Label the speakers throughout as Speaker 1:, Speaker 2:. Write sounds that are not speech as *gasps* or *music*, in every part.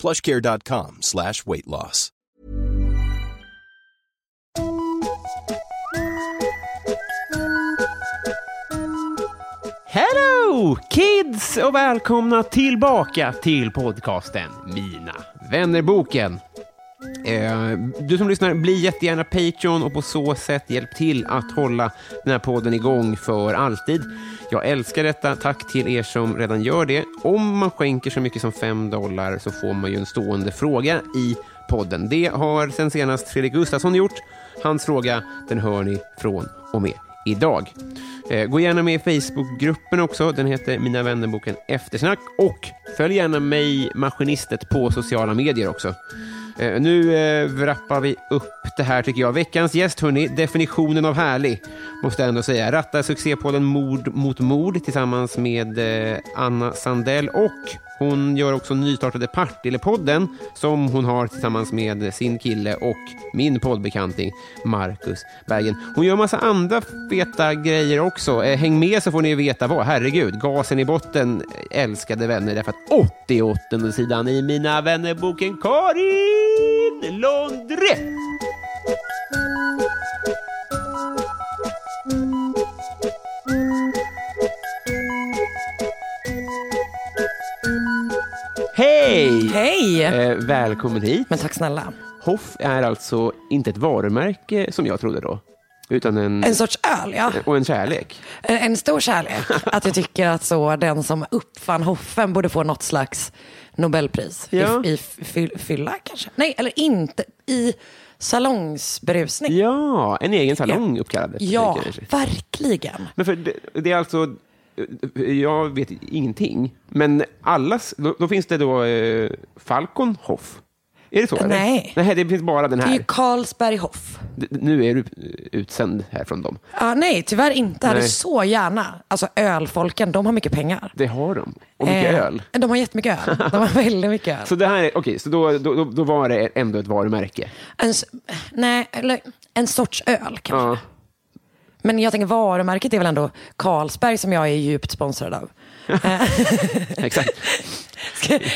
Speaker 1: Plushcare.com slash weight loss.
Speaker 2: Hello kids och välkomna tillbaka till podcasten Mina vännerboken. Eh, du som lyssnar, bli jättegärna Patreon och på så sätt hjälp till att hålla den här podden igång för alltid. Jag älskar detta. Tack till er som redan gör det. Om man skänker så mycket som 5 dollar så får man ju en stående fråga i podden. Det har sen senast Fredrik Gustafsson gjort. Hans fråga, den hör ni från och med idag. Eh, Gå gärna med i Facebookgruppen också. Den heter Mina vännerboken Eftersnack. Och följ gärna mig, Maskinistet, på sociala medier också. Eh, Nu eh, wrappar vi upp det här tycker jag. Veckans gäst, hörni, definitionen av härlig, måste jag ändå säga. Rattar succépodden Mord mot mord tillsammans med eh, Anna Sandell och hon gör också nystartade Partille-podden som hon har tillsammans med sin kille och min poddbekanting Marcus Bergen. Hon gör massa andra feta grejer också. Eh, Häng med så får ni veta vad. Herregud, gasen i botten, eh, älskade vänner. Därför att 88 sidan i Mina vännerboken Karin Lundre. Hej!
Speaker 3: Hej!
Speaker 2: Eh, välkommen hit.
Speaker 3: Men tack snälla.
Speaker 2: Hoff är alltså inte ett varumärke som jag trodde då, utan en,
Speaker 3: En sorts öl, ja.
Speaker 2: och en kärlek.
Speaker 3: En, en stor kärlek. Att jag tycker att så den som uppfann hoffen borde få något slags Nobelpris.
Speaker 2: Ja.
Speaker 3: I, i fy- fylla kanske? Nej, eller inte. I salongsberusning.
Speaker 2: Ja, en egen salong uppkallad efter
Speaker 3: Ja,
Speaker 2: sig kanske.
Speaker 3: verkligen.
Speaker 2: Men för det, det är alltså, jag vet ingenting, men allas, då, då finns det då eh, Falcon Hoff. Är det så? eller?
Speaker 3: Nej.
Speaker 2: Nej, det finns bara den
Speaker 3: Det är
Speaker 2: här.
Speaker 3: ju Carlsberg Hoff.
Speaker 2: D- Nu är du eh, utsänd här från dem.
Speaker 3: Ja, nej, tyvärr inte. Hade
Speaker 2: Nej.
Speaker 3: så gärna. Alltså ölfolken, de har mycket pengar.
Speaker 2: Det har de. Och mycket
Speaker 3: Eh,
Speaker 2: öl.
Speaker 3: De har jättemycket öl. De
Speaker 2: *laughs*
Speaker 3: har väldigt mycket öl.
Speaker 2: Så det här är, okej, så då, då, då, då var det ändå ett varumärke.
Speaker 3: En, s- nej, eller en sorts öl kanske.
Speaker 2: Ja.
Speaker 3: Men jag tänker varumärket är väl ändå Carlsberg som jag är djupt
Speaker 2: *laughs*
Speaker 3: sponsrad av. Eh, *laughs*
Speaker 2: Exakt.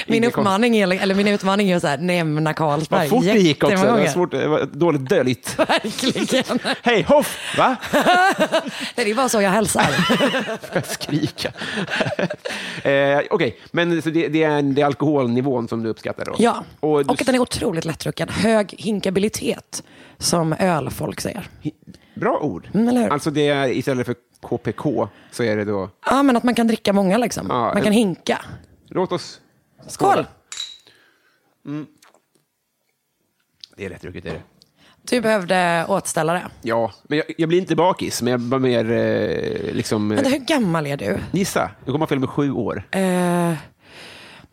Speaker 3: Min,
Speaker 2: Inga
Speaker 3: uppmaning är, eller min utmaning är att så här, nämna Carlsberg. *laughs*
Speaker 2: Vad fort det gick också. Det
Speaker 3: Jättemånga
Speaker 2: var,
Speaker 3: gånger.
Speaker 2: svårt, det var dåligt döljt.
Speaker 3: *laughs* Verkligen.
Speaker 2: Hej Hoff! Va?
Speaker 3: Nej, *laughs* det är bara så jag hälsar.
Speaker 2: Får jag skrika? *laughs* eh, Okej, men så det, det, är, det är alkoholnivån som du uppskattar då?
Speaker 3: Ja.
Speaker 2: *laughs* Och
Speaker 3: Och,
Speaker 2: du,
Speaker 3: att den är otroligt lättdrucken. Hög hinkabilitet, som ölfolk säger.
Speaker 2: Bra ord.
Speaker 3: Mm, eller hur?
Speaker 2: Alltså det är, istället för KPK så är det då,
Speaker 3: Ja, men att man kan dricka många liksom.
Speaker 2: Ja,
Speaker 3: man kan
Speaker 2: en-
Speaker 3: hinka.
Speaker 2: låt oss...
Speaker 3: Skål!
Speaker 2: Det är lättdrucket, är det.
Speaker 3: Du behövde återställare.
Speaker 2: Ja, men jag, jag blir inte bakis, men jag var mer eh, liksom...
Speaker 3: Vänta,
Speaker 2: Eh,
Speaker 3: hur gammal är du?
Speaker 2: gissa, jag kommer att fylla med sju år.
Speaker 3: Eh,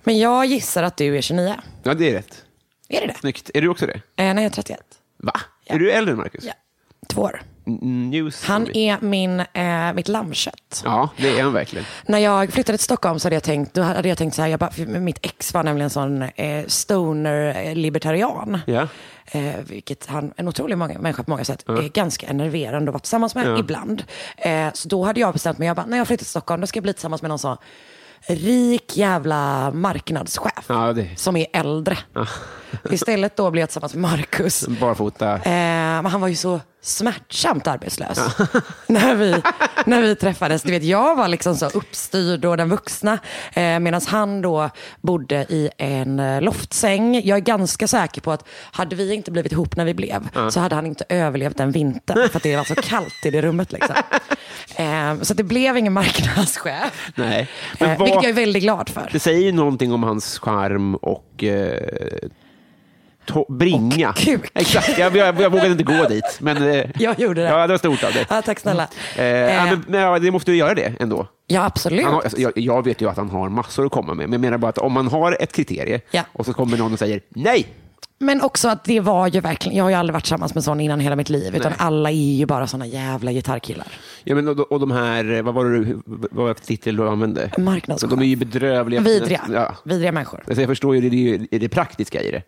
Speaker 3: men jag gissar att du är 29.
Speaker 2: Ja, det är rätt.
Speaker 3: Är det det?
Speaker 2: Snyggt. Är du också det?
Speaker 3: Eh, nej, jag är 31.
Speaker 2: Va?
Speaker 3: Ja.
Speaker 2: Är du äldre än Marcus?
Speaker 3: Ja. Två år.
Speaker 2: N- News.
Speaker 3: Han är min, eh, mitt lammkött.
Speaker 2: Ja, det är han verkligen.
Speaker 3: När jag flyttade till Stockholm så hade jag tänkt, då hade jag tänkt så här, jag bara, för mitt ex var nämligen sån eh, stoner-libertarian.
Speaker 2: Ja.
Speaker 3: Eh, vilket han, en otrolig många, människa på många sätt, är ganska enerverande att vara tillsammans med ibland. Eh, så då hade jag bestämt mig, jag bara, när jag flyttar till Stockholm då ska jag bli tillsammans med någon sån rik jävla marknadschef
Speaker 2: Ja, det- *laughs*
Speaker 3: som är äldre. Istället då blev jag tillsammans med Marcus.
Speaker 2: Barfota.
Speaker 3: Eh, men han var ju så smärtsamt arbetslös *laughs* när, vi, när vi träffades. Du vet, jag var liksom så uppstyrd och den vuxna eh, medan han då bodde i en eh, loftsäng. Jag är ganska säker på att hade vi inte blivit ihop när vi blev så hade han inte överlevt en vinter för att det var så kallt i det
Speaker 2: *laughs*
Speaker 3: rummet. Liksom. Eh, så att det blev ingen marknadschef.
Speaker 2: Nej. Men
Speaker 3: Eh,
Speaker 2: vad-
Speaker 3: vilket jag är väldigt glad för.
Speaker 2: Det säger ju någonting om hans charm och eh, to- bringa.
Speaker 3: Och kuk.
Speaker 2: *laughs* Exakt, jag, jag, jag vågade inte gå dit. Men, eh,
Speaker 3: *laughs* Jag gjorde det.
Speaker 2: Ja, det var stort av dig.
Speaker 3: Ja, tack snälla.
Speaker 2: Eh, ja,
Speaker 3: Eh,
Speaker 2: men, men, ja, det måste ju göra det ändå.
Speaker 3: Ja, absolut.
Speaker 2: Han har, alltså, jag, jag vet ju att han har massor att komma med, men jag menar bara att om man har ett kriterie
Speaker 3: Ja.
Speaker 2: och så kommer någon och säger nej,
Speaker 3: Men också att det var ju verkligen, jag har ju aldrig varit tillsammans med sån innan hela mitt liv, utan alla är ju bara såna jävla gitarrkillar.
Speaker 2: ja, men, och, och de här, eh, vad var det du- vad var det för titel du använde?
Speaker 3: Marknadschef.
Speaker 2: De är ju bedrövliga.
Speaker 3: Vidriga.
Speaker 2: Ja.
Speaker 3: Vidriga människor.
Speaker 2: Alltså, jag förstår ju det, det, är ju- det, är det praktiska i det.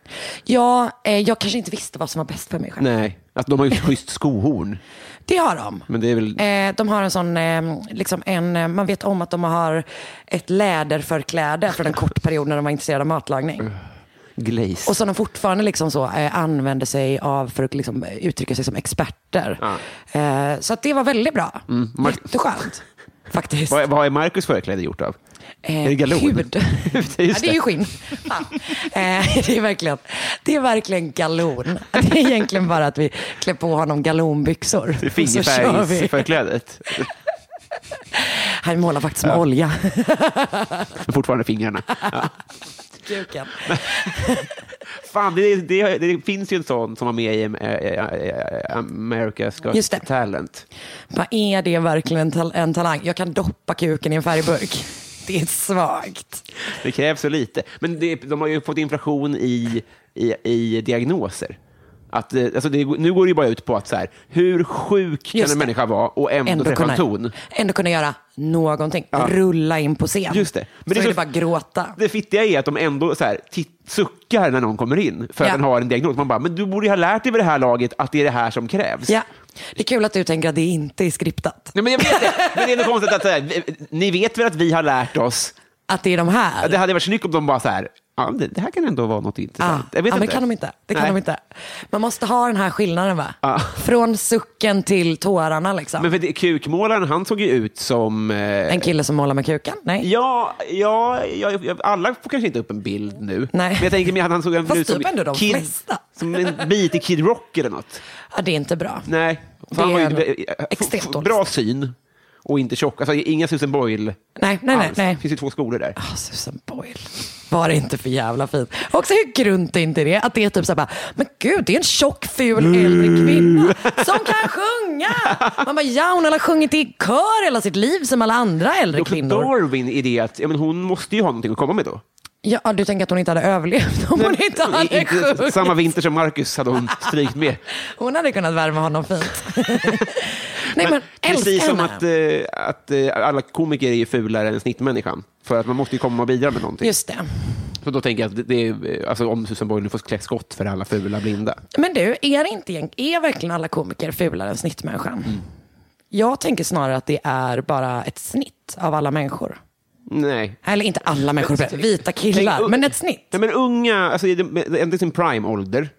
Speaker 3: Ja, eh, jag kanske inte visste vad som var bäst för mig själv.
Speaker 2: Nej, att de har ju ett schysst skohorn.
Speaker 3: Det har de.
Speaker 2: Men det är väl...
Speaker 3: Eh, de har en sån, eh, liksom en, eh, man vet om att de har ett läderförkläde från en kort period när de var intresserade av matlagning.
Speaker 2: Glaze.
Speaker 3: Och som de fortfarande liksom så, eh, använder sig av för att liksom, eh, uttrycka sig som experter. Eh, så att det var väldigt bra.
Speaker 2: Mm, Mar- *laughs*
Speaker 3: Jätteskönt. Faktiskt.
Speaker 2: Vad, vad är Marcus förkläde gjort av?
Speaker 3: Eh,
Speaker 2: är det galon? *laughs*
Speaker 3: hud.
Speaker 2: Just
Speaker 3: ja, det är ju skinn. Fan. Eh, *laughs* det, är verkligen, det är verkligen galon. Det är egentligen bara att vi klär på honom galonbyxor.
Speaker 2: det är
Speaker 3: Så kör vi.
Speaker 2: fingerfärgsförklädet. *laughs*
Speaker 3: Han målar faktiskt med olja. *laughs*
Speaker 2: Men fortfarande fingrarna.
Speaker 3: Kuken.
Speaker 2: Fan, det, det, det finns ju en sån som var med i eh, eh, eh, America's Got
Speaker 3: Just det.
Speaker 2: Talent.
Speaker 3: Vad är det verkligen en tal- en talang? Jag kan doppa kuken i en färgburk. Det är svagt.
Speaker 2: Det krävs så lite. Men det, de har ju fått inflation i, i, i diagnoser. Att, eh, alltså det, nu går det ju bara ut på att så här, hur sjuk
Speaker 3: Just
Speaker 2: kan en
Speaker 3: det.
Speaker 2: människa vara och ändå, träffa en ton?
Speaker 3: ändå kunna göra någonting. Rulla in på scen.
Speaker 2: Just det.
Speaker 3: Men så är det
Speaker 2: så-
Speaker 3: bara gråta.
Speaker 2: Det fittiga är att de ändå så här, titt, suckar när någon kommer in för att
Speaker 3: Ja.
Speaker 2: den har en diagnos. Man bara, men du borde ju ha lärt dig vid det här laget att det är det här som krävs.
Speaker 3: Ja. Det är kul att du tänker att det inte är skriptat.
Speaker 2: Nej, men jag vet det. Men det är ändå konstigt att så här, vi- ni vet väl att vi har lärt oss.
Speaker 3: Att det är de här.
Speaker 2: Det hade varit snyggt om de bara så här, ja, det, det här kan ändå vara något intressant.
Speaker 3: Ja,
Speaker 2: jag vet
Speaker 3: Ah. ja, men
Speaker 2: inte.
Speaker 3: det kan de inte. Det kan
Speaker 2: Nej.
Speaker 3: de inte. Man måste ha den här skillnaden va? Från sucken till tårarna liksom.
Speaker 2: Men för det, kukmålaren, han såg ju ut som... Eh,
Speaker 3: En kille som målar med kuken? Nej.
Speaker 2: Ja, ja, ja, ja, alla får kanske inte upp en bild nu.
Speaker 3: Nej.
Speaker 2: Men jag tänker mig att han såg
Speaker 3: Fast
Speaker 2: ut som,
Speaker 3: typ ändå de
Speaker 2: kid,
Speaker 3: flesta.
Speaker 2: som en bit i Kid Rock eller något.
Speaker 3: Ja, det är inte bra.
Speaker 2: Nej. Så
Speaker 3: Det
Speaker 2: han var ju,
Speaker 3: är
Speaker 2: eh, eh,
Speaker 3: extremt
Speaker 2: f- f-
Speaker 3: dåligt.
Speaker 2: Bra syn och inte tjock. Alltså, inga Susan Boyle
Speaker 3: Nej, nej, nej.
Speaker 2: alls.
Speaker 3: nej.
Speaker 2: Det finns ju två skolor där.
Speaker 3: Ah, Susan Boyle. Var det inte för jävla fint? Också hur grunt är inte det? Att det är typ såhär bara, men gud det är en tjock ful
Speaker 2: Mm.
Speaker 3: äldre kvinna som kan sjunga. Man bara, ja hon har sjungit i kör hela sitt liv som alla andra äldre
Speaker 2: Också
Speaker 3: kvinnor.
Speaker 2: Darwin i det att ja, men hon måste ju ha någonting att komma med då.
Speaker 3: Ja, du tänker att hon inte hade överlevt om hon inte
Speaker 2: Hon är
Speaker 3: hade sjungit?
Speaker 2: samma vinter som Marcus hade hon strykt med.
Speaker 3: Hon hade kunnat värma
Speaker 2: *laughs*
Speaker 3: honom fint. Nej men,
Speaker 2: Precis
Speaker 3: *laughs* älskar
Speaker 2: som
Speaker 3: henne.
Speaker 2: att, eh, att eh, alla komiker är ju fulare än snittmänniskan. För att man måste ju komma och bidra med någonting.
Speaker 3: Just det.
Speaker 2: Så då tänker jag att det- det är, eh, alltså, om Susan Boyle nu får klä skott för alla fula blinda.
Speaker 3: Men du, är, det inte, egent- är verkligen alla komiker fulare än snittmänniskan?
Speaker 2: Mm.
Speaker 3: Jag tänker snarare att det är bara ett snitt av alla människor.
Speaker 2: Nej.
Speaker 3: Eller inte alla människor, vita killar, men ett snitt.
Speaker 2: Nej, men unga, alltså, i det- ända i sin prime-ålder.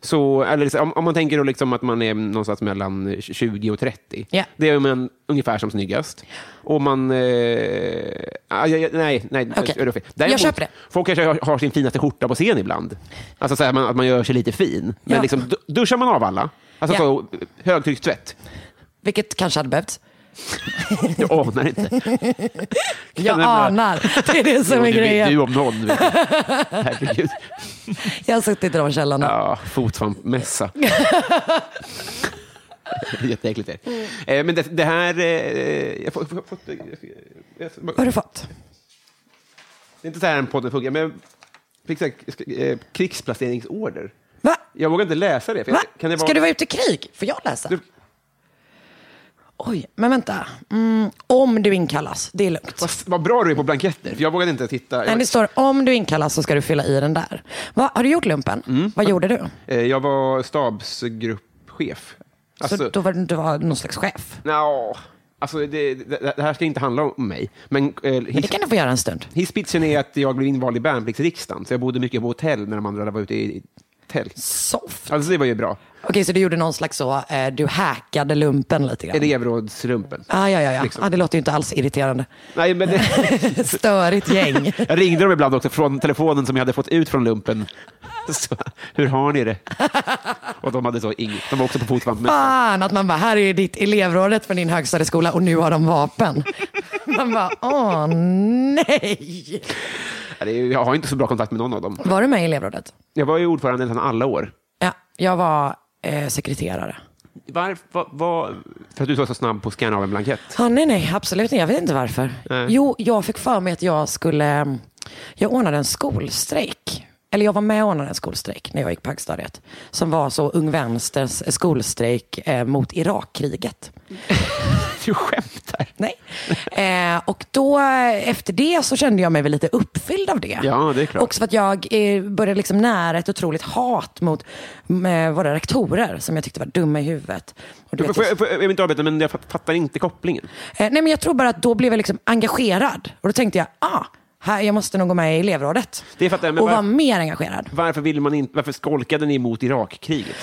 Speaker 2: Så, eller, liksom, om, om man tänker då liksom att man är någonstans mellan 20 och 30.
Speaker 3: Ja.
Speaker 2: Det är man ungefär som snyggast. Och man... Eh, ah, ja, ja, nej, nej.
Speaker 3: Okej.
Speaker 2: det var fel.
Speaker 3: Jag köper det.
Speaker 2: Folk kanske har, har sin finaste skjorta på scen ibland. Alltså så här, man, att man gör sig lite fin. Men
Speaker 3: Ja.
Speaker 2: liksom, du- duschar man av alla, alltså
Speaker 3: Ja.
Speaker 2: så, högtryckstvätt.
Speaker 3: Vilket kanske hade behövts.
Speaker 2: Jag anar
Speaker 3: *laughs*
Speaker 2: inte.
Speaker 3: Jag
Speaker 2: men, *laughs*
Speaker 3: anar. Det är det som är
Speaker 2: Jo, det vet Du
Speaker 3: grejen.
Speaker 2: om någon.
Speaker 3: *laughs*
Speaker 2: Vet du. Herregud.
Speaker 3: Jag har suttit i de källorna.
Speaker 2: Ja, fotsvampmässa. *laughs* Jätteäckligt är det. Eh, Men det, det här... eh, Jag får, får, får, jag- jag- jag-
Speaker 3: Vad har du fått?
Speaker 2: det är inte så här en podd funkar, men jag fick så här, eh, krigsplaceringsorder.
Speaker 3: Va?
Speaker 2: Jag vågar inte läsa det. För
Speaker 3: Va?
Speaker 2: jag, kan det vara,
Speaker 3: Ska du vara ute i krig? Får jag läsa?
Speaker 2: Du-
Speaker 3: Oj, men vänta. Mm, om du inkallas, det är lugnt.
Speaker 2: vad, vad bra du är på blanketter, för jag vågade inte titta.
Speaker 3: Nej,
Speaker 2: Jag,
Speaker 3: det står om du inkallas så ska du fylla i den där. Va, har du gjort lumpen? Vad gjorde du?
Speaker 2: eh, jag var stabsgruppchef.
Speaker 3: så
Speaker 2: Alltså,
Speaker 3: då var du du var någon slags chef.
Speaker 2: nja, alltså det, det, det här ska inte handla om mig. Men, eh,
Speaker 3: Men
Speaker 2: his-
Speaker 3: det kan du få göra en stund.
Speaker 2: Hisspitchen är att jag blev invald i värnpliktsriksdagen, så jag bodde mycket på hotell när de andra var ute i helg.
Speaker 3: Soft.
Speaker 2: Alltså det var ju bra.
Speaker 3: Okej, så du gjorde någon slags så, eh, du hackade lumpen lite grann?
Speaker 2: Elevrådsrumpen.
Speaker 3: Ah, ja, ja, ja.
Speaker 2: Liksom.
Speaker 3: Ah, det låter ju inte alls irriterande.
Speaker 2: Nej, men det,
Speaker 3: Störigt gäng.
Speaker 2: jag ringde dem ibland också från telefonen som jag hade fått ut från lumpen. Så, hur har ni det? Och de hade så inget. De var också på fotvampmässan.
Speaker 3: Fan att man bara, här är ditt elevrådet från din högstadieskola och nu har de vapen. Man bara, åh nej.
Speaker 2: Ja, det är ju- Jag har inte så bra kontakt med någon av dem.
Speaker 3: Var du med i elevrådet?
Speaker 2: Jag var ju ordförande nästan alla år.
Speaker 3: Ja, jag var eh, sekreterare.
Speaker 2: Varför? Var, var, för att du var så snabb på att scanna av en blankett.
Speaker 3: Ja, nej, nej, absolut inte. Jag vet inte varför. Jo, jag fick för mig att jag skulle... mm, Jag ordnade en skolstrejk. Eller jag var med och ordnade en skolstrejk när jag gick på högstadiet. Som var så Ung Vänsters skolstrejk eh, mot Irakkriget.
Speaker 2: Du skämtar. *laughs*
Speaker 3: Nej. Eh, och då, eh, efter det så kände jag mig väl lite uppfylld av det.
Speaker 2: Ja, det är klart.
Speaker 3: Också för att jag eh, började liksom nära ett otroligt hat mot mm, eh, våra rektorer som jag tyckte var dumma i huvudet. Och du vet,
Speaker 2: Får
Speaker 3: jag-
Speaker 2: jag, får jag, jag vill inte avbryta, men jag fa- fattar inte kopplingen.
Speaker 3: Eh, nej, men jag tror bara att då blev jag liksom engagerad. Och då tänkte jag, ah, här, jag måste nog gå med i elevrådet.
Speaker 2: Det fattar jag, men
Speaker 3: och vara
Speaker 2: var-
Speaker 3: mer engagerad.
Speaker 2: Varför, vill man inte, varför skolkade ni mot Irakkriget?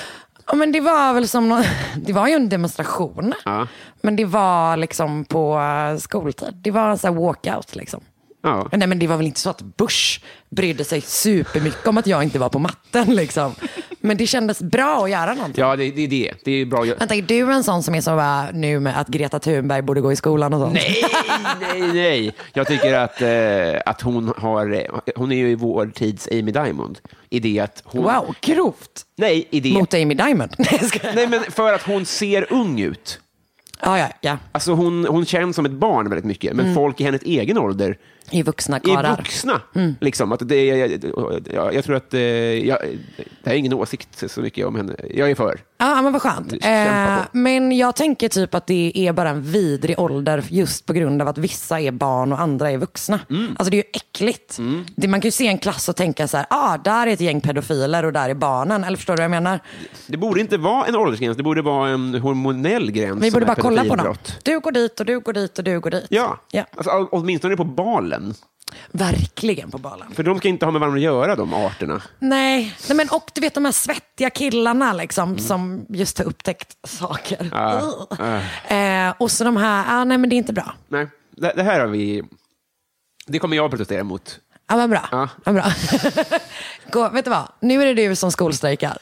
Speaker 3: Ja, men det var väl som nå- *laughs* det var ju en demonstration.
Speaker 2: Ja.
Speaker 3: Men det var liksom på eh, skoltid. Det var en sån här walkout liksom.
Speaker 2: Ja.
Speaker 3: Nej, men det var väl inte så att Bush brydde sig supermycket om att jag inte var på matten *laughs* liksom. Men det kändes bra att göra någonting.
Speaker 2: Ja, det, det är det. Det är bra.
Speaker 3: Vänta, är du en sån som är så bara, nu med att Greta Thunberg borde gå i skolan och sånt?
Speaker 2: Nej, nej, nej. Jag tycker att, eh, att hon har... eh, Hon är ju i vår tids Amy Diamond. I det att hon...
Speaker 3: Wow, grovt
Speaker 2: Nej, i det...
Speaker 3: mot Amy Diamond. *laughs* Nej, jag skojar.
Speaker 2: Nej, men för att hon ser ung ut.
Speaker 3: Ja, ja, ja.
Speaker 2: Alltså hon, hon känns som ett barn väldigt mycket,
Speaker 3: Mm.
Speaker 2: men folk i hennes egen ålder
Speaker 3: I vuxna
Speaker 2: är
Speaker 3: karlar.
Speaker 2: vuxna.
Speaker 3: Mm.
Speaker 2: Liksom, att det, jag, jag, jag tror att... eh, Jag, det här är ingen åsikt så mycket om henne. Jag är för.
Speaker 3: Ja, men vad skönt.
Speaker 2: Kämpa
Speaker 3: Eh,
Speaker 2: på.
Speaker 3: men jag tänker typ att det är bara en vidrig ålder just på grund av att vissa är barn och andra är vuxna.
Speaker 2: Mm.
Speaker 3: Alltså det är ju äckligt. Det, man kan ju se en klass och tänka så här, ah, där är ett gäng pedofiler och där är barnen. Eller förstår du vad jag menar?
Speaker 2: Det borde inte vara en åldersgräns, det borde vara en hormonell gräns.
Speaker 3: Vi
Speaker 2: som
Speaker 3: borde
Speaker 2: är
Speaker 3: bara kolla på dem.
Speaker 2: pedofilbrott.
Speaker 3: Du går dit och du går dit och du går dit.
Speaker 2: Ja,
Speaker 3: ja.
Speaker 2: Alltså, å- åtminstone på balen.
Speaker 3: Verkligen på balen.
Speaker 2: För de ska inte ha med varandra att göra, de arterna.
Speaker 3: Nej. Nej, men och du vet de här svettiga killarna liksom, som just har upptäckt saker.
Speaker 2: Mm. Ah,
Speaker 3: Ugh. *laughs* Eh, och så de här, ah, nej men det är inte bra.
Speaker 2: Nej, det, det här har vi... Det kommer jag att protestera mot.
Speaker 3: Ja, vad bra.
Speaker 2: Ja.
Speaker 3: Vad bra. *laughs* Gå, vet du vad? Nu är det du som skolstrejkar.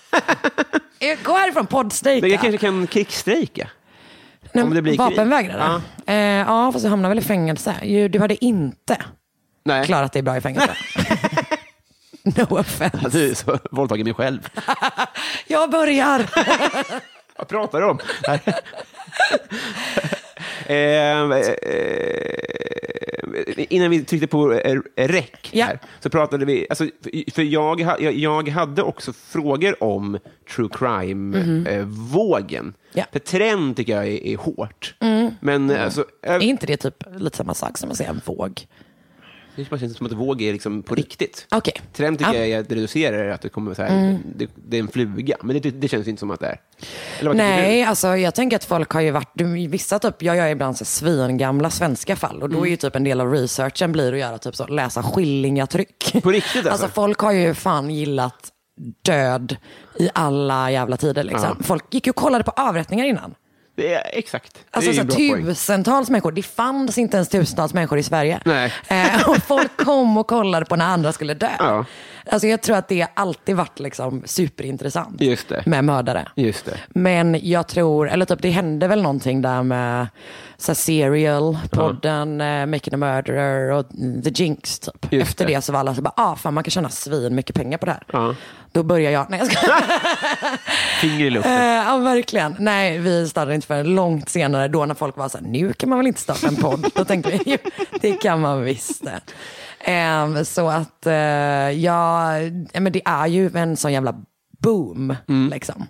Speaker 2: *laughs*
Speaker 3: Eh, Gå härifrån, poddstrejka.
Speaker 2: Men jag kanske kan krigsstrejka.
Speaker 3: Nej,
Speaker 2: om det blir krig.
Speaker 3: vapenvägrare? Ja. Eh, ja, fast du hamnar väl i fängelse. Ju, Du hade inte
Speaker 2: Nej,
Speaker 3: klarat dig bra
Speaker 2: *laughs*
Speaker 3: i fängelse. *laughs* no offense.
Speaker 2: Alltså, så, våldtagit mig själv.
Speaker 3: Jag börjar.
Speaker 2: Vad pratar du om?
Speaker 3: *laughs*
Speaker 2: Ehm, eh, innan vi tryckte på eh, räck
Speaker 3: Ja.
Speaker 2: här, så pratade vi... Alltså, för- för jag, ha- jag, jag hade också frågor om true crime-vågen.
Speaker 3: Mhm. Ja. Mm.
Speaker 2: För trend tycker jag är, är hårt. Men alltså, jag,
Speaker 3: är inte det typ lite samma sak som att säga en våg?
Speaker 2: det bara känns som att våg är liksom på riktigt.
Speaker 3: Okej.
Speaker 2: Trend tycker
Speaker 3: Ja. Mm.
Speaker 2: jag är att reducera att det, kommer så här, det, det är en fluga, men det, det känns inte som att det är. Eller vad tycker du?
Speaker 3: Nej, alltså jag tänker att folk har ju varit, du, vissa typ, jag gör ibland så svingamla svenska fall
Speaker 2: Mm.
Speaker 3: och då är ju typ en del av researchen blir att göra typ så, läsa skillingatryck.
Speaker 2: På riktigt, alltså?
Speaker 3: folk har ju fan gillat död i alla jävla tider liksom.
Speaker 2: Ja.
Speaker 3: Folk gick ju och kollade på avrättningar innan.
Speaker 2: Det är, exakt.
Speaker 3: Alltså
Speaker 2: det
Speaker 3: så
Speaker 2: är ju en bra poäng.
Speaker 3: tusentals människor, det fanns inte ens tusentals människor i Sverige.
Speaker 2: Nej.
Speaker 3: Eh, och folk kom och kollade på när andra skulle dö.
Speaker 2: Ja.
Speaker 3: Alltså jag tror att det alltid varit liksom superintressant
Speaker 2: Just det.
Speaker 3: med mördare.
Speaker 2: Just det.
Speaker 3: Men jag tror, eller typ det hände väl någonting där med så här, Serial, podden, eh, Making a Murderer och The Jinx. Typ.
Speaker 2: Just
Speaker 3: Efter
Speaker 2: det.
Speaker 3: det. så var alla så bara, ah fan man kan tjäna svin mycket pengar på det här.
Speaker 2: Ja.
Speaker 3: Då börjar jag, nej jag ska...
Speaker 2: Finger i luften.
Speaker 3: Eh, ja, verkligen. Nej, vi startade inte förrän långt senare då när folk var så här, nu kan man väl inte starta en podd? Då tänkte vi, "Jo, det kan man visst. det." Eh, så att, eh, ja, eh, men det är ju en sån jävla boom. Liksom.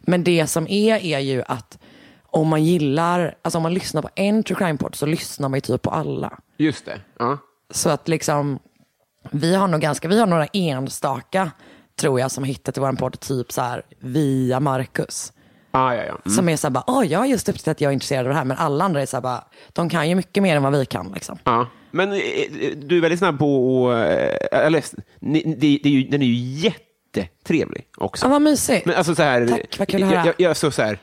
Speaker 3: Men det som är, är ju att om man gillar, alltså om man lyssnar på en true crime-podd så lyssnar man ju typ på alla.
Speaker 2: Just det. Ja.
Speaker 3: Så att liksom, vi har nog ganska, vi har några enstaka tror jag som har hittat i vår podd, typ så här via Marcus.
Speaker 2: Ah, ja, ja. Mm.
Speaker 3: Som är så här bara, åh jag har just upptäckt att jag är intresserad av det här. Men alla andra är så här bara, de kan ju mycket mer än vad vi kan. Liksom.
Speaker 2: Ja. eh, Men eh, du är väldigt snabb på att... eh, Eller, ni- det- det är ju- den är ju jätte jättetrevlig också.
Speaker 3: Ja, vad mysigt.
Speaker 2: Men alltså så här,
Speaker 3: Tack, vad kul att
Speaker 2: jag,
Speaker 3: höra.
Speaker 2: jag, jag, så så här,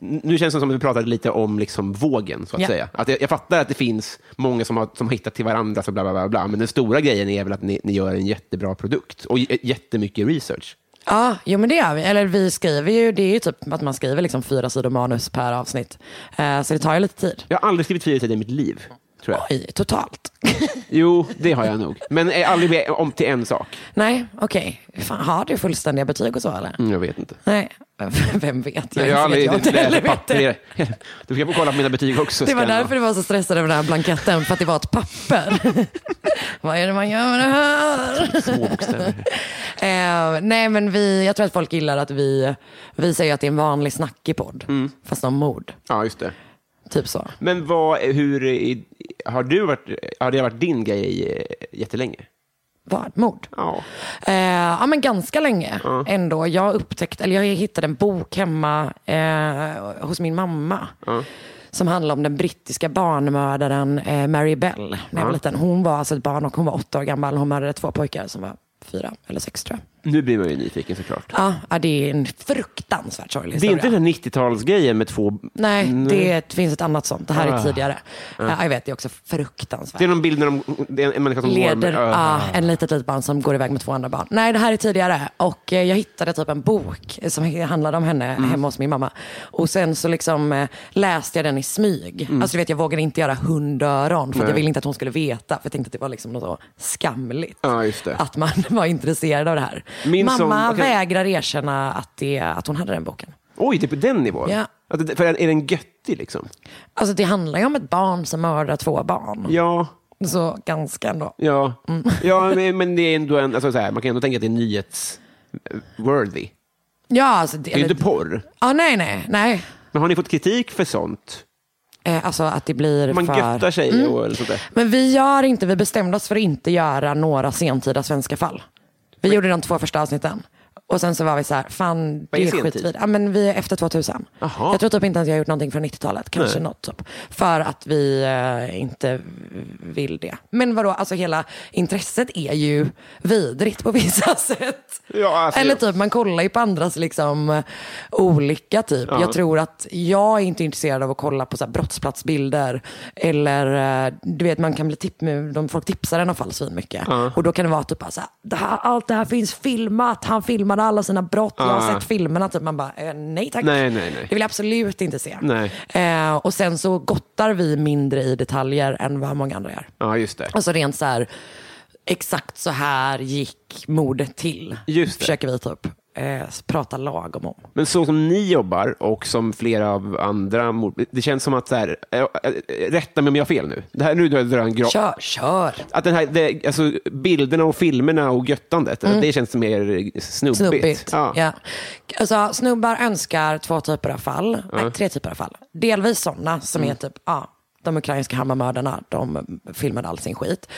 Speaker 2: nu känns det som att vi pratade lite om liksom vågen, så att
Speaker 3: Ja.
Speaker 2: säga. Att jag, jag fattar att det finns många som har, som har hittat till varandra, så bla, bla, bla, bla. men den stora grejen är väl att ni, ni gör en jättebra produkt och j- jättemycket research.
Speaker 3: Ja, jo men det gör vi. Eller vi skriver ju, det är ju typ att man skriver liksom fyra sidor manus per avsnitt. Eh, så det tar ju lite tid.
Speaker 2: Jag har aldrig skrivit fyra sidor i mitt liv, tror jag.
Speaker 3: Oj, totalt. *laughs*
Speaker 2: Jo, det har jag nog. Men eh, aldrig mer om till en sak.
Speaker 3: Nej, okej. Fan, har du fullständiga betyg och så eller?
Speaker 2: Mm, Jag vet inte.
Speaker 3: Nej, *laughs* vem vet?
Speaker 2: Jag har
Speaker 3: vet
Speaker 2: aldrig
Speaker 3: jag inte heller
Speaker 2: läst *laughs*
Speaker 3: vet det.
Speaker 2: papper. Du ska få kolla på mina betyg också.
Speaker 3: Det var
Speaker 2: Skanna.
Speaker 3: därför du var så stressad över den här blanketten, för att det var ett papper. Vad är det man gör med det här?
Speaker 2: Små bokstäver.
Speaker 3: *laughs* Eh, nej men vi, jag tror att folk gillar att vi, vi säger att det är en vanlig snackig podd, fast om mord.
Speaker 2: Ja, just det.
Speaker 3: Typ så.
Speaker 2: Men vad, hur, i- har, du varit, har det varit din grej eh, jättelänge?
Speaker 3: Vad? Mord?
Speaker 2: Ja.
Speaker 3: Eh, ja men ganska länge ändå. Jag upptäckte, eller jag hittade en bok hemma eh, hos min mamma. Som handlar om den brittiska barnmördaren eh, Mary Bell. När jag var liten. Hon var alltså ett barn och hon var åtta år gammal. Hon mördade två pojkar som var fyra eller sex tror jag.
Speaker 2: Nu blir man ju nyfiken såklart.
Speaker 3: Ja, ja det är en fruktansvärt sorglig
Speaker 2: Det är
Speaker 3: historia.
Speaker 2: inte den här 90-talsgrejen med två... Mm,
Speaker 3: Nej,
Speaker 2: Det
Speaker 3: det är- finns ett annat sånt. Det här
Speaker 2: Ah.
Speaker 3: är tidigare. Ja, jag vet, det är också fruktansvärt.
Speaker 2: det är någon bild när de, det är en människa som går
Speaker 3: leder
Speaker 2: med...
Speaker 3: ah, en litet, litet barn som går iväg med två andra barn. Nej, det här är tidigare. Och eh, jag hittade typ en bok som he- handlade om henne
Speaker 2: Mm.
Speaker 3: hemma hos min mamma. Och sen så liksom eh, läste jag den i smyg.
Speaker 2: Mm.
Speaker 3: Alltså du vet, jag vågade inte göra hundöron för att jag ville inte att hon skulle veta. För jag tänkte att det var liksom något så skamligt.
Speaker 2: Ja, just det.
Speaker 3: Att man *laughs* var intresserad av det här.
Speaker 2: Min
Speaker 3: mamma
Speaker 2: son- okej.
Speaker 3: vägrar erkänna att, det, att hon hade den boken.
Speaker 2: Oj, det är på den nivån?
Speaker 3: Ja.
Speaker 2: Att det, för är den göttig liksom?
Speaker 3: Alltså det handlar ju om ett barn som mördar två barn.
Speaker 2: Ja.
Speaker 3: Så ganska ändå.
Speaker 2: Ja,
Speaker 3: Mm.
Speaker 2: *laughs* ja men, men det är ändå en, alltså, så här, man kan ändå tänka att det är nyhets-worthy.
Speaker 3: Ja, alltså, det,
Speaker 2: Det är ju
Speaker 3: eller,
Speaker 2: inte porr.
Speaker 3: ah, nej, nej, nej.
Speaker 2: Men har ni fått kritik för sånt?
Speaker 3: Eh, Alltså att det Mm. blir
Speaker 2: Man göttar
Speaker 3: för...
Speaker 2: sig och eller sånt där.
Speaker 3: Men vi gör inte, vi bestämde oss för att inte göra några sentida svenska fall. Vi gjorde de två första avsnitten. Och sen så var vi så här, fan
Speaker 2: Vad är
Speaker 3: det är
Speaker 2: sentid?
Speaker 3: skitvid. Ja men vi är efter 2000.
Speaker 2: Jaha.
Speaker 3: Jag tror typ inte att jag har gjort någonting från 90-talet, kanske något typ. För att vi eh, inte vill det. Men vadå, alltså hela intresset är ju vidrigt på vissa *laughs* sätt.
Speaker 2: Ja, alltså-
Speaker 3: Eller typ man kollar ju på andras liksom olika typ. Jag tror att jag är inte intresserad av att kolla på så här brottsplatsbilder. Eller eh, du vet man kan bli tipp, de, folk tipsar en om fall mycket. Och då kan det vara typ bara så här, det här, allt det här finns filmat, han filmade alla sina brott, jag
Speaker 2: Ja.
Speaker 3: har sett filmerna. Typ. Man bara, eh, nej tack.
Speaker 2: Nej, nej, nej.
Speaker 3: Det vill jag absolut inte se.
Speaker 2: Nej.
Speaker 3: Eh, och sen så gottar vi mindre i detaljer än vad många andra gör.
Speaker 2: Ja, just det.
Speaker 3: Alltså rent så här, exakt så här gick mordet till.
Speaker 2: Just det.
Speaker 3: Försöker vi typ eh, prata lagom om.
Speaker 2: Men så som ni jobbar och som flera av andra, mord- det känns som att, så här, eh, eh, rätta mig om jag har fel nu, det här, nu drar jag en gra-
Speaker 3: Kör, kör.
Speaker 2: att den här, det, alltså, bilderna och filmerna och göttandet, att det känns mer snubbigt.
Speaker 3: Mm. Snubbigt.
Speaker 2: Ja.
Speaker 3: Ja. Alltså, snubbar önskar två typer av fall. Nej, tre typer av fall. Delvis sådana som är typ, ja, de ukrainska hammarmördarna, de filmade all sin skit.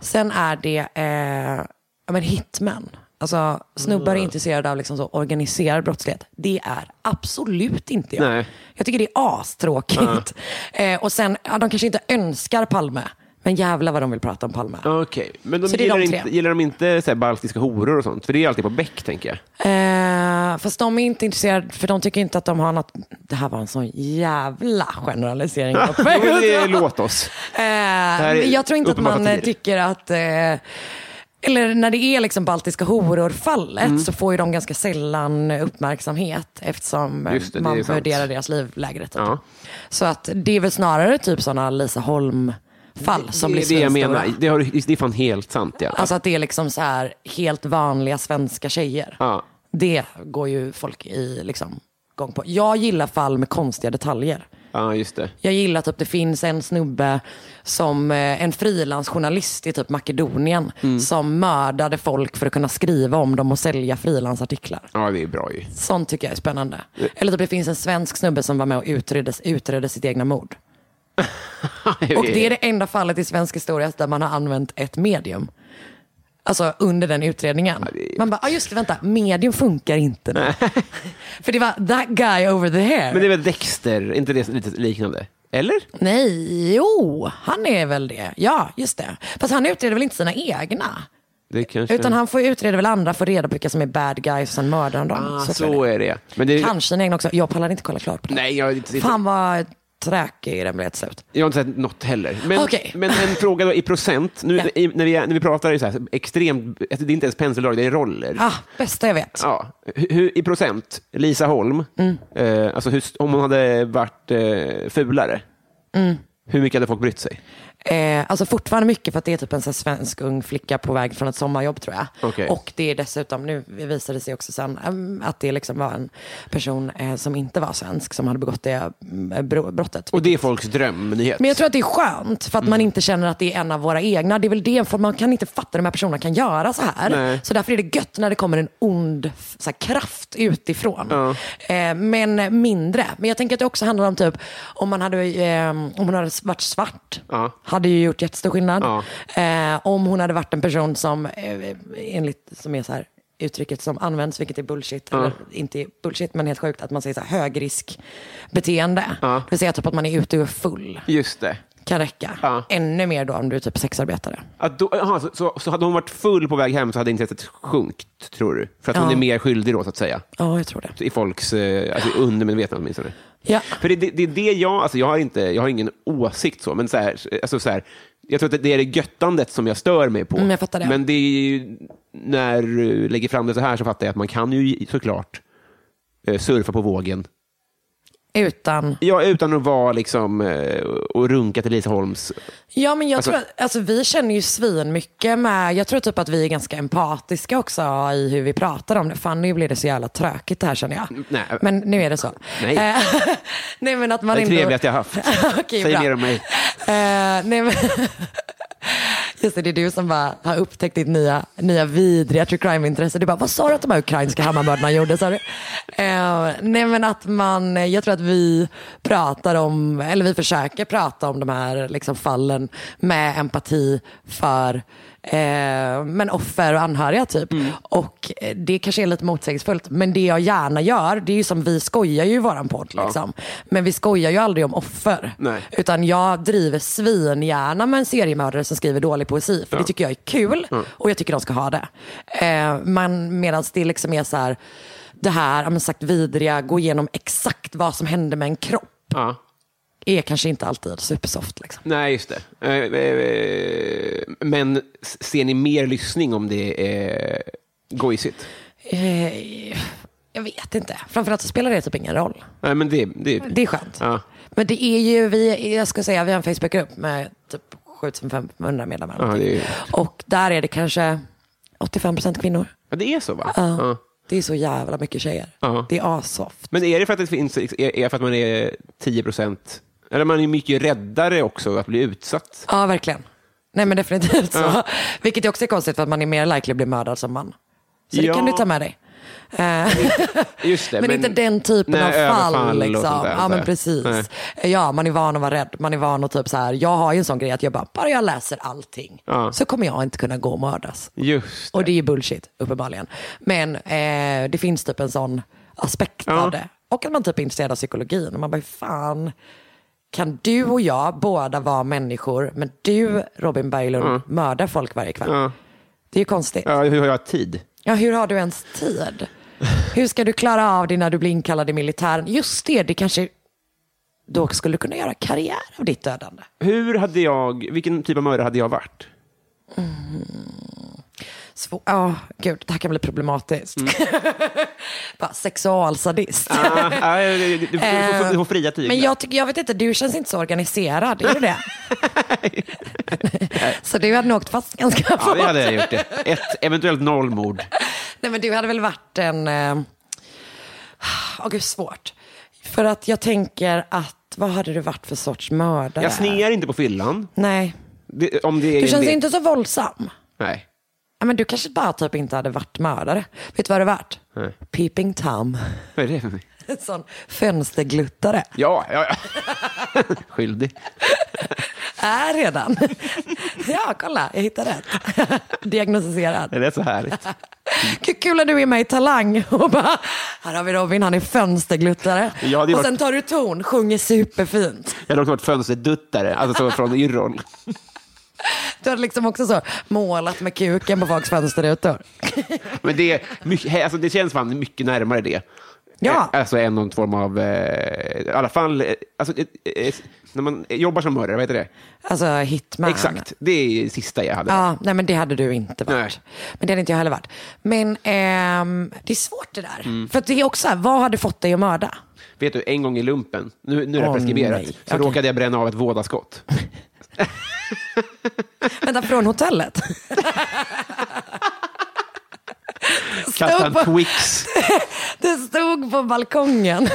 Speaker 3: Sen är det eh, ja, men hitmen. Alltså, snubbar är intresserade av liksom så organiserad brottslighet. Det är absolut inte jag.
Speaker 2: Nej.
Speaker 3: Jag tycker det är astråkigt. Eh, och sen, ja, de kanske inte önskar Palme, men jävla vad de vill prata om Palme.
Speaker 2: Okej, men de
Speaker 3: Så det är
Speaker 2: gillar,
Speaker 3: de tre.
Speaker 2: inte, gillar de inte så här, baltiska horor och sånt? För det är alltid på Beck, tänker jag.
Speaker 3: Eh, fast de är inte intresserade, för de tycker inte att de har något. Det här var en sån jävla generalisering. *laughs*
Speaker 2: Jo, men det, låt oss.
Speaker 3: Eh,
Speaker 2: är
Speaker 3: men jag tror inte att
Speaker 2: uppenbart
Speaker 3: man eh,
Speaker 2: satir.
Speaker 3: tycker att... Eh, eller när det är liksom baltiska horor-fallet
Speaker 2: Mm.
Speaker 3: så får ju de ganska sällan uppmärksamhet eftersom eh,
Speaker 2: Just det, det är
Speaker 3: man
Speaker 2: sant.
Speaker 3: värderar deras liv lägre. Typ.
Speaker 2: Ja.
Speaker 3: Så att det är väl snarare typ sådana Lisa Holm-fall som
Speaker 2: det
Speaker 3: blir
Speaker 2: är det jag
Speaker 3: svinstora.
Speaker 2: menar. Det, har, du- det är fan helt sant. Ja.
Speaker 3: Alltså att det är liksom så här helt vanliga svenska tjejer.
Speaker 2: Ja.
Speaker 3: Det går ju folk i liksom gång på. Jag gillar fall med konstiga detaljer.
Speaker 2: ja, just det.
Speaker 3: Jag gillar typ det finns en snubbe som eh, en frilansjournalist i typ Makedonien som mördade folk för att kunna skriva om dem och sälja frilansartiklar.
Speaker 2: Ja, det är bra ju.
Speaker 3: Sånt tycker jag är spännande. Eller typ det finns en svensk snubbe som var med och utredde, utredde sitt egna mord. Och det är det enda fallet i svensk historia där man har använt ett medium. Alltså under den utredningen. Man bara, ah, just det, vänta, medium funkar inte nu. *laughs* För det var that guy over the hair.
Speaker 2: Men det är väl Dexter, inte det lite liknande? Eller?
Speaker 3: Nej, jo, han är väl det. Ja, just det. Fast han utreder väl inte sina egna?
Speaker 2: Det kanske...
Speaker 3: Utan han får ju utreda väl andra, får reda på vilka som är bad guys och sen mördar han dem.
Speaker 2: ah,
Speaker 3: Så
Speaker 2: så,
Speaker 3: tror jag det.
Speaker 2: är det. Men det
Speaker 3: Kanske den egna också. Jag pallar inte kolla klart på det.
Speaker 2: Nej, jag, har inte-
Speaker 3: Fan vad träkig den blev till slut.
Speaker 2: jag har inte sett något heller. Men,
Speaker 3: Okej.
Speaker 2: men en fråga då, i procent. Nu,
Speaker 3: Ja.
Speaker 2: i, när, vi, är- när vi pratar är det så här, extremt, alltså, det är inte ens penseldrag, det är roller.
Speaker 3: Ah, bästa jag vet.
Speaker 2: Ja. Hur, hur, I procent, Lisa Holm,
Speaker 3: Mm.
Speaker 2: eh, alltså hur, om hon hade varit eh, fulare,
Speaker 3: Mm.
Speaker 2: hur mycket hade folk brytt sig?
Speaker 3: Eh, alltså fortfarande mycket för att det är typ en så här svensk ung flicka på väg från ett sommarjobb tror jag.
Speaker 2: Okej.
Speaker 3: Och det är dessutom, nu visade det sig också sen, em, att det liksom var en person eh, som inte var svensk som hade begått det mm, bro- brottet.
Speaker 2: Och det är folks drömnyhet.
Speaker 3: Men jag tror att det är skönt för att
Speaker 2: Mm.
Speaker 3: man inte känner att det är en av våra egna. Det är väl det, för man kan inte fatta att de här personerna kan göra så här.
Speaker 2: Nej.
Speaker 3: Så därför är det gött när det kommer en ond f- så här, kraft utifrån. Eh, men mindre. Men jag tänker att det också handlar om typ om man hade, eh, om hon hade varit svart.
Speaker 2: Ja.
Speaker 3: Hade ju gjort jättestor skillnad.
Speaker 2: Ja.
Speaker 3: Eh, om hon hade varit en person som, eh, enligt, som är så här uttrycket som används, vilket är bullshit, eller inte är bullshit, men helt sjukt, att man säger så här högriskbeteende.
Speaker 2: Ja.
Speaker 3: Det vill säga typ att man är ute och är full
Speaker 2: Just det.
Speaker 3: kan räcka.
Speaker 2: Ja.
Speaker 3: Ännu mer då om du är typ sexarbetare.
Speaker 2: Att då, aha, så, så, så hade hon varit full på väg hem så hade intresset sjunkit, tror du? För att hon
Speaker 3: Ja.
Speaker 2: är mer skyldig då, så att säga.
Speaker 3: Ja, jag tror det.
Speaker 2: I folks eh, alltså, i undermedvetna åtminstone.
Speaker 3: Ja.
Speaker 2: För det, det, det är det jag, alltså jag har, inte, jag har ingen åsikt så, men så här, alltså så här, jag tror att det är det göttandet som jag stör mig på.
Speaker 3: Mm, jag fattar det.
Speaker 2: Men det är ju, när du lägger fram det så här så fattar jag att man kan ju såklart eh, surfa på vågen.
Speaker 3: Utan...
Speaker 2: Ja, utan att vara liksom eh, och runka till Lisa Holms.
Speaker 3: Ja, men jag
Speaker 2: Alltså-
Speaker 3: tror att, alltså, vi känner ju svin mycket med... Jag tror typ att vi är ganska empatiska också i hur vi pratar om det. Fan, nu blir det så jävla tråkigt det här känner jag.
Speaker 2: nej.
Speaker 3: Men nu är det så.
Speaker 2: Nej.
Speaker 3: Eh, nej, men att man
Speaker 2: Det är
Speaker 3: ändå-
Speaker 2: trevligaste jag haft.
Speaker 3: *laughs* Okej,
Speaker 2: Säg
Speaker 3: bra.
Speaker 2: mer om mig.
Speaker 3: Eh, nej, men... *laughs* Just det, det är du som bara har upptäckt ditt nya, nya vidriga true crime-intresse. Du bara, vad sa du att de här ukrainska Hammarmördarna gjorde? Sa du? Eh, nej men att man, jag tror att vi pratar om, eller vi försöker prata om de här liksom, fallen med empati för eh, men offer och anhöriga typ. Och eh, det kanske är lite motsägelsefullt, men det jag gärna gör, det är ju som vi skojar ju i våran podd. Liksom. Men vi skojar ju aldrig om offer.
Speaker 2: Nej.
Speaker 3: Utan jag driver svingärna med en seriemördare som skriver dålig poesi. För det tycker jag är kul
Speaker 2: Mm.
Speaker 3: och jag tycker de ska ha det. Eh, men medan det liksom är så här, det här ja, men sagt vidriga, gå igenom exakt vad som hände med en kropp.
Speaker 2: Ja.
Speaker 3: Är kanske inte alltid supersoft. Liksom.
Speaker 2: Nej, just det. Eh, eh, eh, Men s- ser ni mer lyssning om det är gojsigt?
Speaker 3: Eh, jag vet inte. Framförallt så spelar det typ ingen roll.
Speaker 2: Nej, men det, det,
Speaker 3: Det är skönt.
Speaker 2: Ja.
Speaker 3: Men det är ju, vi, jag ska säga, vi har en Facebookgrupp med typ 7500 medlemmar.
Speaker 2: Ja, det är ju-
Speaker 3: Och där är det kanske 85% kvinnor.
Speaker 2: Ja, det är så, va?
Speaker 3: Ja.
Speaker 2: Ja.
Speaker 3: Det är så jävla mycket tjejer.
Speaker 2: Ja.
Speaker 3: Det är assoft.
Speaker 2: Men är det för att, det finns, är är för att man är 10 procent... Eller man är mycket räddare också att bli utsatt.
Speaker 3: Ja, verkligen. Nej men definitivt så. Vilket är också är konstigt för att man är mer likely att bli mördad som man. Så det
Speaker 2: Ja.
Speaker 3: kan du ta med dig. Eh,
Speaker 2: Just det,
Speaker 3: men, inte den typen
Speaker 2: Nej,
Speaker 3: av
Speaker 2: överfall
Speaker 3: fall.
Speaker 2: och
Speaker 3: Liksom.
Speaker 2: sånt där,
Speaker 3: Ja men
Speaker 2: nej.
Speaker 3: precis.
Speaker 2: Nej.
Speaker 3: Ja, man är van att vara rädd. Man är van att typ så här, jag har ju en sån grej att jag bara, bara jag läser allting
Speaker 2: Ja.
Speaker 3: så kommer jag inte kunna gå och mördas.
Speaker 2: Just det.
Speaker 3: Och det är ju bullshit, uppenbarligen. Men eh, det finns typ en sån aspekt
Speaker 2: Ja.
Speaker 3: av det. Och att man typ är intresserad av psykologin. Och man bara, fan, kan du och jag båda vara människor, men du, Robin Berglund, mördar folk varje kväll? Det är ju konstigt.
Speaker 2: Ja, hur har jag tid?
Speaker 3: Ja, hur har du ens tid? Hur ska du klara av det när du blir inkallad i militären? Just det, det kanske... Då skulle du kunna göra karriär av ditt dödande.
Speaker 2: Hur hade jag... Vilken typ av mördare hade jag
Speaker 3: *laughs*
Speaker 2: varit?
Speaker 3: Svår... Ja, gud, det här kan bli problematiskt.
Speaker 2: Mm.
Speaker 3: *laughs* Bara sexualsadist.
Speaker 2: Ah, ah, du, du, du, får- du får fria tyglar.
Speaker 3: Eh, Men jag, tycker, jag vet inte, du känns inte så organiserad, är du det?
Speaker 2: *laughs*
Speaker 3: så du hade nog åkt fast ganska
Speaker 2: Ja,
Speaker 3: fort.
Speaker 2: det hade jag gjort. Det. Ett, eventuellt noll mord.
Speaker 3: Nej men du hade väl varit en... eh, Åh gud, svårt. För att jag tänker att, vad hade du varit för sorts mördare?
Speaker 2: Jag snear inte på fyllan.
Speaker 3: Nej,
Speaker 2: Det, om det är
Speaker 3: du
Speaker 2: en
Speaker 3: känns
Speaker 2: del-
Speaker 3: inte så våldsam.
Speaker 2: Nej.
Speaker 3: Ja, men du kanske bara typ inte hade varit mördare. Vet du vad du varit?
Speaker 2: Nej.
Speaker 3: Peeping Tom. *laughs*
Speaker 2: Vad är det för mig?
Speaker 3: En sån fönstergluttare.
Speaker 2: Ja, ja, ja. *laughs* Skyldig.
Speaker 3: Är redan. *laughs* ja, kolla, jag hittade rätt. *laughs* Diagnostiserad.
Speaker 2: Det är så härligt.
Speaker 3: K- Kul att du är med i Talang *laughs* och bara, här har vi Robin, han är fönstergluttare.
Speaker 2: Ja, det är
Speaker 3: och
Speaker 2: varit-
Speaker 3: sen tar du ton, sjunger superfint.
Speaker 2: Jag hade också varit fönsterduttare, alltså så från Yrrol.
Speaker 3: Du hade liksom också så målat med kuken på folks fönsterrutor.
Speaker 2: Men det, är mycket, alltså det känns fan mycket närmare det.
Speaker 3: Ja.
Speaker 2: Eh, Alltså en någon form av, eh, i alla fall, eh, alltså, eh, eh, när man jobbar som mördare, vad heter det?
Speaker 3: Alltså hitman.
Speaker 2: Exakt, det är det sista jag hade.
Speaker 3: Ja, nej men det hade du inte varit.
Speaker 2: Nej.
Speaker 3: Men det hade inte jag heller varit. Men ehm, det är svårt det där.
Speaker 2: Mm.
Speaker 3: För att det är också, här, vad hade fått dig att mörda?
Speaker 2: Vet du, en gång i lumpen, nu, nu är det
Speaker 3: Åh,
Speaker 2: preskriberat,
Speaker 3: nej.
Speaker 2: så
Speaker 3: Okej.
Speaker 2: råkade jag bränna av ett vådaskott.
Speaker 3: *laughs* Vänta, från hotellet? *laughs*
Speaker 2: Kastade en
Speaker 3: på-
Speaker 2: Twix.
Speaker 3: Det stod på balkongen *laughs*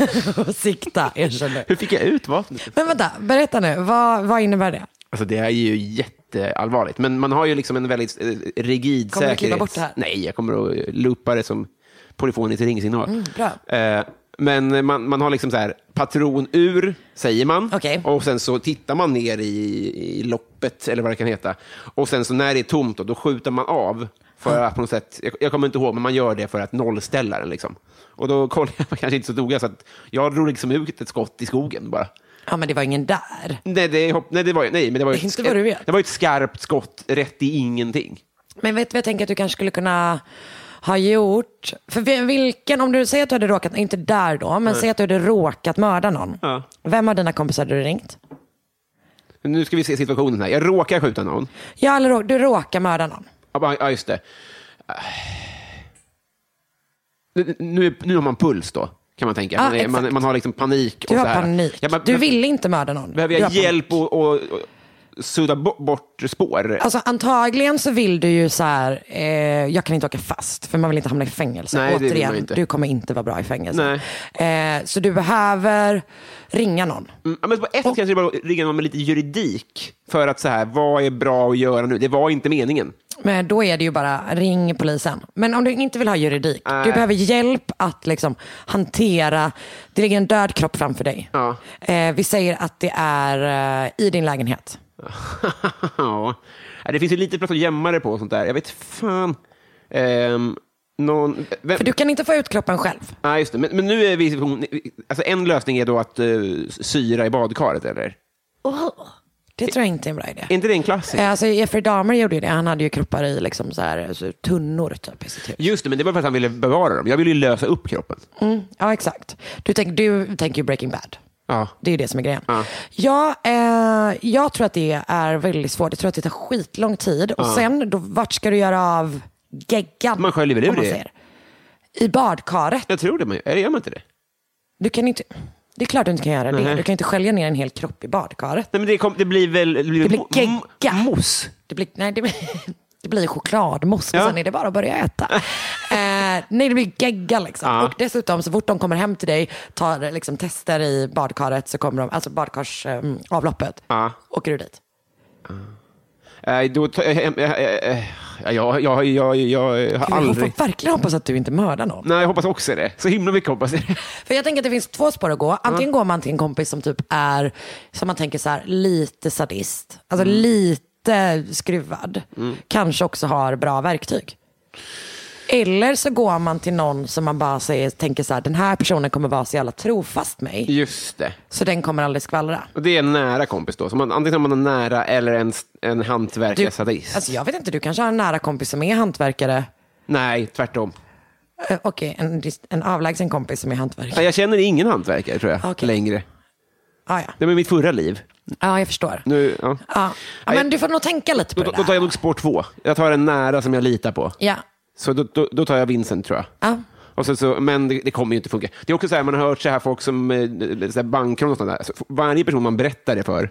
Speaker 3: och sikta, erkänner.
Speaker 2: Hur fick jag ut vapnet?
Speaker 3: Men vänta, berätta nu, vad, vad innebär det?
Speaker 2: Alltså det här är ju jätteallvarligt, men man har ju liksom en väldigt eh, rigid
Speaker 3: Kommer du
Speaker 2: säkerhet.
Speaker 3: klippa bort det här?
Speaker 2: Nej, jag kommer att loopa det som polyfoniskt ringsignal.
Speaker 3: Mm, bra.
Speaker 2: Eh, men man, man har liksom så här, patron ur, säger man.
Speaker 3: Okej.
Speaker 2: Och sen så tittar man ner i, i loppet, eller vad det kan heta. Och sen så när det är tomt, då, då skjuter man av. För att på något sätt, jag, jag kommer inte ihåg, men man gör det för att nollställa den. Liksom. Och då kollade jag *laughs* kanske inte så noga, så att jag drog liksom ut ett skott i skogen bara.
Speaker 3: Ja men det var ingen där.
Speaker 2: Nej, det, hopp- nej, det var ju, nej, men det var ju ett,
Speaker 3: Inte vad du vet.
Speaker 2: Det var ju ett skarpt skott rätt i ingenting.
Speaker 3: Men vet du vad jag tänker att du kanske skulle kunna ha gjort? För vi- vilken, om du säger att du hade råkat, inte där då, men säg att du hade råkat mörda någon.
Speaker 2: Ja.
Speaker 3: Vem av dina kompisar hade du ringt?
Speaker 2: Nu ska vi se situationen här. Jag råkar skjuta någon.
Speaker 3: Ja, eller rå- du råkar mörda någon.
Speaker 2: Ja, bara- ja, just det. Ah. Nu, nu, nu har man puls då, kan man tänka.
Speaker 3: Ja,
Speaker 2: Man, är,
Speaker 3: Ah, exakt.
Speaker 2: man, man har liksom panik.
Speaker 3: Du
Speaker 2: och
Speaker 3: har
Speaker 2: så här.
Speaker 3: panik.
Speaker 2: Ja, men-
Speaker 3: du
Speaker 2: men-
Speaker 3: ville inte mörda någon.
Speaker 2: Behöver
Speaker 3: Du
Speaker 2: jag
Speaker 3: har panik.
Speaker 2: hjälp och, och, och sudda bo- bort spår?
Speaker 3: Alltså antagligen så vill du ju så här, eh, jag kan inte åka fast för man vill inte hamna i fängelse.
Speaker 2: Nej, det vill
Speaker 3: Återigen,
Speaker 2: man inte.
Speaker 3: du kommer inte vara bra i fängelse. Eh, så du behöver ringa någon.
Speaker 2: Mm, ja, men på ett sätt kanske det bara ringa någon med lite juridik. För att så här, vad är bra att göra nu? Det var inte meningen.
Speaker 3: Men då är det ju bara ring polisen. Men om du inte vill ha juridik, du
Speaker 2: Nej.
Speaker 3: behöver hjälp att liksom hantera, det ligger en död kropp framför dig.
Speaker 2: Ja.
Speaker 3: Eh, vi säger att det är eh, i din lägenhet.
Speaker 2: *laughs* ja, Äh, det finns ju lite plats att gömma det på och sånt där. Jag vet fan. Ehm, någon, vem,
Speaker 3: För du kan inte få ut kroppen själv.
Speaker 2: Nej, just det. Men, men nu är vi... Alltså en lösning är då att eh, syra i badkaret, eller?
Speaker 3: Det tror jag inte är en bra idé.
Speaker 2: Är inte det en klassiker?
Speaker 3: Eh, Alltså Jeffrey Dahmer gjorde ju det. Han hade ju kroppar i liksom så här, alltså, tunnor typ, i sitt hus.
Speaker 2: Just det, men det var för att han ville bevara dem. Jag ville ju lösa upp kroppen.
Speaker 3: Ja, exakt. Du, tänk, du tänker ju Breaking Bad.
Speaker 2: Ja.
Speaker 3: Det är ju det som är grejen.
Speaker 2: Ja.
Speaker 3: Ja, eh, jag tror att det är väldigt svårt. Jag tror att det tar skitlång tid. Och sen, då, vart ska du göra av geggan?
Speaker 2: Man sköljer väl ur
Speaker 3: om man
Speaker 2: det?
Speaker 3: säger? I badkaret.
Speaker 2: Jag tror det, men eller gör man inte det?
Speaker 3: Du kan inte... Det är klart du inte kan göra det. Du kan inte skölja ner en hel kropp i badkaret.
Speaker 2: Nej, men det, kom, det blir väl... Det blir,
Speaker 3: Det blir
Speaker 2: mo-
Speaker 3: gegga.
Speaker 2: mo- Mos.
Speaker 3: Det blir, nej, det blir, *laughs* det blir chokladmousse
Speaker 2: Ja.
Speaker 3: och sen är det bara att börja äta.
Speaker 2: *laughs*
Speaker 3: eh, nej, det blir gegga liksom.
Speaker 2: Ja.
Speaker 3: Och dessutom, så fort de kommer hem till dig, tar liksom, tester i badkaret, så kommer de, alltså badkarsavloppet,
Speaker 2: Ja.
Speaker 3: åker du dit.
Speaker 2: Eh, då tar jag hem... eh, eh, eh, Jag, jag, jag, jag, jag har
Speaker 3: Gud, Jag
Speaker 2: aldrig...
Speaker 3: får verkligen hoppas att du inte mördar någon.
Speaker 2: Nej, jag hoppas också det. Så himla mycket hoppas jag *laughs* det.
Speaker 3: För jag tänker att det finns två spår att gå. Antingen går man till en kompis som typ är, som man tänker så här, lite sadist. Alltså
Speaker 2: Mm.
Speaker 3: lite skruvad. Kanske också har bra verktyg. Eller så går man till någon som man bara säger, tänker så här, den här personen kommer vara så jävla trofast mig.
Speaker 2: Just det.
Speaker 3: Så den kommer aldrig skvallra.
Speaker 2: Och det är en nära kompis då. Så man, antingen har man en nära eller en, en
Speaker 3: Du,
Speaker 2: hantverkarsadist.
Speaker 3: alltså jag vet inte, du kanske har en nära kompis som är hantverkare.
Speaker 2: Nej, tvärtom.
Speaker 3: Eh, Okej, en, dist- en avlägsen kompis som är hantverkare.
Speaker 2: Nej, Jag känner ingen hantverkare tror jag,
Speaker 3: Okej.
Speaker 2: längre.
Speaker 3: Ah, ja.
Speaker 2: Det var mitt förra liv.
Speaker 3: ja, jag förstår.
Speaker 2: Nu, ja.
Speaker 3: Ja. Ja, men du får nog tänka lite på
Speaker 2: Då,
Speaker 3: det
Speaker 2: då då tar jag nog spår två. Jag tar en nära som jag litar på.
Speaker 3: Ja.
Speaker 2: Så då, då, då tar jag Vincent, tror jag.
Speaker 3: Ja.
Speaker 2: Och sen så, men det, det kommer ju inte funka. Det är också så här, man har hört så här folk som eh, så här bankrån och sånt där. Så varje person man berättar det för,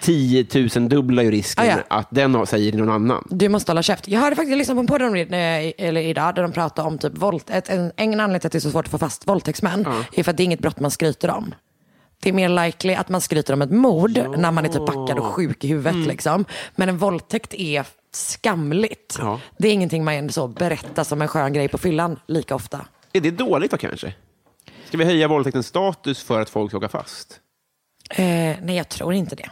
Speaker 2: 10 000 dubbla ju risken
Speaker 3: Ah, ja.
Speaker 2: att den har- säger till någon annan.
Speaker 3: Du måste hålla käft. Jag hörde faktiskt liksom på en podd om det, eh, eller idag där de pratade om typ våld, ett, en, en anledning till att det är så svårt att få fast våldtäktsmän är för att det är inget brott man skryter om. Det är mer likely att man skryter om ett mord när man är typ packad och sjuk i huvudet.
Speaker 2: Mm.
Speaker 3: Liksom. Men en våldtäkt är skamligt.
Speaker 2: Ja.
Speaker 3: Det är ingenting man så berättar som en skön grej på fyllan lika ofta.
Speaker 2: Är det dåligt då kanske? Ska vi höja våldtäktens status för att folk ska åka fast?
Speaker 3: Eh, nej, jag tror inte det.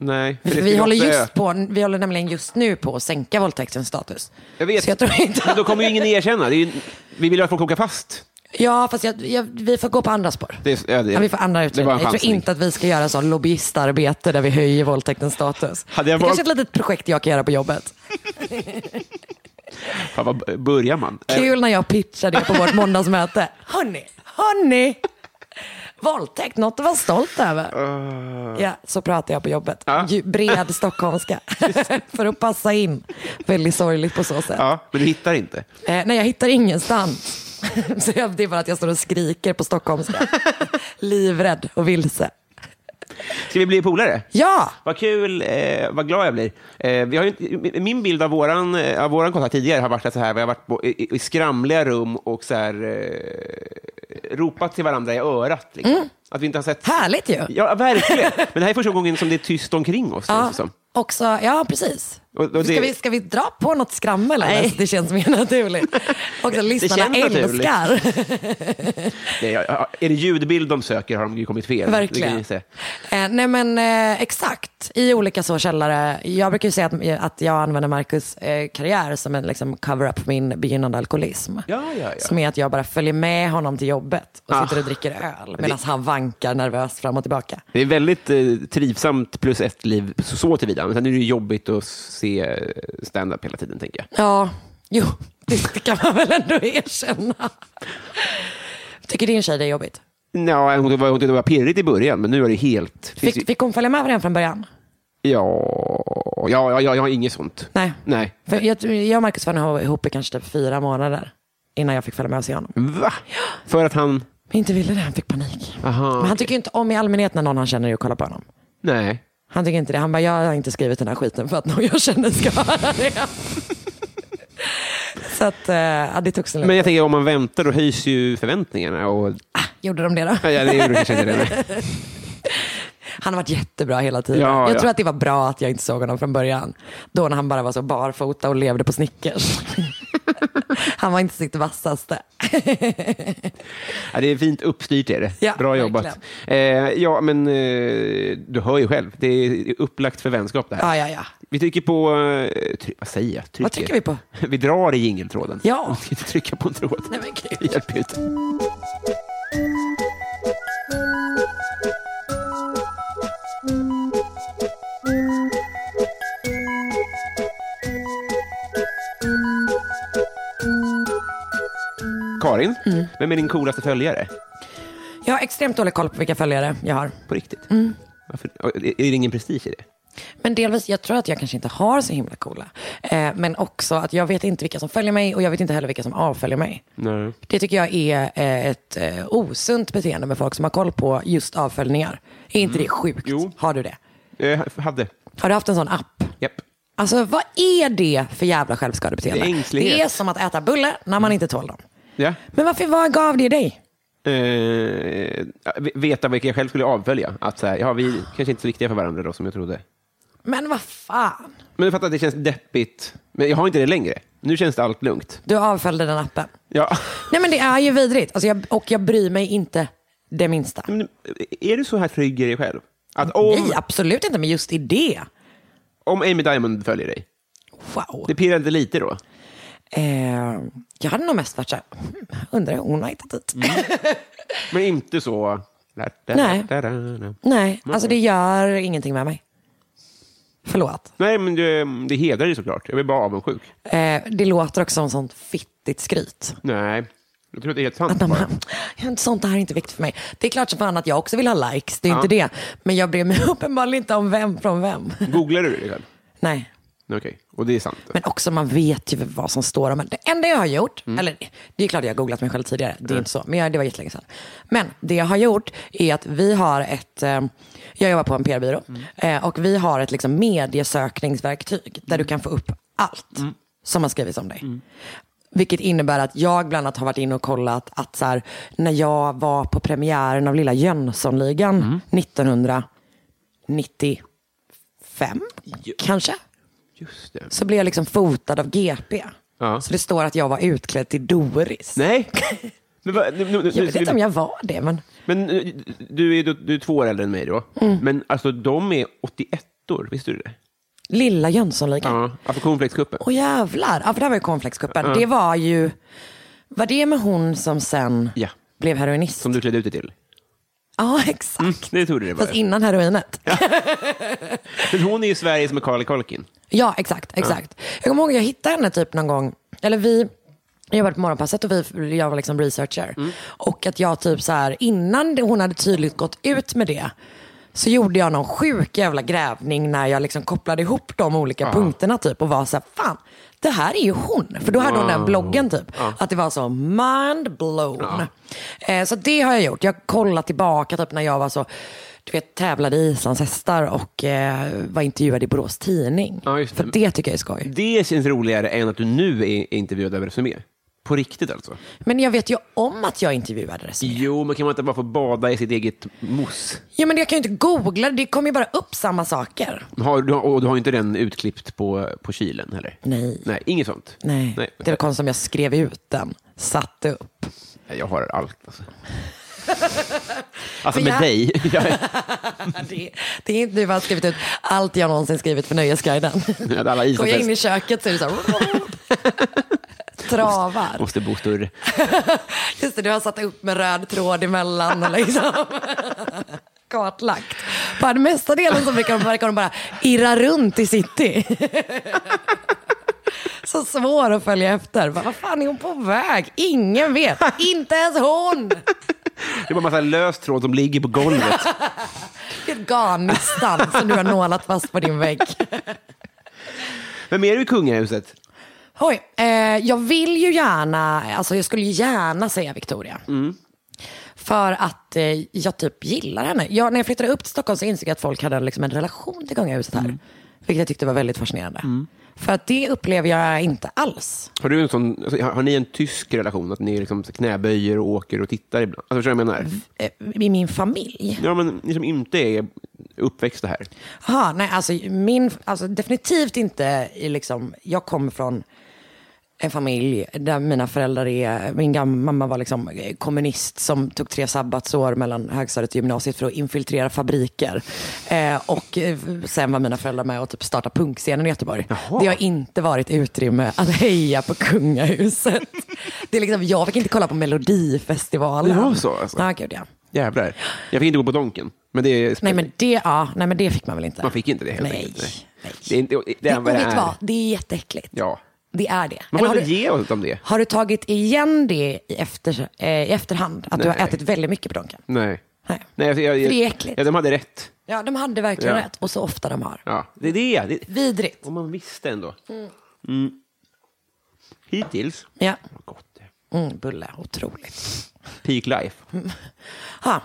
Speaker 2: Nej. för det
Speaker 3: För
Speaker 2: skulle
Speaker 3: vi, håller
Speaker 2: också
Speaker 3: just
Speaker 2: öka.
Speaker 3: på, vi håller nämligen just nu på att sänka våldtäktens status.
Speaker 2: Jag vet.
Speaker 3: Så jag tror inte
Speaker 2: Men då kommer ju ingen erkänna. Det är ju, vi vill ju att folk åker fast.
Speaker 3: Ja, fast jag, jag, vi får gå på andra spår.
Speaker 2: Det, är- ja, det,
Speaker 3: Ja, vi får
Speaker 2: det
Speaker 3: andra
Speaker 2: var en
Speaker 3: utredningar. Jag tror
Speaker 2: chansning.
Speaker 3: inte att vi ska göra sån lobbyistarbete där vi höjer våldtäktens status.
Speaker 2: Hade jag
Speaker 3: det kanske är
Speaker 2: valt-
Speaker 3: ett litet projekt jag kan göra
Speaker 2: *laughs*
Speaker 3: på jobbet.
Speaker 2: Fan, vad börjar man? Eh,
Speaker 3: Kul när jag pitchar det på vårt måndagsmöte. Hörni, hörni! Våldtäkt, något att vara stolt över. Ja, så pratar jag på jobbet.
Speaker 2: Ja.
Speaker 3: Ju- Bred stockholmska. *laughs* För att passa in. Väldigt sorgligt på så sätt.
Speaker 2: Ja, men du hittar inte.
Speaker 3: Eh, nej, jag hittar ingenstans. *laughs* så jag, det är bara att jag står och skriker
Speaker 2: *laughs*
Speaker 3: på stockholmska. Livrädd och vilse.
Speaker 2: Ska vi bli polare?
Speaker 3: Ja!
Speaker 2: Vad kul, eh, vad glad jag blir. Eh, vi har ju inte, min bild av våran, eh, av våran kontakt tidigare har varit att så här, vi har varit på, i, i skramliga rum och så här, eh, ropat till varandra i örat. Liksom.
Speaker 3: Mm.
Speaker 2: Att vi inte har sett...
Speaker 3: Härligt ju.
Speaker 2: Ja, verkligen. Men det här är första gången som det är tyst omkring oss. känns det som.
Speaker 3: också, ja precis.
Speaker 2: Liksom. Och- och det-
Speaker 3: Ska, vi, ska vi dra på något skrammel eller?
Speaker 2: Nej.
Speaker 3: Det känns
Speaker 2: *laughs*
Speaker 3: mer naturligt. Också lyssnarna
Speaker 2: känns naturligt.
Speaker 3: älskar.
Speaker 2: Det är, är det ljudbild de söker har de ju kommit fel. Det kan
Speaker 3: Verkligen.
Speaker 2: jag säga.
Speaker 3: Eh, nej men eh, exakt, i olika så källare. Jag brukar ju säga att, att jag använder Marcus eh, karriär som en liksom, cover-up för min begynnande alkoholism.
Speaker 2: Ja, ja, ja.
Speaker 3: Som är att jag bara följer med honom till jobbet och
Speaker 2: Ah.
Speaker 3: sitter och dricker öl medan han vankar nervöst fram och tillbaka.
Speaker 2: Det är väldigt eh, trivsamt plus ett liv så, så tillvida. Men sen är det ju jobbigt att se eh, stand-up hela tiden, tänker jag.
Speaker 3: Ja, jo, det kan man väl ändå erkänna. Tycker din tjej det är jobbigt?
Speaker 2: Nja, hon var, hon tyckte det var pirrigt i början, men nu är det helt... finns ju-
Speaker 3: Fick, fick hon följa med varandra från början?
Speaker 2: Ja, ja, ja, ja, jag har inget sånt.
Speaker 3: Nej.
Speaker 2: Nej.
Speaker 3: För jag, tror- jag och Marcus var ihop i kanske typ fyra månader innan jag fick följa med och se honom.
Speaker 2: Va? För att han...
Speaker 3: Men inte ville det, han fick panik.
Speaker 2: Aha,
Speaker 3: Men han tycker ju inte om i allmänhet när någon han känner är och kollar på honom.
Speaker 2: Nej.
Speaker 3: Han tycker inte det. Han bara, jag har inte skrivit den här skiten för att någon jag känner ska höra det. *laughs* Så att, eh, ja, det tog sin
Speaker 2: Men
Speaker 3: Men...
Speaker 2: jag tänker om man väntar då höjs ju förväntningarna. Och...
Speaker 3: Gjorde de det då?
Speaker 2: Ja, det gjorde kanske inte det.
Speaker 3: Han har varit jättebra hela tiden.
Speaker 2: Ja,
Speaker 3: jag
Speaker 2: ja.
Speaker 3: tror att det var bra att jag inte såg honom från början. Då när han bara var så barfota och levde på Snickers. han var inte sitt vassaste.
Speaker 2: Ja, det är fint uppstyrt. Är det.
Speaker 3: Ja,
Speaker 2: Bra jobbat. Eh, ja, men eh, du hör ju själv. Det är upplagt för vänskap det här.
Speaker 3: Ja, ja, ja.
Speaker 2: Vi trycker på... eh, Try... Vad säger jag? Trycker.
Speaker 3: Vad trycker vi på?
Speaker 2: *laughs* Vi drar i jingeltråden.
Speaker 3: Ja.
Speaker 2: *laughs* Vi ska inte trycka på en tråd.
Speaker 3: Nej, men gud.
Speaker 2: Det hjälper ju inte. Karin,
Speaker 3: Mm.
Speaker 2: vem är din coolaste följare?
Speaker 3: Jag har extremt dålig koll på vilka följare jag har.
Speaker 2: På riktigt?
Speaker 3: Mm.
Speaker 2: Varför? Är är det ingen prestige i det?
Speaker 3: Men delvis, jag tror att jag kanske inte har så himla coola. Eh, men också att jag vet inte vilka som följer mig och jag vet inte heller vilka som avföljer mig.
Speaker 2: Nej.
Speaker 3: Det tycker jag är eh, ett eh, osunt beteende med folk som har koll på just avföljningar. Är inte det sjukt?
Speaker 2: Jo.
Speaker 3: Har du det?
Speaker 2: Jag hade.
Speaker 3: Har du haft en sån app?
Speaker 2: Japp.
Speaker 3: Alltså vad är det för jävla självskadebeteende?
Speaker 2: Det är ängslighet.
Speaker 3: Det är som att äta bullar när man inte tål dem.
Speaker 2: Ja.
Speaker 3: Men varför vad gav det dig?
Speaker 2: eh, veta vilka jag själv skulle avfölja. Att så här, ja, vi kanske inte är så viktiga för varandra då, som jag trodde.
Speaker 3: Men vad fan?
Speaker 2: Men du fattar att det känns deppigt. Men jag har inte det längre. Nu känns det allt lugnt.
Speaker 3: Du avföljde den appen.
Speaker 2: Ja.
Speaker 3: Nej men det är ju vidrigt. Alltså, jag, och jag bryr mig inte det minsta.
Speaker 2: Men, eh, är du så här trygg i dig själv? Att om,
Speaker 3: Nej, absolut inte. Men just i det.
Speaker 2: om Amy Diamond följer dig,
Speaker 3: Wow.
Speaker 2: det pirrar inte lite då?
Speaker 3: Eh, jag hade nog mest varit så här, "Hmm, undrar hur hon har hittat dit.
Speaker 2: Mm. Men inte så...
Speaker 3: Nej. Nej, alltså det gör ingenting med mig. Förlåt.
Speaker 2: Nej, men det, det hedrar dig såklart. Jag blir bara avundsjuk.
Speaker 3: Eh, det låter också som sånt fittigt skryt.
Speaker 2: Nej, jag tror att det är helt sant.
Speaker 3: Att de,
Speaker 2: bara.
Speaker 3: bara, sånt här är inte viktigt för mig. Det är klart som fan att jag också vill ha likes, det är inte det. Men jag bryr mig *laughs* uppenbarligen inte om vem från vem.
Speaker 2: Googlar du dig själv?
Speaker 3: Nej.
Speaker 2: Okej, och det är sant.
Speaker 3: Men också man vet ju vad som står om en. Det enda jag har gjort, eller det är klart jag har googlat mig själv tidigare, det är inte så, men jag, det var jättelänge sedan. Men det jag har gjort är att vi har ett, eh, jag jobbar på en PR-byrå, eh, och vi har ett liksom, mediesökningsverktyg där du kan få upp allt som har skrivits om dig. Vilket innebär att jag bland annat har varit inne och kollat att så här, när jag var på premiären av Lilla Jönssonligan 1995, kanske?
Speaker 2: Just det.
Speaker 3: så blev jag liksom fotad av GP.
Speaker 2: Ja.
Speaker 3: Så det står att jag var utklädd till Doris.
Speaker 2: Nej. Men, vad- nu, nu, nu,
Speaker 3: Jag vet inte om jag var det, men
Speaker 2: men eh, du, är, du, du är två år äldre än mig då.
Speaker 3: Mm.
Speaker 2: Men alltså, de är 81-or, visste du det?
Speaker 3: lilla Jönssonligan.
Speaker 2: Ja, alltså cornflakescupen.
Speaker 3: Åh jävlar, ja, för det här var ju cornflakescupen. Det var ju, Var det med hon som sen
Speaker 2: Ja.
Speaker 3: blev heroinist?
Speaker 2: Som Mm. du klädde ut dig till.
Speaker 3: Ja, *laughs* exakt.
Speaker 2: Det trodde det var.
Speaker 3: Mm. Fast innan heroinet. Ja,
Speaker 2: Men hon är ju Sveriges Macaulay Culkin.
Speaker 3: exakt. exakt. Jag kommer ihåg jag hittade henne typ någon gång, eller vi, jag jobbade på morgonpasset och vi, jag var liksom researcher. Och att jag typ så här, innan det- hon hade tydligt gått ut med det, så gjorde jag någon sjuk jävla grävning när jag liksom kopplade ihop de olika punkterna typ och var så här, fan, det här är ju hon. För då hade hon den bloggen typ. Att det var så mind blown. Eh, så det har jag gjort. Jag kollat tillbaka typ när jag var så, du vet tävlade i islandshästar och eh, var intervjuad i Borås Tidning.
Speaker 2: Ja, just det. Mm.
Speaker 3: För det tycker jag är skoj.
Speaker 2: Det känns roligare än att du nu är intervjuad av Resumé. På riktigt alltså.
Speaker 3: Men jag vet ju om att jag intervjuades.
Speaker 2: Jo, men kan man inte bara få bada i sitt eget mos?
Speaker 3: Ja, men jag kan ju inte googla, det kommer ju bara upp samma saker.
Speaker 2: Har, du, har- och du har inte den utklippt på, på kylen heller?
Speaker 3: Nej.
Speaker 2: Nej, inget sånt?
Speaker 3: Nej,
Speaker 2: Nej.
Speaker 3: det var konstigt om jag skrev ut den, satte upp. *laughs*
Speaker 2: Jag har allt *laughs* alltså. alltså
Speaker 3: Men
Speaker 2: med
Speaker 3: jag-
Speaker 2: dig. *laughs* Jag,
Speaker 3: Det, det är inte du som har skrivit ut allt jag någonsin skrivit för Nöjesguiden.
Speaker 2: med alla
Speaker 3: *laughs* Går jag in i
Speaker 2: islandshästar
Speaker 3: köket så är det så
Speaker 2: *laughs*
Speaker 3: här. Travar.
Speaker 2: måste bo större.
Speaker 3: Just det, du har satt upp med röd tråd emellan och liksom kartlagt. På den mesta delen så verkar de, verkar de bara irra runt i city. Så svår att följa efter. Vad vad fan är hon på väg? Ingen vet. Inte ens hon.
Speaker 2: Det är bara massa lös tråd som ligger på golvet.
Speaker 3: Det är ett garnistan som du har nålat fast på din vägg.
Speaker 2: Vem är du i kungahuset?
Speaker 3: Oj, eh, jag vill ju gärna, alltså jag skulle ju gärna säga Victoria. För att eh, jag typ gillar henne. Jag, när jag flyttade upp till Stockholm så insåg jag att folk hade liksom en relation till kungahuset här. Vilket jag tyckte var väldigt fascinerande. För att det upplever jag inte alls.
Speaker 2: Har, du en sån, alltså, har, har ni en tysk relation? Att ni liksom knäböjer och åker och tittar ibland? Alltså, förstår du vad jag menar?
Speaker 3: Eh, I min familj.
Speaker 2: Ja, men ni som inte är uppväxta här.
Speaker 3: Aha, nej, alltså, min, alltså, definitivt inte i liksom, jag kommer från en familj där mina föräldrar är, min gamla mamma var liksom eh, kommunist som tog tre sabbatsår mellan högstadiet och gymnasiet för att infiltrera fabriker. Eh, och eh, sen var mina föräldrar med och typ starta punkscenen i Göteborg. Det har inte varit utrymme att heja på
Speaker 2: *laughs*
Speaker 3: kungahuset. Det är liksom, jag fick inte kolla på Melodifestivalen.
Speaker 2: Det var så, alltså?
Speaker 3: Ja, gud, ja.
Speaker 2: Jävlar. Jag fick inte gå på Donken. Men det är...
Speaker 3: Nej, men det, ja, nej men det fick man väl inte?
Speaker 2: Man fick inte det helt
Speaker 3: nej,
Speaker 2: enkelt.
Speaker 3: nej.
Speaker 2: Det är inte, det är
Speaker 3: och
Speaker 2: vad det
Speaker 3: vet
Speaker 2: är.
Speaker 3: du vad? Det är jätteäckligt.
Speaker 2: Ja.
Speaker 3: Det är det.
Speaker 2: Man får
Speaker 3: Eller
Speaker 2: inte ge oss om det.
Speaker 3: har du tagit igen det i, efter, eh, i efterhand? Att du har
Speaker 2: Nej.
Speaker 3: ätit väldigt mycket på Donken?
Speaker 2: Nej.
Speaker 3: Nej.
Speaker 2: Nej alltså, jag, jag,
Speaker 3: För det är äckligt.
Speaker 2: Ja, de hade rätt.
Speaker 3: Ja, de hade verkligen
Speaker 2: Ja.
Speaker 3: rätt. Och så ofta de har.
Speaker 2: Ja, det är det. det
Speaker 3: Vidrigt.
Speaker 2: om man visste ändå. Mm. Hittills.
Speaker 3: Ja.
Speaker 2: Vad gott det är.
Speaker 3: Mm, bulle, otroligt.
Speaker 2: Peak life.
Speaker 3: Mm.
Speaker 2: Jag
Speaker 3: Ha.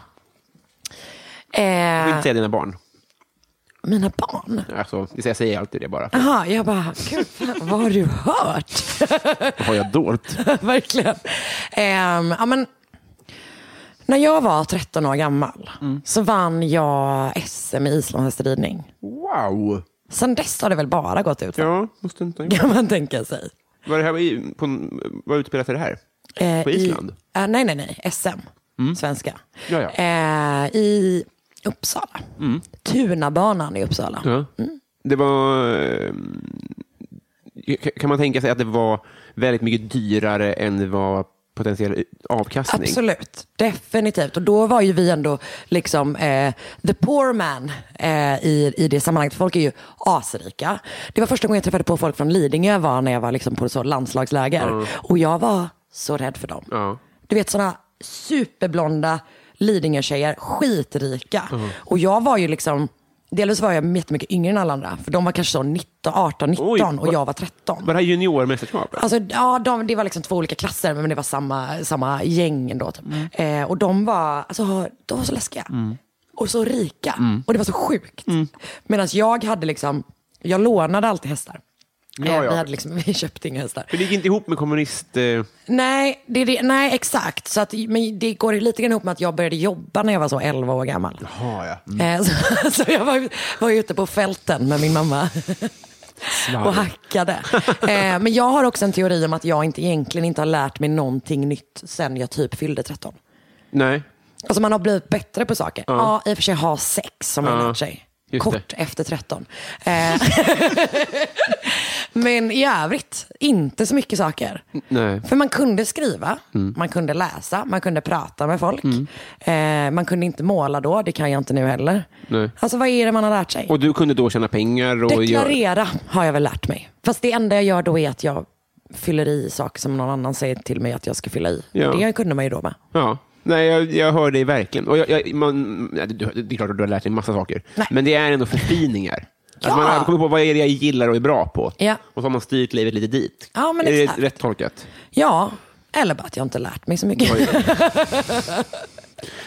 Speaker 2: vill inte
Speaker 3: Eh,
Speaker 2: säga dina barn.
Speaker 3: mina barn.
Speaker 2: Alltså, det- jag säger alltid det bara. för
Speaker 3: Jaha, jag bara, gud, fan, vad har du hört?
Speaker 2: Vad har jag dolt?
Speaker 3: *laughs* verkligen. Ehm, ja, men, när jag var 13 år gammal så vann jag SM i islandshästridning.
Speaker 2: Wow!
Speaker 3: Sen dess har det väl bara gått ut *laughs*
Speaker 2: Ja, måste inte...
Speaker 3: kan man tänka sig.
Speaker 2: Var det här i- på, vad utspelar sig det här?
Speaker 3: Eh,
Speaker 2: På Island? Mm.
Speaker 3: I, eh, nej, nej, nej. SM. Svenska.
Speaker 2: Ja, Mm. ja.
Speaker 3: Eh, I Uppsala. Tunabanan i Uppsala.
Speaker 2: Ja. Mm. Det var... eh, k- Kan man tänka sig att det var väldigt mycket dyrare än vad potentiell avkastning?
Speaker 3: Absolut, definitivt. Och då var ju vi ändå liksom eh, the poor man eh, i, i det sammanhanget. Folk är ju asrika. Det var första gången jag träffade på folk från Lidingö var när jag var liksom på så landslagsläger. Och jag var så rädd för dem.
Speaker 2: Ja.
Speaker 3: Du vet sådana superblonda Lidingö-tjejer, skitrika. Och jag var ju liksom Delvis var jag jättemycket yngre än alla andra. För de var kanske så 19, 18, 19
Speaker 2: Oj,
Speaker 3: och
Speaker 2: vad-
Speaker 3: jag var 13.
Speaker 2: Var det här juniormästerskapet?
Speaker 3: Alltså, ja, de, det var liksom två olika klasser, men det var samma, samma gäng ändå. Typ.
Speaker 2: Mm.
Speaker 3: Eh, och de var, alltså, de var så läskiga. Och så rika.
Speaker 2: Mm.
Speaker 3: Och det var så sjukt. Medan jag hade liksom, jag lånade alltid hästar.
Speaker 2: Ja,
Speaker 3: Eh,
Speaker 2: ja.
Speaker 3: Vi, hade liksom, *laughs* vi köpte inga hästar.
Speaker 2: För det gick inte ihop med kommunist... Eh,
Speaker 3: Nej, det, är det, nej exakt. Så att, men det går lite grann ihop med att jag började jobba när jag var så 11 år gammal.
Speaker 2: Jaha, ja. Mm.
Speaker 3: Eh, Så, *laughs* så jag var, var ute på fälten med min mamma och hackade. Eh, Men jag har också en teori om att jag inte, egentligen inte har lärt mig någonting nytt sen jag typ fyllde 13.
Speaker 2: Nej.
Speaker 3: Alltså man har blivit bättre på saker. Ja, i och för sig ha sex som man har lärt sig.
Speaker 2: Just
Speaker 3: Kort efter 13. Eh, *laughs* Men i övrigt, inte så mycket saker.
Speaker 2: Nej.
Speaker 3: För man kunde skriva,
Speaker 2: Mm.
Speaker 3: man kunde läsa, man kunde prata med folk. Eh, man kunde inte måla då, det kan jag inte nu heller.
Speaker 2: Nej.
Speaker 3: Alltså vad är det man har lärt sig?
Speaker 2: Och du kunde då tjäna pengar? Och göra-
Speaker 3: Deklarera har jag väl lärt mig. Fast det enda jag gör då är att jag fyller i saker som någon annan säger till mig att jag ska fylla i.
Speaker 2: Ja.
Speaker 3: Det kunde man ju då med.
Speaker 2: Ja. Nej, jag, jag hör dig verkligen. Och jag, jag, man, ja, du- det är klart att du har lärt dig en massa saker.
Speaker 3: Nej.
Speaker 2: Men det är ändå förfiningar.
Speaker 3: Ja.
Speaker 2: Att man har kommit på vad är det jag gillar och är bra på.
Speaker 3: Ja.
Speaker 2: Och så har man styrt livet lite dit.
Speaker 3: Ja, men
Speaker 2: är det
Speaker 3: exakt.
Speaker 2: rätt tolkat?
Speaker 3: Ja, eller bara att jag inte lärt mig så mycket.
Speaker 2: Oj.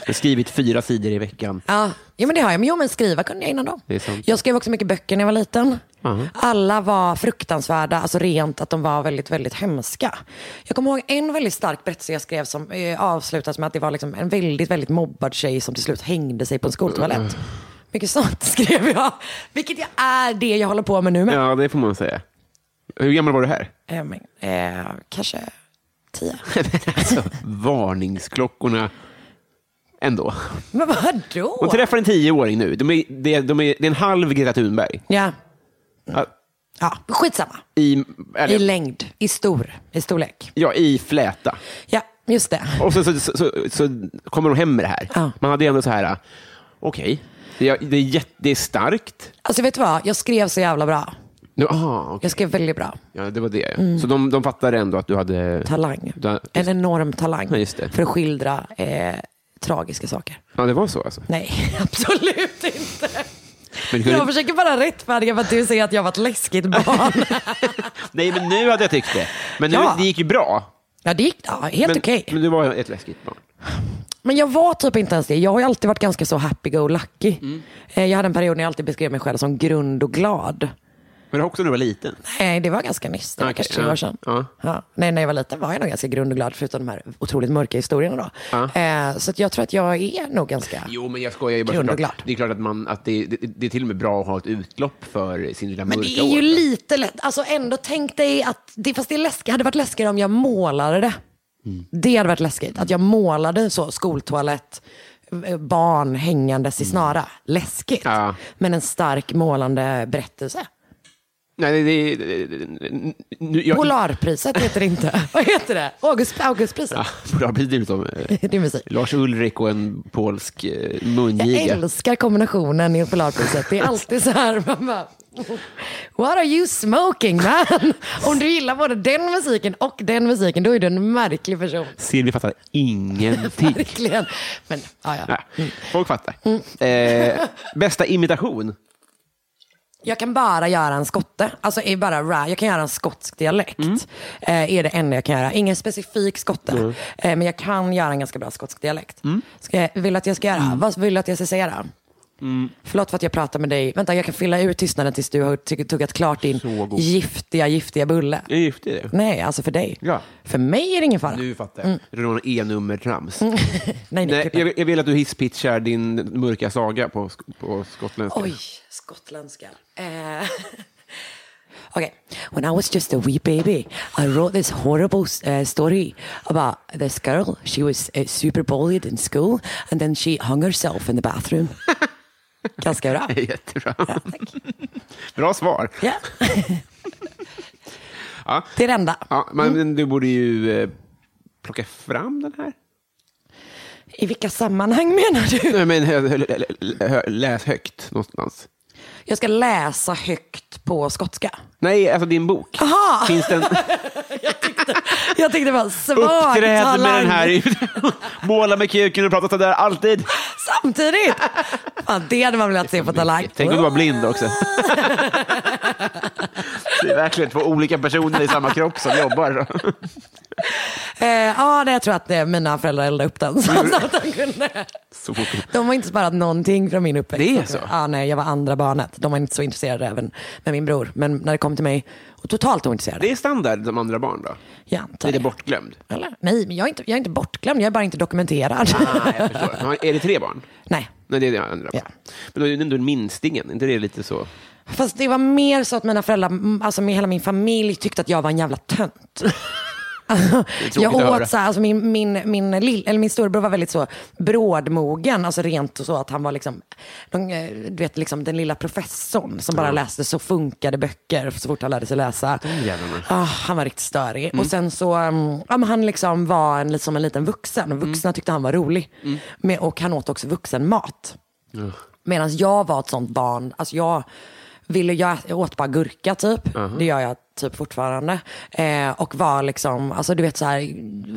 Speaker 2: Jag har skrivit fyra sidor i veckan.
Speaker 3: Ja, ja men det har jag. Men, jo, men skriva kunde jag innan då.
Speaker 2: Det är sant.
Speaker 3: Jag skrev också mycket böcker när jag var liten. Alla var fruktansvärda, alltså rent att de var väldigt, väldigt hemska. Jag kommer ihåg en väldigt stark berättelse jag skrev som eh, avslutas med att det var liksom en väldigt, väldigt mobbad tjej som till slut hängde sig på en skoltoalett. Mycket sånt *laughs* skrev jag. Vilket jag är det jag håller på med nu med.
Speaker 2: Ja, det får man säga. Hur gammal var du här?
Speaker 3: Eh, men, eh, kanske tio.
Speaker 2: alltså, varningsklockorna ändå.
Speaker 3: Men vadå?
Speaker 2: Hon träffar en tioåring nu. De är, det, de är, det är en halv Greta Thunberg.
Speaker 3: Ja.
Speaker 2: Ja,
Speaker 3: ja, skitsamma.
Speaker 2: I, eller,
Speaker 3: I längd, i stor, i storlek.
Speaker 2: ja, I fläta.
Speaker 3: Ja, just det.
Speaker 2: Och så, så, så, så, så kommer de hem med det här.
Speaker 3: Ja.
Speaker 2: Man hade ju ändå så här, äh, okej, det, är- det, är jätte- det är starkt.
Speaker 3: Alltså vet du vad, jag skrev så jävla bra.
Speaker 2: Nu, aha, okej.
Speaker 3: Jag skrev väldigt bra.
Speaker 2: ja, det var det. Så de, de fattade ändå att du hade...
Speaker 3: Mm. Talang.
Speaker 2: Du,
Speaker 3: En enorm talang
Speaker 2: Ja, just det.
Speaker 3: för att skildra eh, tragiska saker.
Speaker 2: ja, det var så alltså.
Speaker 3: Nej, *laughs* absolut inte.
Speaker 2: Men du kunde,
Speaker 3: Jag försöker bara rättfärdiga för att du säger att jag var ett läskigt barn.
Speaker 2: *laughs* Nej, men nu hade jag tyckt det. Men nu,
Speaker 3: Ja.
Speaker 2: det gick ju bra.
Speaker 3: Ja, det gick ja, helt
Speaker 2: Men,
Speaker 3: okej.
Speaker 2: men du var ett läskigt barn.
Speaker 3: Men jag var typ inte ens det. Jag har ju alltid varit ganska så happy-go-lucky.
Speaker 2: Mm.
Speaker 3: Eh, Jag hade en period när jag alltid beskrev mig själv som grund och glad.
Speaker 2: Men det var också när du var liten.
Speaker 3: Nej, det var ganska nyss. Det var
Speaker 2: Okej,
Speaker 3: kanske tre
Speaker 2: ja.
Speaker 3: år sedan.
Speaker 2: Ja.
Speaker 3: Ja. Nej, när jag var liten var jag nog ganska grund och glad förutom de här otroligt mörka historierna då. Eh, så att jag tror att jag är nog ganska...
Speaker 2: Jo, men jag skojar ju bara.
Speaker 3: Grund och
Speaker 2: såklart.
Speaker 3: glad.
Speaker 2: Det är klart att, man, att det, det, det är till och med bra att ha ett utlopp för sin lilla
Speaker 3: Men
Speaker 2: mörka
Speaker 3: det är ju
Speaker 2: år.
Speaker 3: lite lätt. Alltså ändå tänk dig att, det, fast det är läskigt. hade varit läskigare om jag målade det.
Speaker 2: Mm.
Speaker 3: Det hade varit läskigt. Att jag målade så, skoltoalett, eh, barn hängandes i snara. Läskigt.
Speaker 2: Mm. Ja.
Speaker 3: Men en stark målande berättelse.
Speaker 2: Nej, det, det, det, nu, jag,
Speaker 3: Polarpriset heter det inte. *laughs* Vad heter det? August, Augustpriset.
Speaker 2: Ja, Polarpriset som
Speaker 3: *laughs*
Speaker 2: eh,
Speaker 3: Det är musik.
Speaker 2: Lars Ulrik och en polsk eh,
Speaker 3: Jag
Speaker 2: mungiga.
Speaker 3: älskar kombinationen i Polarpriset. Det är alltid så här, *laughs* man bara, What are you smoking man? Om du gillar både den musiken och den musiken, då är du en märklig person. *laughs*
Speaker 2: Silvia fattar ingenting.
Speaker 3: Verkligen. Men, ja, ja.
Speaker 2: Ja, folk fattar. Eh, bästa imitation?
Speaker 3: Jag kan bara göra en skotte. Alltså, är bara ra. Jag kan göra en skotsk dialekt.
Speaker 2: Mm.
Speaker 3: Eh, är det enda jag kan göra. Ingen specifik skotte. Eh, men jag kan göra en ganska bra skotsk dialekt.
Speaker 2: Mm.
Speaker 3: Ska jag, vill du att jag ska göra? Vad vill du att jag ska säga då?
Speaker 2: Mm.
Speaker 3: Förlåt för att jag pratar med dig. Vänta, jag kan fylla ut tystnaden tills du har tugg- tuggat klart
Speaker 2: Så
Speaker 3: din
Speaker 2: god.
Speaker 3: giftiga, giftiga bulle.
Speaker 2: Jag är gift i det.
Speaker 3: Nej, alltså för dig.
Speaker 2: Ja.
Speaker 3: För mig är det ingen fara.
Speaker 2: Nu fattar jag.
Speaker 3: Mm.
Speaker 2: Rån E-nummer-trams.
Speaker 3: Nej, nej,
Speaker 2: Nej,
Speaker 3: klipp
Speaker 2: jag, jag vill att du hisspitchar din mörka saga på, sk- på skottländska. *laughs*
Speaker 3: Oj, skottländska. Eh. okay. When I was just a wee baby, I wrote this horrible uh, story about this girl. She was uh, super bullied in school and then she hung herself in
Speaker 2: *laughs*
Speaker 3: the bathroom. Ganska bra.
Speaker 2: Jättebra. Bra svar.
Speaker 3: Ja.
Speaker 2: Ja.
Speaker 3: Det är det enda.
Speaker 2: Ja, men
Speaker 3: Mm.
Speaker 2: du borde ju eh, plocka fram den här.
Speaker 3: I vilka sammanhang menar du?
Speaker 2: Nej, men hö- hö- hö- hö- läs högt någonstans.
Speaker 3: Jag ska läsa högt på skotska.
Speaker 2: Nej, alltså din bok.
Speaker 3: Aha.
Speaker 2: Finns den
Speaker 3: Jag tänkte bara, svag
Speaker 2: uppträdd med
Speaker 3: talang.
Speaker 2: den här? Måla med kuken och prata sådär alltid.
Speaker 3: Samtidigt! Fan, det hade man velat se på Talang.
Speaker 2: Tänk om du var blind också. Det är verkligen två olika personer i samma kropp som jobbar.
Speaker 3: Eh, ja, nej, jag tror att eh, mina föräldrar eldade upp den. *laughs* Så att de, kunde.
Speaker 2: Så fort.
Speaker 3: de har inte sparat någonting från min uppväxt.
Speaker 2: Det är så?
Speaker 3: Ja, nej, jag var andra barnet. De var inte så intresserade även med min bror. Men när det kom till mig, och totalt ointresserade.
Speaker 2: Det är standard som andra barn då?
Speaker 3: Jag antar
Speaker 2: Det är det bortglömd?
Speaker 3: Eller? Nej, men jag är, inte, jag är inte bortglömd. Jag är bara inte dokumenterad.
Speaker 2: Ah, jag förstår. Har- Är det tre barn?
Speaker 3: *laughs* nej.
Speaker 2: Nej, det är det andra.
Speaker 3: Ja.
Speaker 2: Men då är det ändå minstingen, inte det lite så?
Speaker 3: Fast det var mer så att mina föräldrar, mm, alltså med hela min familj tyckte att jag var en jävla tönt. Alltså, jag
Speaker 2: att höra.
Speaker 3: åt så här, alltså min, min, min, lill, eller min storebror var väldigt så brådmogen, alltså rent och så att han var liksom, de, eh, du vet, liksom den lilla professorn som bara läste så funkade böcker så fort han lärde sig läsa.
Speaker 2: jävlarna.
Speaker 3: Ah, han var riktigt störig. Och sen så, um, ja, men han liksom var en, liksom en liten vuxen och vuxna tyckte han var rolig. Men, och han åt också vuxenmat. Medan jag var ett sånt barn, alltså jag, ville, jag, jag åt bara gurka typ.
Speaker 2: Uh-huh.
Speaker 3: Det gör jag typ fortfarande. Eh, och var liksom, alltså du vet så här,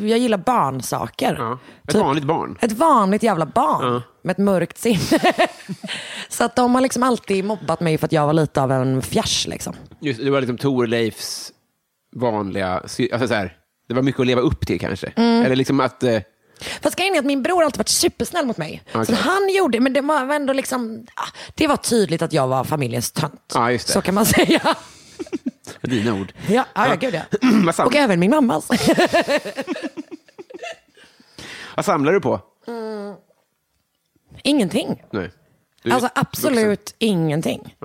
Speaker 3: jag gillar barnsaker.
Speaker 2: Ja. Ett
Speaker 3: Typ-
Speaker 2: vanligt barn.
Speaker 3: Ett vanligt jävla barn med ett mörkt sinne. *laughs* så att de har liksom alltid mobbat mig för att jag var lite av en fjärs liksom.
Speaker 2: Just, det var liksom Torleifs vanliga... sy- Alltså så här, det var mycket att leva upp till kanske.
Speaker 3: Mm.
Speaker 2: Eller liksom att... Eh,
Speaker 3: Fast grejen är att min bror har alltid varit supersnäll mot mig. Så
Speaker 2: Okej.
Speaker 3: att han gjorde, men det var ändå liksom, ah, det var tydligt att jag var familjens tönt.
Speaker 2: Ja, just det.
Speaker 3: Så kan man *laughs* säga. ja,
Speaker 2: dina ord.
Speaker 3: ja, ja, gud ja.
Speaker 2: *clears throat* Vad, sam-
Speaker 3: Och även min mammas.
Speaker 2: vad samlar du på?
Speaker 3: Ingenting.
Speaker 2: Nej. Du är
Speaker 3: Alltså
Speaker 2: vuxen.
Speaker 3: absolut ingenting.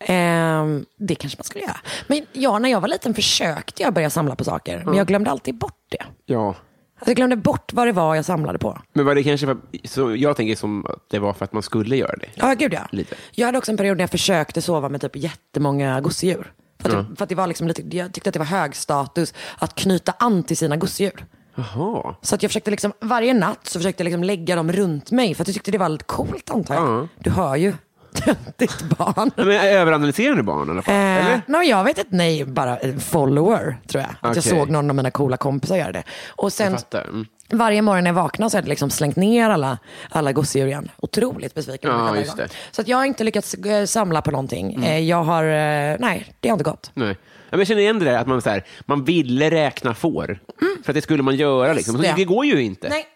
Speaker 3: Ehm, det kanske man skulle göra. Men jag, när jag var liten försökte jag börja samla på saker, men jag glömde alltid bort det.
Speaker 2: Ja.
Speaker 3: Alltså, jag glömde bort vad det var jag samlade på.
Speaker 2: Men var det kanske för, så jag tänker som att det var för att man skulle göra det.
Speaker 3: Ja, gud ja.
Speaker 2: Lite.
Speaker 3: Jag hade också en period när jag försökte sova med typ jättemånga gosedjur. För att, för att det var liksom lite, jag tyckte att det var hög status att knyta an till sina gosedjur.
Speaker 2: Jaha.
Speaker 3: Så att jag försökte liksom, varje natt så försökte jag liksom lägga dem runt mig för att jag tyckte det var lite coolt antar jag.
Speaker 2: Ja.
Speaker 3: Du hör ju. *laughs* Ditt barn.
Speaker 2: Nej, Men överanalyserar du barn i alla fall?
Speaker 3: Eh,
Speaker 2: Eller?
Speaker 3: nej, jag vet inte, nej, bara en follower tror jag. Att
Speaker 2: Okej.
Speaker 3: jag såg någon av mina coola kompisar göra det. Och sen
Speaker 2: Jag fattar. Mm.
Speaker 3: varje morgon när jag vaknar så har jag liksom slängt ner alla, alla gosedjur igen. Otroligt besviken. på mig
Speaker 2: Ja,
Speaker 3: själv varje
Speaker 2: just
Speaker 3: gång.
Speaker 2: det. Mm.
Speaker 3: Så att jag har inte lyckats eh, samla på någonting. Eh, jag har, eh, nej, det har inte gått.
Speaker 2: Nej. Ja, men Jag känner igen det där att man, så här, man ville räkna får. För att det skulle man göra. Liksom. Så
Speaker 3: det.
Speaker 2: det går ju inte.
Speaker 3: Mm. Nej,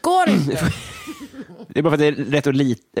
Speaker 2: *clears throat*
Speaker 3: går inte.
Speaker 2: Det är bara för att det är rätt och lite.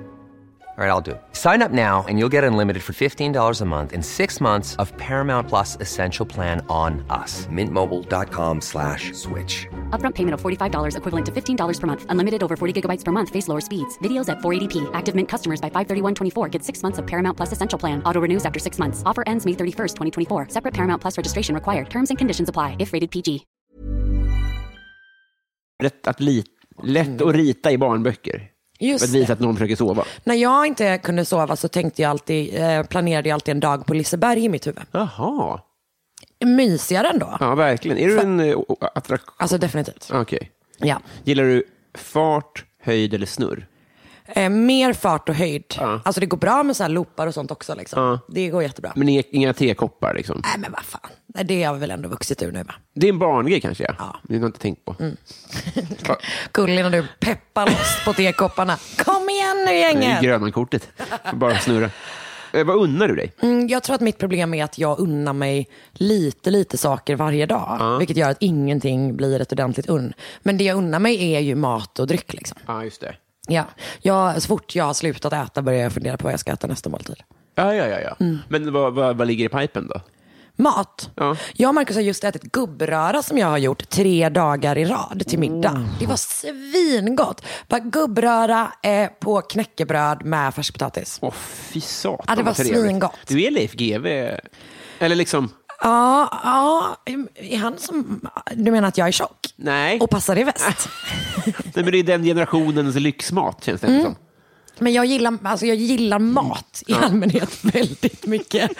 Speaker 4: All right, I'll do it. Sign up now and you'll get unlimited for $15 a month in six months of Paramount Plus Essential Plan on us. Mintmobile.com slash switch.
Speaker 5: Upfront payment of $45 equivalent to $15 per month. Unlimited over 40 gigabytes per month. Face lower speeds. Videos at 480p. Active Mint customers by 531.24 get six months of Paramount Plus Essential Plan. Auto renews after six months. Offer ends May 31st, 2024. Separate Paramount Plus registration required. Terms and conditions apply if rated PG.
Speaker 2: Lätt, att li... Lätt att rita i barnböcker. För att
Speaker 3: Just det.
Speaker 2: visa att någon försöker sova.
Speaker 3: När jag inte kunde sova så tänkte jag alltid, eh, planerade jag alltid en dag på Liseberg i mitt huvud.
Speaker 2: Jaha.
Speaker 3: Mysigare ändå.
Speaker 2: Ja, verkligen. Är du en eh, o- attraktion?
Speaker 3: Alltså definitivt.
Speaker 2: Okej.
Speaker 3: Ja.
Speaker 2: Gillar du fart, höjd eller snurr?
Speaker 3: Eh, mer fart och höjd. Alltså det går bra med så här loopar och sånt också. Liksom. Det går jättebra.
Speaker 2: Men inga, inga tekoppar liksom.
Speaker 3: Nej men vad fan, Nej, det har vi väl ändå vuxit ur nu va?
Speaker 2: Det är en barngrej kanske, ja. Mm. Det har jag inte tänkt på. Va-
Speaker 3: Gullig när du peppar loss på tekopparna. Kom igen nu
Speaker 2: Det är
Speaker 3: gänget!
Speaker 2: Grönan-kortet. Bara snurra. Eh, Vad unnar du dig?
Speaker 3: Mm, jag tror att mitt problem är att jag unnar mig lite, lite saker varje dag. Vilket gör att ingenting blir ett ordentligt unn. Men det jag unnar mig är ju mat och dryck. Liksom.
Speaker 2: Ja, just det.
Speaker 3: Ja. Jag, så fort jag har slutat äta börjar jag fundera på vad jag ska äta nästa måltid.
Speaker 2: Ja, ja, ja. ja. Men vad, vad, vad ligger i pipen då?
Speaker 3: Mat.
Speaker 2: Ja.
Speaker 3: Jag och Marcus har just ätit gubbröra som jag har gjort tre dagar i rad till middag.
Speaker 2: Mm.
Speaker 3: Det var svingott. Bara gubbröra eh, på knäckebröd med färskpotatis.
Speaker 2: Åh, fy satan
Speaker 3: Ja, det var
Speaker 2: vad trevligt.
Speaker 3: svingott.
Speaker 2: Du är Leif GW. Eller liksom,
Speaker 3: Ja, ja, är han som... Du menar att jag är tjock?
Speaker 2: Nej.
Speaker 3: Och passar
Speaker 2: *laughs*
Speaker 3: i väst?
Speaker 2: Nej, men det är den generationens lyxmat känns det som.
Speaker 3: Men jag gillar, alltså jag gillar mat i allmänhet
Speaker 2: *laughs*
Speaker 3: väldigt mycket.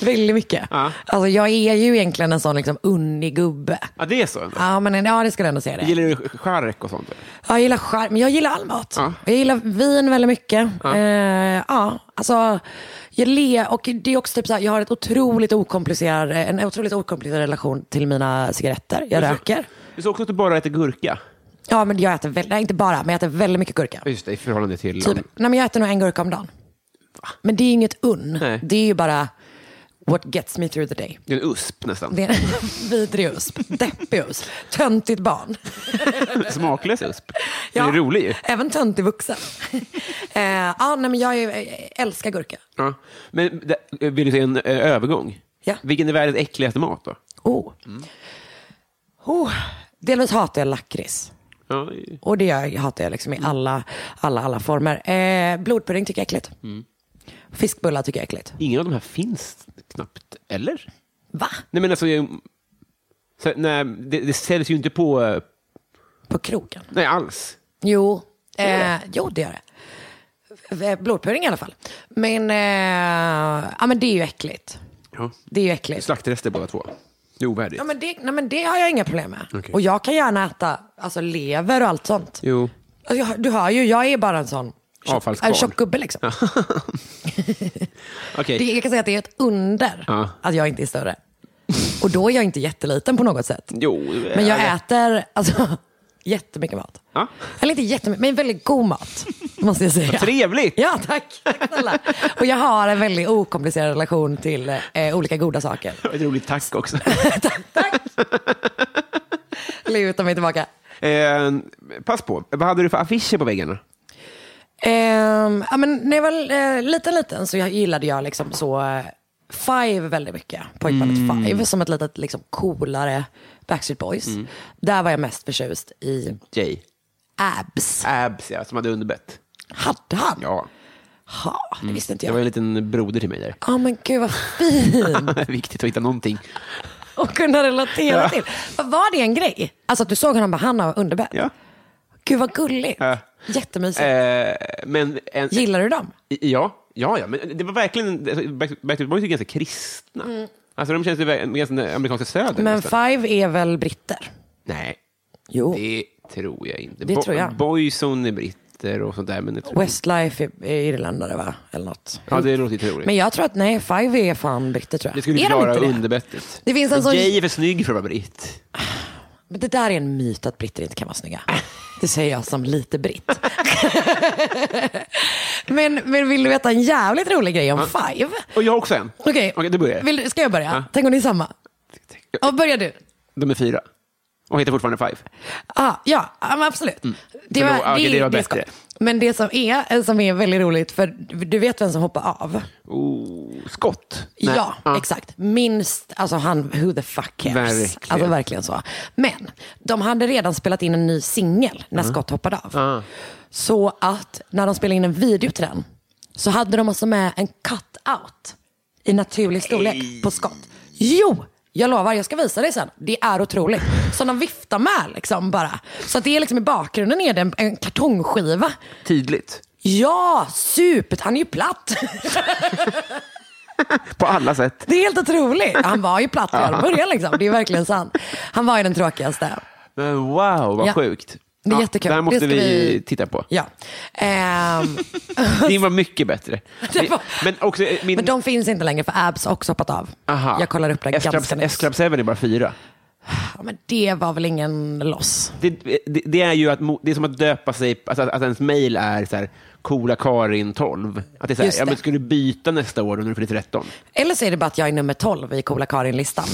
Speaker 3: väldigt mycket.
Speaker 2: Ja.
Speaker 3: Alltså jag är ju egentligen en sån liksom unnig gubbe.
Speaker 2: Ja, det är så. ändå.
Speaker 3: Ja, men en- ja, det skulle jag ändå säga det.
Speaker 2: Gillar du chark och sånt?
Speaker 3: Ja, jag gillar charm, men jag gillar all mat.
Speaker 2: Ja.
Speaker 3: Jag gillar vin väldigt mycket. Ja. Eh, ja, alltså, jag le, och det är också typ så här, jag har ett otroligt okomplicerad, en otroligt okomplicerad relation till mina cigaretter. Jag röker.
Speaker 2: Du sa också att du bara äter gurka.
Speaker 3: Ja, men jag äter, väl, nej, inte bara, men jag äter väldigt mycket gurka.
Speaker 2: Just det, i förhållande till...
Speaker 3: Typ, nej, men jag äter nog en gurka om dagen. Men det är inget unn.
Speaker 2: Nej.
Speaker 3: Det är ju bara what gets me through the day.
Speaker 2: Det är en usp nästan.
Speaker 3: Det är en *laughs* vidrig usp, deppig usp, töntigt barn.
Speaker 2: *laughs* Smaklös usp. Men det är rolig ju.
Speaker 3: Även töntig vuxen. *laughs* eh, ah, nej, men jag är, älskar gurka.
Speaker 2: Ja. Men det- vill du se en eh, övergång?
Speaker 3: Ja.
Speaker 2: Vilken är världens äckligaste mat då?
Speaker 3: Oh. Oh. Delvis hatar jag lakrits.
Speaker 2: Ja,
Speaker 3: Och det gör- hatar jag liksom i alla, alla, alla former. Eh, blodpudding tycker jag är äckligt. Fiskbullar tycker jag är äckligt.
Speaker 2: ingen av de här finns knappt, eller?
Speaker 3: Va?
Speaker 2: Nej, men alltså... jag- Så, nej, det, det säljs ju inte på... eh,
Speaker 3: På krogen?
Speaker 2: Nej, alls.
Speaker 3: Jo, eh, jo det gör det. V- eh, Blodpudding i alla fall. Men, eh, ja, men det är ju äckligt.
Speaker 2: Ja.
Speaker 3: Det är ju äckligt.
Speaker 2: Slaktrester båda två. Det är ovärdigt.
Speaker 3: Ja, men det, nej, men det har jag inga problem med.
Speaker 2: Okej.
Speaker 3: Och jag kan gärna äta alltså, lever och allt sånt.
Speaker 2: Jo.
Speaker 3: Alltså, jag, du hör ju, jag är bara en sån tjock,
Speaker 2: Avfallskvarn.
Speaker 3: en tjock gubbe. Liksom.
Speaker 2: Okej.
Speaker 3: Det, jag kan säga att det är ett under
Speaker 2: Ja.
Speaker 3: att jag inte är större. Och då är jag inte jätteliten på något sätt.
Speaker 2: Jo.
Speaker 3: Men jag
Speaker 2: eh,
Speaker 3: äter alltså, *laughs* jättemycket mat.
Speaker 2: Ja.
Speaker 3: Eller inte jättemycket, men väldigt god mat. Måste jag säga.
Speaker 2: Trevligt!
Speaker 3: Ja, tack. Tack snälla. Och jag har en väldigt okomplicerad relation till eh, olika goda saker.
Speaker 2: Ett roligt tack också. *laughs*
Speaker 3: tack. tack. Luta mig tillbaka.
Speaker 2: eh, pass på, vad hade du för affischer på väggarna?
Speaker 3: Ehm, ja, men när jag var eh, liten, liten så jag, gillade jag liksom så eh, Five väldigt mycket. Pojkbandet
Speaker 2: Mm.
Speaker 3: Five som ett litet liksom, coolare Backstreet Boys.
Speaker 2: Mm.
Speaker 3: Där var jag mest förtjust i
Speaker 2: Jay.
Speaker 3: Abs.
Speaker 2: Abs, ja, som hade underbett.
Speaker 3: Hade han?
Speaker 2: Ja, Mm.
Speaker 3: Ha, det visste
Speaker 2: det
Speaker 3: inte jag.
Speaker 2: var
Speaker 3: Ja
Speaker 2: en liten broder till mig där. *laughs*
Speaker 3: men gud vad fin
Speaker 2: Viktigt att hitta någonting.
Speaker 3: att kunna relatera till. Vad Var det en grej? Alltså att du såg honom bara, han har underbett.
Speaker 2: Ja.
Speaker 3: Gud vad gulligt.
Speaker 2: Ja.
Speaker 3: Jättemysigt.
Speaker 2: Eh, men en,
Speaker 3: Gillar du dem?
Speaker 2: ja, ja, ja, men det var verkligen... alltså, Back- Backstreet Boys är ganska kristna. Alltså de känns ju verkligen- ganska amerikanska söder.
Speaker 3: Mm. Men
Speaker 2: nästan.
Speaker 3: Five är väl britter?
Speaker 2: Nej,
Speaker 3: Jo.
Speaker 2: det tror jag inte.
Speaker 3: Det tror jag.
Speaker 2: Boyzone är britter och sånt där. Men det tror jag.
Speaker 3: Westlife är är irländare va? Eller något.
Speaker 2: Ja, det låter ju troligt.
Speaker 3: Men jag tror att nej, Five är fan britter tror jag.
Speaker 2: Det skulle
Speaker 3: är
Speaker 2: inte
Speaker 3: de
Speaker 2: vara
Speaker 3: inte det?
Speaker 2: underbettet.
Speaker 3: Det finns en
Speaker 2: Och
Speaker 3: sån-
Speaker 2: Jay är för snygg för att vara britt.
Speaker 3: Men det där är en myt att britter inte kan
Speaker 2: *laughs*
Speaker 3: vara snygga. Det säger jag som lite britt. *laughs* men, men vill du veta en jävligt rolig grej om Five?
Speaker 2: Och jag har också en.
Speaker 3: Okej,
Speaker 2: du börjar.
Speaker 3: Vill du- ska jag börja? Tänk om ni är samma? Ja, börjar du.
Speaker 2: De är fyra. Och heter fortfarande Five.
Speaker 3: Ah, ja, ja, men absolut. Det,
Speaker 2: Men då- Mm. okej, det var
Speaker 3: är
Speaker 2: bättre.
Speaker 3: skoj. Men det som är, som är väldigt roligt, för du vet vem som hoppar av?
Speaker 2: Oh, Scott. Nej.
Speaker 3: Ja, exakt. Minst, alltså han, who the fuck cares?
Speaker 2: Verkligen.
Speaker 3: Alltså verkligen så. Men de hade redan spelat in en ny singel när Scott hoppade av. Så att när de spelade in en video till den så hade de alltså med en cut-out i naturlig storlek på Scott. Jo! Jag lovar, jag ska visa dig sen. Det är otroligt. Som de viftar med liksom bara. Så att det är liksom i bakgrunden är det en, en kartongskiva.
Speaker 2: Tydligt.
Speaker 3: Ja, supert. Han är ju platt. *laughs*
Speaker 2: På alla sätt.
Speaker 3: Det är
Speaker 2: *laughs*
Speaker 3: helt otroligt. Han var ju platt redan i början liksom. Det är verkligen sant. Han var ju den tråkigaste.
Speaker 2: Men wow, vad
Speaker 3: Ja.
Speaker 2: sjukt.
Speaker 3: Det är jättekul.
Speaker 2: Det här måste
Speaker 3: Det ska
Speaker 2: vi,
Speaker 3: vi-
Speaker 2: titta på.
Speaker 3: Ja. Ehm,
Speaker 2: Din var mycket bättre.
Speaker 3: *laughs* Det var-
Speaker 2: Men också eh, min...
Speaker 3: men de finns inte längre för abs har också hoppat av.
Speaker 2: Aha.
Speaker 3: Jag kollar upp det ganska nyss.
Speaker 2: S-Club 7 är bara fyra.
Speaker 3: Ja, men det var väl ingen loss.
Speaker 2: Det, det, det är ju att, mo- det är som att döpa sig, alltså att, att, att ens mail är så här, coola Karin 12. Att det är så här,
Speaker 3: Just
Speaker 2: ja,
Speaker 3: det.
Speaker 2: men ska du byta nästa år när du fyller 13?
Speaker 3: Eller så är det bara att jag är nummer 12 i Coola Karin-listan.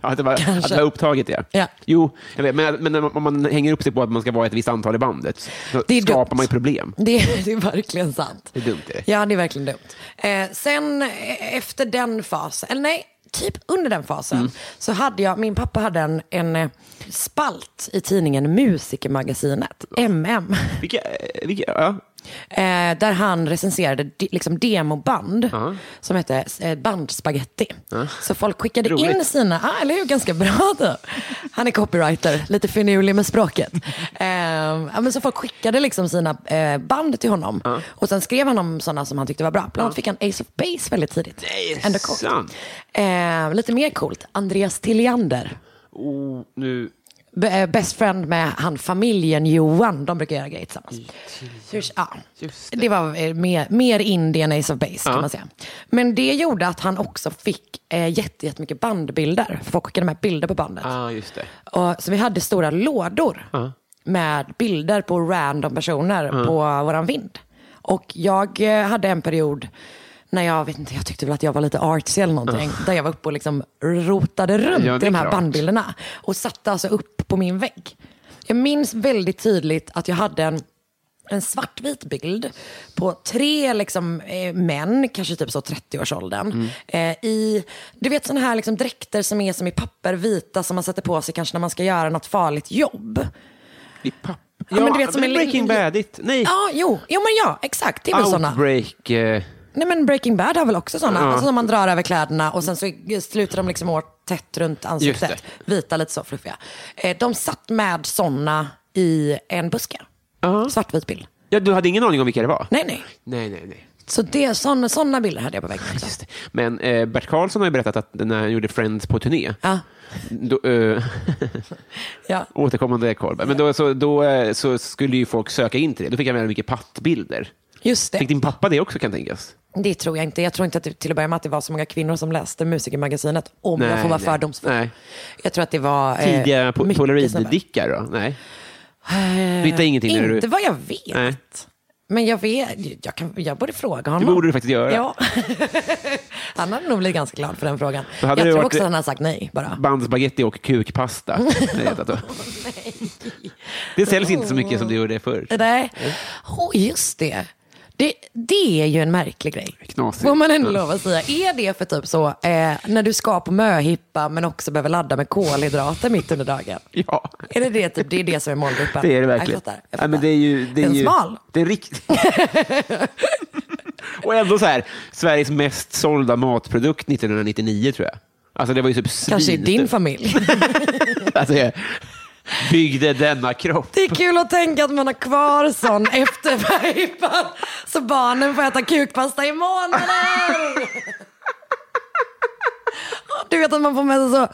Speaker 2: Ja, att det var, att det var upptaget, ja.
Speaker 3: Ja.
Speaker 2: Jo, jag vet, men, men när man- om man hänger upp sig på att man ska vara ett visst antal i bandet så
Speaker 3: Det är
Speaker 2: skapar
Speaker 3: dumt.
Speaker 2: man ju problem.
Speaker 3: Det, är- det är verkligen sant.
Speaker 2: Det är dumt, är det?
Speaker 3: Ja, det är verkligen dumt. Eh, sen eh, efter den fasen, eller nej, typ under den fasen,
Speaker 2: Mm.
Speaker 3: så hade jag, min pappa hade en, en eh, spalt i tidningen Musikermagasinet, MM.
Speaker 2: Vilka, eh, vilka, ja.
Speaker 3: Eh, där han recenserade de, liksom demoband som hette eh, Bandspaghetti. Så folk skickade in
Speaker 2: Roligt.
Speaker 3: sina, ah, eller hur, ganska bra då. Han är copywriter, lite finurlig med språket. Eh, ja, men så folk skickade liksom sina eh, band till honom. Och sen skrev han om sådana som han tyckte var bra. Bland annat fick han Ace of Base väldigt tidigt.
Speaker 2: Nej,
Speaker 3: Ändå coolt.
Speaker 2: sant.
Speaker 3: Eh, lite mer coolt, Andreas Tilliander.
Speaker 2: Oh, nu...
Speaker 3: B- eh, best friend med han familjen Johan. De brukar göra grejer tillsammans. Hur, ja.
Speaker 2: Just
Speaker 3: det. var eh, mer, mer Indien Ace of Base kan man säga. Men det gjorde att han också fick eh, jätte, jättemycket bandbilder. För folk skickade med bilder på bandet.
Speaker 2: Ah, just det.
Speaker 3: Och, så vi hade stora lådor med bilder på random personer på våran vind. Och jag eh, hade en period när jag, vet inte, jag tyckte väl att jag var lite artsy eller någonting. Där jag var uppe och liksom rotade runt
Speaker 2: Ja, det
Speaker 3: i
Speaker 2: är
Speaker 3: de här
Speaker 2: klart.
Speaker 3: bandbilderna. Och satte alltså upp på min vägg. Jag minns väldigt tydligt att jag hade en en svartvit bild på tre liksom, eh, män, kanske typ så 30-årsåldern,
Speaker 2: Mm.
Speaker 3: eh, i du vet sådana här liksom, dräkter som är som i papper, vita som man sätter på sig kanske när man ska göra något farligt jobb.
Speaker 2: I papp...
Speaker 3: Ja, men du vet som en liten-
Speaker 2: Breaking Badigt. Nej,
Speaker 3: Ja, jo, jo men ja, exakt. Det är väl sådana.
Speaker 2: Outbreak. Eh,
Speaker 3: Nej men Breaking Bad har väl också sådana.
Speaker 2: Ja.
Speaker 3: Alltså som man drar över kläderna och sen så sluter de liksom åt tätt runt ansiktet.
Speaker 2: Just
Speaker 3: Vita, lite så fluffiga. Eh, de satt med sådana i en buske. Svartvit bild.
Speaker 2: ja, du hade ingen aning om vilka det var?
Speaker 3: Nej, nej.
Speaker 2: Nej, nej, nej.
Speaker 3: Så det, sådana, sådana bilder hade jag på väggen också.
Speaker 2: Just det. Men eh, Bert Karlsson har ju berättat att när han gjorde Friends på turné,
Speaker 3: Ja.
Speaker 2: då, eh, *laughs*
Speaker 3: Ja.
Speaker 2: återkommande korv, men då, så, då eh, så skulle ju folk söka in till det. Då fick jag väldigt mycket pattbilder.
Speaker 3: Just det.
Speaker 2: Fick din pappa det också kan tänkas?
Speaker 3: Det tror jag inte. Jag tror inte att det, till att börja med att det var så många kvinnor som läste Musikermagasinet, om jag
Speaker 2: Nej,
Speaker 3: får vara
Speaker 2: nej.
Speaker 3: fördomsfull.
Speaker 2: Nej.
Speaker 3: Jag tror att det var... eh,
Speaker 2: Tidiga po-
Speaker 3: mycket
Speaker 2: polaroiddickar då? Nej. Du hittade ingenting?
Speaker 3: snabbt.
Speaker 2: när du...
Speaker 3: Inte vad jag vet.
Speaker 2: Nej.
Speaker 3: Men jag vet, jag, kan, jag borde fråga honom.
Speaker 2: borde du faktiskt göra.
Speaker 3: Ja. *laughs* han hade nog blivit ganska glad för den frågan.
Speaker 2: Då
Speaker 3: Jag
Speaker 2: hade det
Speaker 3: tror
Speaker 2: varit-
Speaker 3: också att han hade sagt nej bara.
Speaker 2: Bandspagetti och
Speaker 3: *laughs*
Speaker 2: kukpasta. Nej, jag vet inte. det säljs inte så mycket som det gjorde förr.
Speaker 3: Nej, oh, just det. det. Det är ju en märklig grej.
Speaker 2: Knasigt.
Speaker 3: Får man ändå
Speaker 2: Ja.
Speaker 3: lov att säga. Är det för typ så, eh, när du ska på möhippa men också behöver ladda med kolhydrater mitt under dagen?
Speaker 2: Ja,
Speaker 3: Är det det, typ, det, är det som är målgruppen?
Speaker 2: det är det verkligen.
Speaker 3: Jag fattar. Jag
Speaker 2: Ja,
Speaker 3: fattar.
Speaker 2: men det är ju, det är
Speaker 3: Den
Speaker 2: ju,
Speaker 3: smal.
Speaker 2: Det är rikt... *laughs* och ändå så här, Sveriges mest sålda matprodukt 1999 tror jag. Alltså det var ju typ svin.
Speaker 3: Kanske i din familj.
Speaker 2: *laughs* alltså, jag byggde denna kropp.
Speaker 3: Det är kul att tänka att man har kvar *laughs* sån efter möhippan. Så barnen får äta kukpasta i månader. Du vet att man får med sig så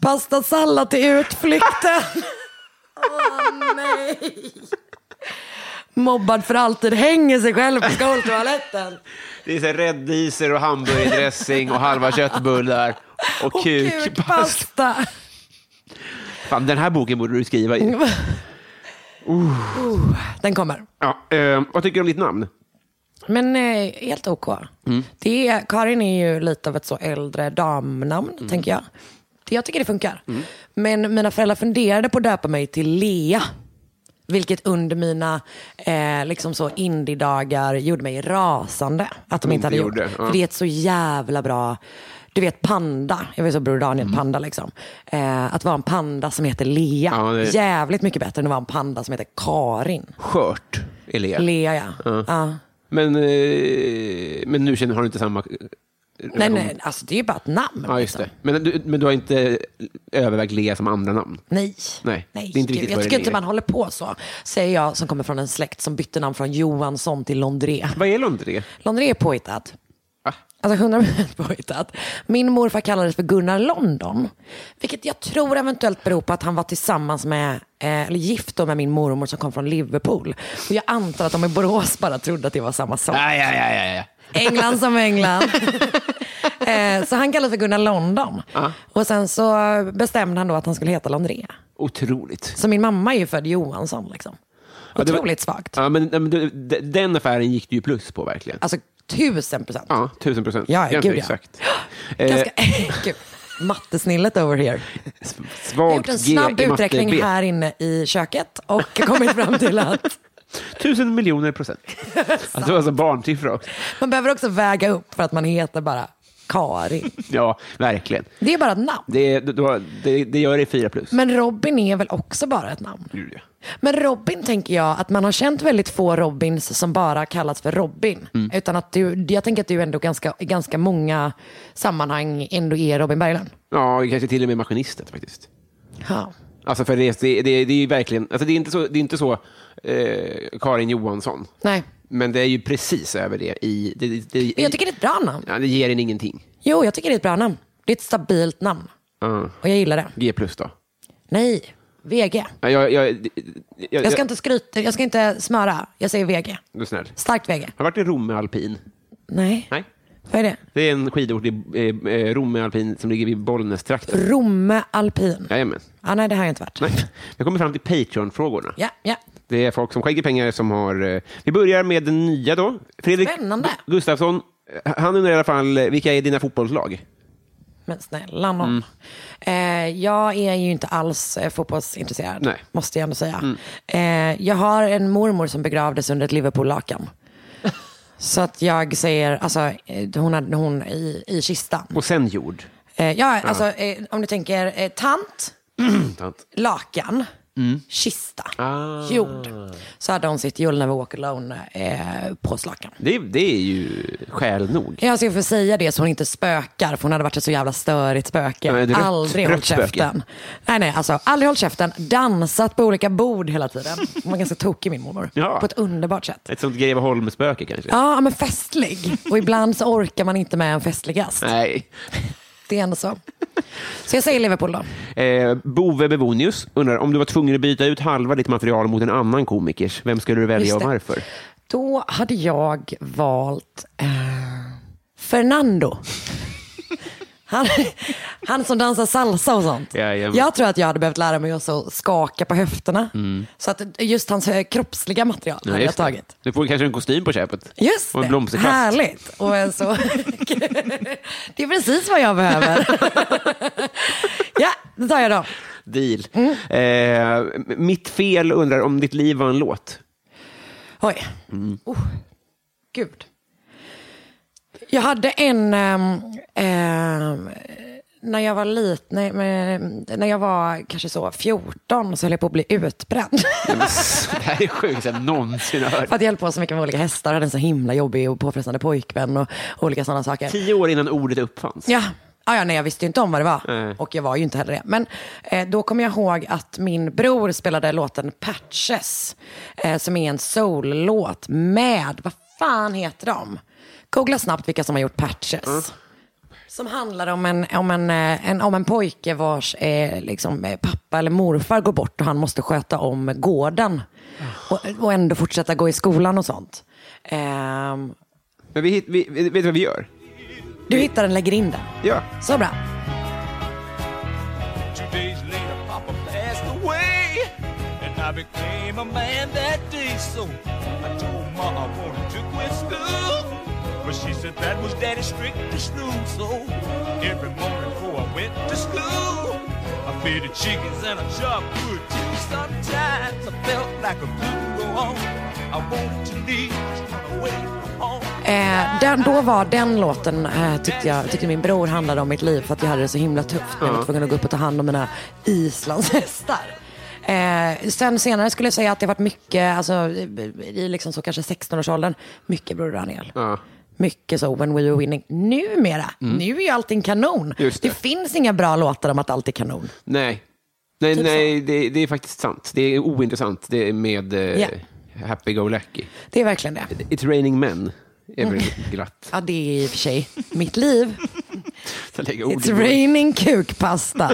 Speaker 3: pastasallad till utflykten. Åh nej. Mobbad för alltid, hänger sig själv på skoltoaletten.
Speaker 2: Det är så här rädisor och hamburgardressing och
Speaker 3: *laughs*
Speaker 2: halva köttbullar och,
Speaker 3: Och
Speaker 2: kukpasta.
Speaker 3: kukpasta.
Speaker 2: Fan, den här boken borde du skriva i.
Speaker 3: Oh, Den kommer.
Speaker 2: Ja, eh, vad tycker du om ditt namn?
Speaker 3: Men eh, helt OK.
Speaker 2: Mm.
Speaker 3: Det är, Karin är ju lite av ett så äldre damnamn,
Speaker 2: Mm.
Speaker 3: tänker jag. Det- Jag tycker det funkar. Men mina föräldrar funderade på att döpa mig till Lea. Vilket under mina eh, liksom så indie-dagar gjorde mig rasande. Att de inte hade gjort.
Speaker 2: gjorde, ja.
Speaker 3: För det är ett så jävla bra, du vet panda. Jag vet så Bror Daniel,
Speaker 2: Mm.
Speaker 3: panda liksom. Eh, att vara en panda som heter Lea.
Speaker 2: Ja, det-
Speaker 3: Jävligt mycket bättre än att vara en panda som heter Karin.
Speaker 2: Skört, Elia.
Speaker 3: Lea ja. ja.
Speaker 2: Men, eh, men nu känner, har du inte samma...
Speaker 3: Nej, nej, alltså det är ju bara ett namn. liksom.
Speaker 2: Ja, just det. Men du, men du har inte övervägt Lea som andra namn?
Speaker 3: Nej.
Speaker 2: Nej,
Speaker 3: Nej.
Speaker 2: det är inte
Speaker 3: Gud,
Speaker 2: riktigt
Speaker 3: jag
Speaker 2: vad det
Speaker 3: tycker inte
Speaker 2: är.
Speaker 3: man håller på så, säger jag som kommer från en släkt som bytte namn från Johansson till Londré.
Speaker 2: Vad är Londré?
Speaker 3: Londré är påhittad.
Speaker 2: Ah.
Speaker 3: Alltså 100% påhittat. Min morfar kallades för Gunnar London. Vilket jag tror eventuellt beror på att han var tillsammans med, eh, eller gift då med min mormor som kom från Liverpool. Och jag antar att de i Borås bara trodde att det var samma sak.
Speaker 2: Ja, ja, ja, ja, ja.
Speaker 3: England som England.
Speaker 2: *laughs*
Speaker 3: eh, så han kallades för Gunnar London. Och sen så bestämde han då att han skulle heta Londré.
Speaker 2: Otroligt.
Speaker 3: Så min mamma är ju född Johansson. Liksom.
Speaker 2: det var-
Speaker 3: Otroligt svagt.
Speaker 2: Ja, men, nej, men du, d- den affären gick du ju plus på verkligen.
Speaker 3: Alltså tusen procent.
Speaker 2: Ja, eh, tusen procent.
Speaker 3: Ja,
Speaker 2: Ganska
Speaker 3: gud, ja.
Speaker 2: exakt.
Speaker 3: *gasps* Ganska *laughs* gud. Mattesnillet over here. Jag har gjort
Speaker 2: Svagt
Speaker 3: en
Speaker 2: G
Speaker 3: snabb
Speaker 2: i matte B.
Speaker 3: uträkning här inne i köket och *laughs* kommit fram till att
Speaker 2: Tusen
Speaker 3: *laughs*
Speaker 2: miljoner procent. Alltså, det var alltså barnsiffror också.
Speaker 3: man behöver också väga upp för att man heter bara Karin.
Speaker 2: Ja, verkligen.
Speaker 3: Det är bara ett namn.
Speaker 2: Det, det- det, det, det gör det fyra plus.
Speaker 3: Men Robin är väl också bara ett namn?
Speaker 2: Julia.
Speaker 3: Men Robin tänker jag att man har känt väldigt få Robins som bara kallats för Robin. Utan att du, jag tänker att du ändå ganska, i ganska många sammanhang ändå är Robin Berglund.
Speaker 2: Ja, kanske till och med maskinistet faktiskt.
Speaker 3: Ja.
Speaker 2: Alltså för det, det, det, det är ju verkligen, alltså det är inte så, det är inte så eh, Karin Johansson.
Speaker 3: Nej.
Speaker 2: Men det är ju precis över det. I, det, det, det,
Speaker 3: Men Jag tycker det är ett bra namn.
Speaker 2: ja, det ger en ingenting.
Speaker 3: Jo, jag tycker det är ett bra namn. Det är ett stabilt namn.
Speaker 2: Ja.
Speaker 3: Och jag gillar det.
Speaker 2: G plus då?
Speaker 3: Nej, VG.
Speaker 2: Ja, Jag, jag, jag, jag,
Speaker 3: Jag ska inte skryta, jag ska inte smöra. Jag säger VG.
Speaker 2: Du är snäll.
Speaker 3: Starkt VG.
Speaker 2: Har du varit i Romme alpin?
Speaker 3: Nej.
Speaker 2: Nej.
Speaker 3: Vad är det?
Speaker 2: Det är en skidort i eh, eh, Romme alpin som ligger vid Bollnästrakten.
Speaker 3: Romme alpin.
Speaker 2: Jajamän.
Speaker 3: Ah, nej, det har jag inte varit.
Speaker 2: Nej. Jag kommer fram till Patreon-frågorna.
Speaker 3: Ja, ja.
Speaker 2: Det är folk som skänker pengar som har... eh, Vi börjar med den nya då. Fredrik
Speaker 3: Spännande.
Speaker 2: Gu- Gustafsson, eh, han undrar i alla fall, eh, vilka är dina fotbollslag?
Speaker 3: Men snälla nån. Eh, jag är ju inte alls eh, fotbollsintresserad,
Speaker 2: Nej.
Speaker 3: måste jag ändå säga. Eh, jag har en mormor som begravdes under ett Liverpool-lakan. Så att jag säger, alltså, eh, hon hade hon i, i kistan.
Speaker 2: Och sen jord.
Speaker 3: Eh, ja, alltså, eh, om du tänker eh, tant,
Speaker 2: Tant.
Speaker 3: lakan, kista, jord. Så hade hon sitt You'll never walk alone eh, påslakan.
Speaker 2: Det, det är ju skäl nog.
Speaker 3: alltså, Jag ska få säga det så hon inte spökar, för hon hade varit ett så jävla störigt spöke.
Speaker 2: Nej, det är rött-
Speaker 3: aldrig
Speaker 2: rött
Speaker 3: hållit käften. Nej, nej, alltså aldrig hållit käften. Dansat på olika bord hela tiden. Hon var ganska tokig min mormor.
Speaker 2: Ja.
Speaker 3: På ett underbart sätt.
Speaker 2: Ett sånt Greveholmsspöke kanske?
Speaker 3: Ja, men festlig. Och ibland så orkar man inte med en festlig gast.
Speaker 2: Nej.
Speaker 3: Det är ändå så. Så jag säger Liverpool då.
Speaker 2: Eh, Bove Bevonius undrar, om du var tvungen att byta ut halva ditt material mot en annan komikers, vem skulle du välja
Speaker 3: Just
Speaker 2: och
Speaker 3: det.
Speaker 2: varför?
Speaker 3: Då hade jag valt eh, Fernando. Han, han som dansar salsa och sånt.
Speaker 2: Jajamän.
Speaker 3: Jag tror att jag hade behövt lära mig också att skaka på höfterna. Så att just hans eh, kroppsliga material hade jag
Speaker 2: Mm. just det.
Speaker 3: tagit.
Speaker 2: Du får kanske en kostym på köpet.
Speaker 3: Just
Speaker 2: Och en
Speaker 3: det,
Speaker 2: blomsterkvast.
Speaker 3: härligt. Och en så... *laughs* det är precis vad
Speaker 2: *laughs*
Speaker 3: jag behöver. ja, det tar jag då.
Speaker 2: Deal.
Speaker 3: Mm.
Speaker 2: Eh, mitt fel undrar om ditt liv var en låt.
Speaker 3: Oj. Oh, gud. Jag hade en... ehm, ehm, när jag var liten, nej, men, när jag var kanske så 14 så höll jag på att bli utbränd. *laughs*
Speaker 2: *laughs* det här är sjukt jag någonsin har hört.
Speaker 3: För att jag höll på så mycket med olika hästar, hade en så himla jobbig och påfrestande pojkvän och olika sådana saker.
Speaker 2: Tio år innan ordet uppfanns.
Speaker 3: Ja. Ah, ja, nej, jag visste ju inte om vad det var.
Speaker 2: Nej.
Speaker 3: Och jag var ju inte heller det. Men eh, då kommer jag ihåg att min bror spelade låten Patches, eh, som är en soul-låt med, vad fan heter de? Googla snabbt vilka som har gjort Patches. Som handlar om en, om en, eh, en, om en pojke vars eh, liksom, eh, pappa eller morfar går bort och han måste sköta om gården. Och, och ändå fortsätta gå i skolan och sånt. Ehm,
Speaker 2: Men vi, hit- vi, vi- vet du vad vi gör?
Speaker 3: du hittar den, lägger in den.
Speaker 2: Ja.
Speaker 3: Så bra.
Speaker 6: Two days later, Papa passed away, and I became a man that day. So I told Ma I wanted to quit school, but she said that was Daddy's strictest rule. So every morning before I went to school, I fed the chickens and I chopped wood too. Sometimes I felt like a fool. I wanted to leave, just run away from home.
Speaker 3: Eh, den, då var den låten, eh, tyckte, jag, tyckte min bror handlade om mitt liv för att jag hade det så himla tufft. Jag var tvungen att gå upp och ta hand om mina islandshästar. Eh, sen senare skulle jag säga att det varit mycket, alltså, i, i liksom så kanske 16-årsåldern, mycket Broder Daniel.
Speaker 2: Ja. Mm.
Speaker 3: Mycket så, When We Were Winning. Numera, nu är ju allting kanon.
Speaker 2: Just det.
Speaker 3: finns inga bra låtar om att allt är kanon.
Speaker 2: Nej, nej,
Speaker 3: Typ
Speaker 2: nej det, det är faktiskt sant. Det är ointressant det är med eh,
Speaker 3: Ja.
Speaker 2: Happy Go Lucky.
Speaker 3: Det är verkligen det.
Speaker 2: It's raining men. Är
Speaker 3: *laughs*
Speaker 2: väl glatt.
Speaker 3: Ja, det är i och för sig mitt liv.
Speaker 2: Jag lägger ord i
Speaker 3: It's
Speaker 2: munnen.
Speaker 3: raining kukpasta.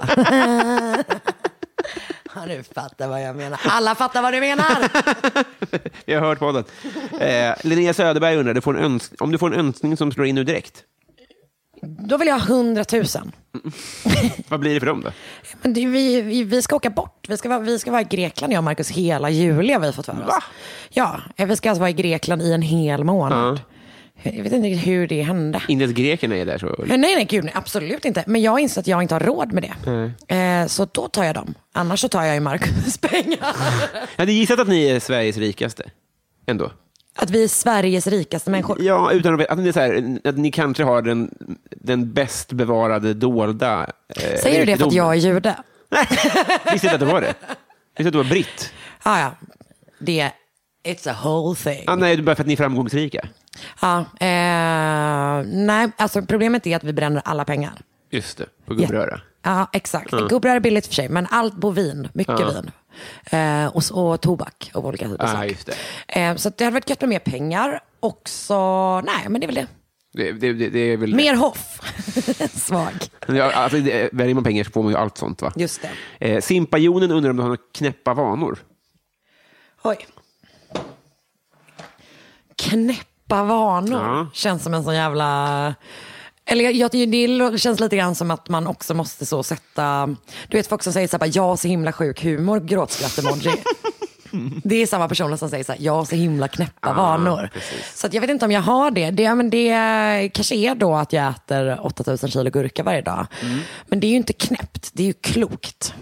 Speaker 3: *laughs* ja, du fattar vad jag menar. Alla fattar vad du menar.
Speaker 2: Jag har hört podden. Eh, Linnea Söderberg undrar, du får en öns- om du får en önskning som slår in nu direkt,
Speaker 3: Då vill jag ha hundratusen.
Speaker 2: vad blir det för dem då?
Speaker 3: Men det, vi, vi, vi ska åka bort. Vi ska, vara, vi ska vara i Grekland, jag och Markus, hela juli har vi fått för oss.
Speaker 2: Va?
Speaker 3: Ja, eh, vi ska alltså vara i Grekland i en hel månad. Jag vet inte riktigt hur det hände.
Speaker 2: Inte ens grekerna är där så.
Speaker 3: Men nej, nej, gud, nej, absolut inte. Men jag inser att jag inte har råd med det. Eh, så då tar jag dem. Annars så tar jag ju Markus *laughs* pengar.
Speaker 2: Jag hade gissat att ni är Sveriges rikaste. Ändå.
Speaker 3: Att vi är Sveriges rikaste människor.
Speaker 2: Ja, utan att, att, ni, så här, att ni kanske har den, den bäst bevarade dolda eh,
Speaker 3: Säger du det för att jag är jude?
Speaker 2: Visste inte att du var det. Visste att du var britt.
Speaker 3: Ah, ja, det är... It's a whole thing.
Speaker 2: Ah, nej, det är bara för att ni är framgångsrika.
Speaker 3: Ja, eh, nej, alltså problemet är att vi bränner alla pengar.
Speaker 2: Just det, på gubbröra.
Speaker 3: Ja, exakt. Gubbröra är billigt för sig, men allt på vin, mycket vin. Eh, och, så- och tobak av olika typer.
Speaker 2: Ah,
Speaker 3: saker.
Speaker 2: just
Speaker 3: Eh, så att det hade varit gött med mer pengar. Också, nej men det är väl det.
Speaker 2: Det, det, det, det är väl...
Speaker 3: Mer hoff. *laughs* Svag.
Speaker 2: Ja, alltså, det, väljer man pengar så får man ju allt sånt. va?
Speaker 3: Just det.
Speaker 2: Eh, Simpajonen undrar om du har några knäppa vanor.
Speaker 3: Oj. Knäppa vanor
Speaker 2: Ja.
Speaker 3: känns som en sån jävla... Eller jag, jag, tycker det lå- känns lite grann som att man också måste så sätta... Du vet folk som säger så här, bara, jag har så himla sjuk humor, gråtskratt-emoji. Det är samma personer som säger så här, jag har så himla knäppa vanor. Så att jag vet inte om jag har det. Det, men det kanske är då att jag äter 8000 kilo gurka varje dag.
Speaker 2: Mm.
Speaker 3: Men det är ju inte knäppt, det är ju klokt.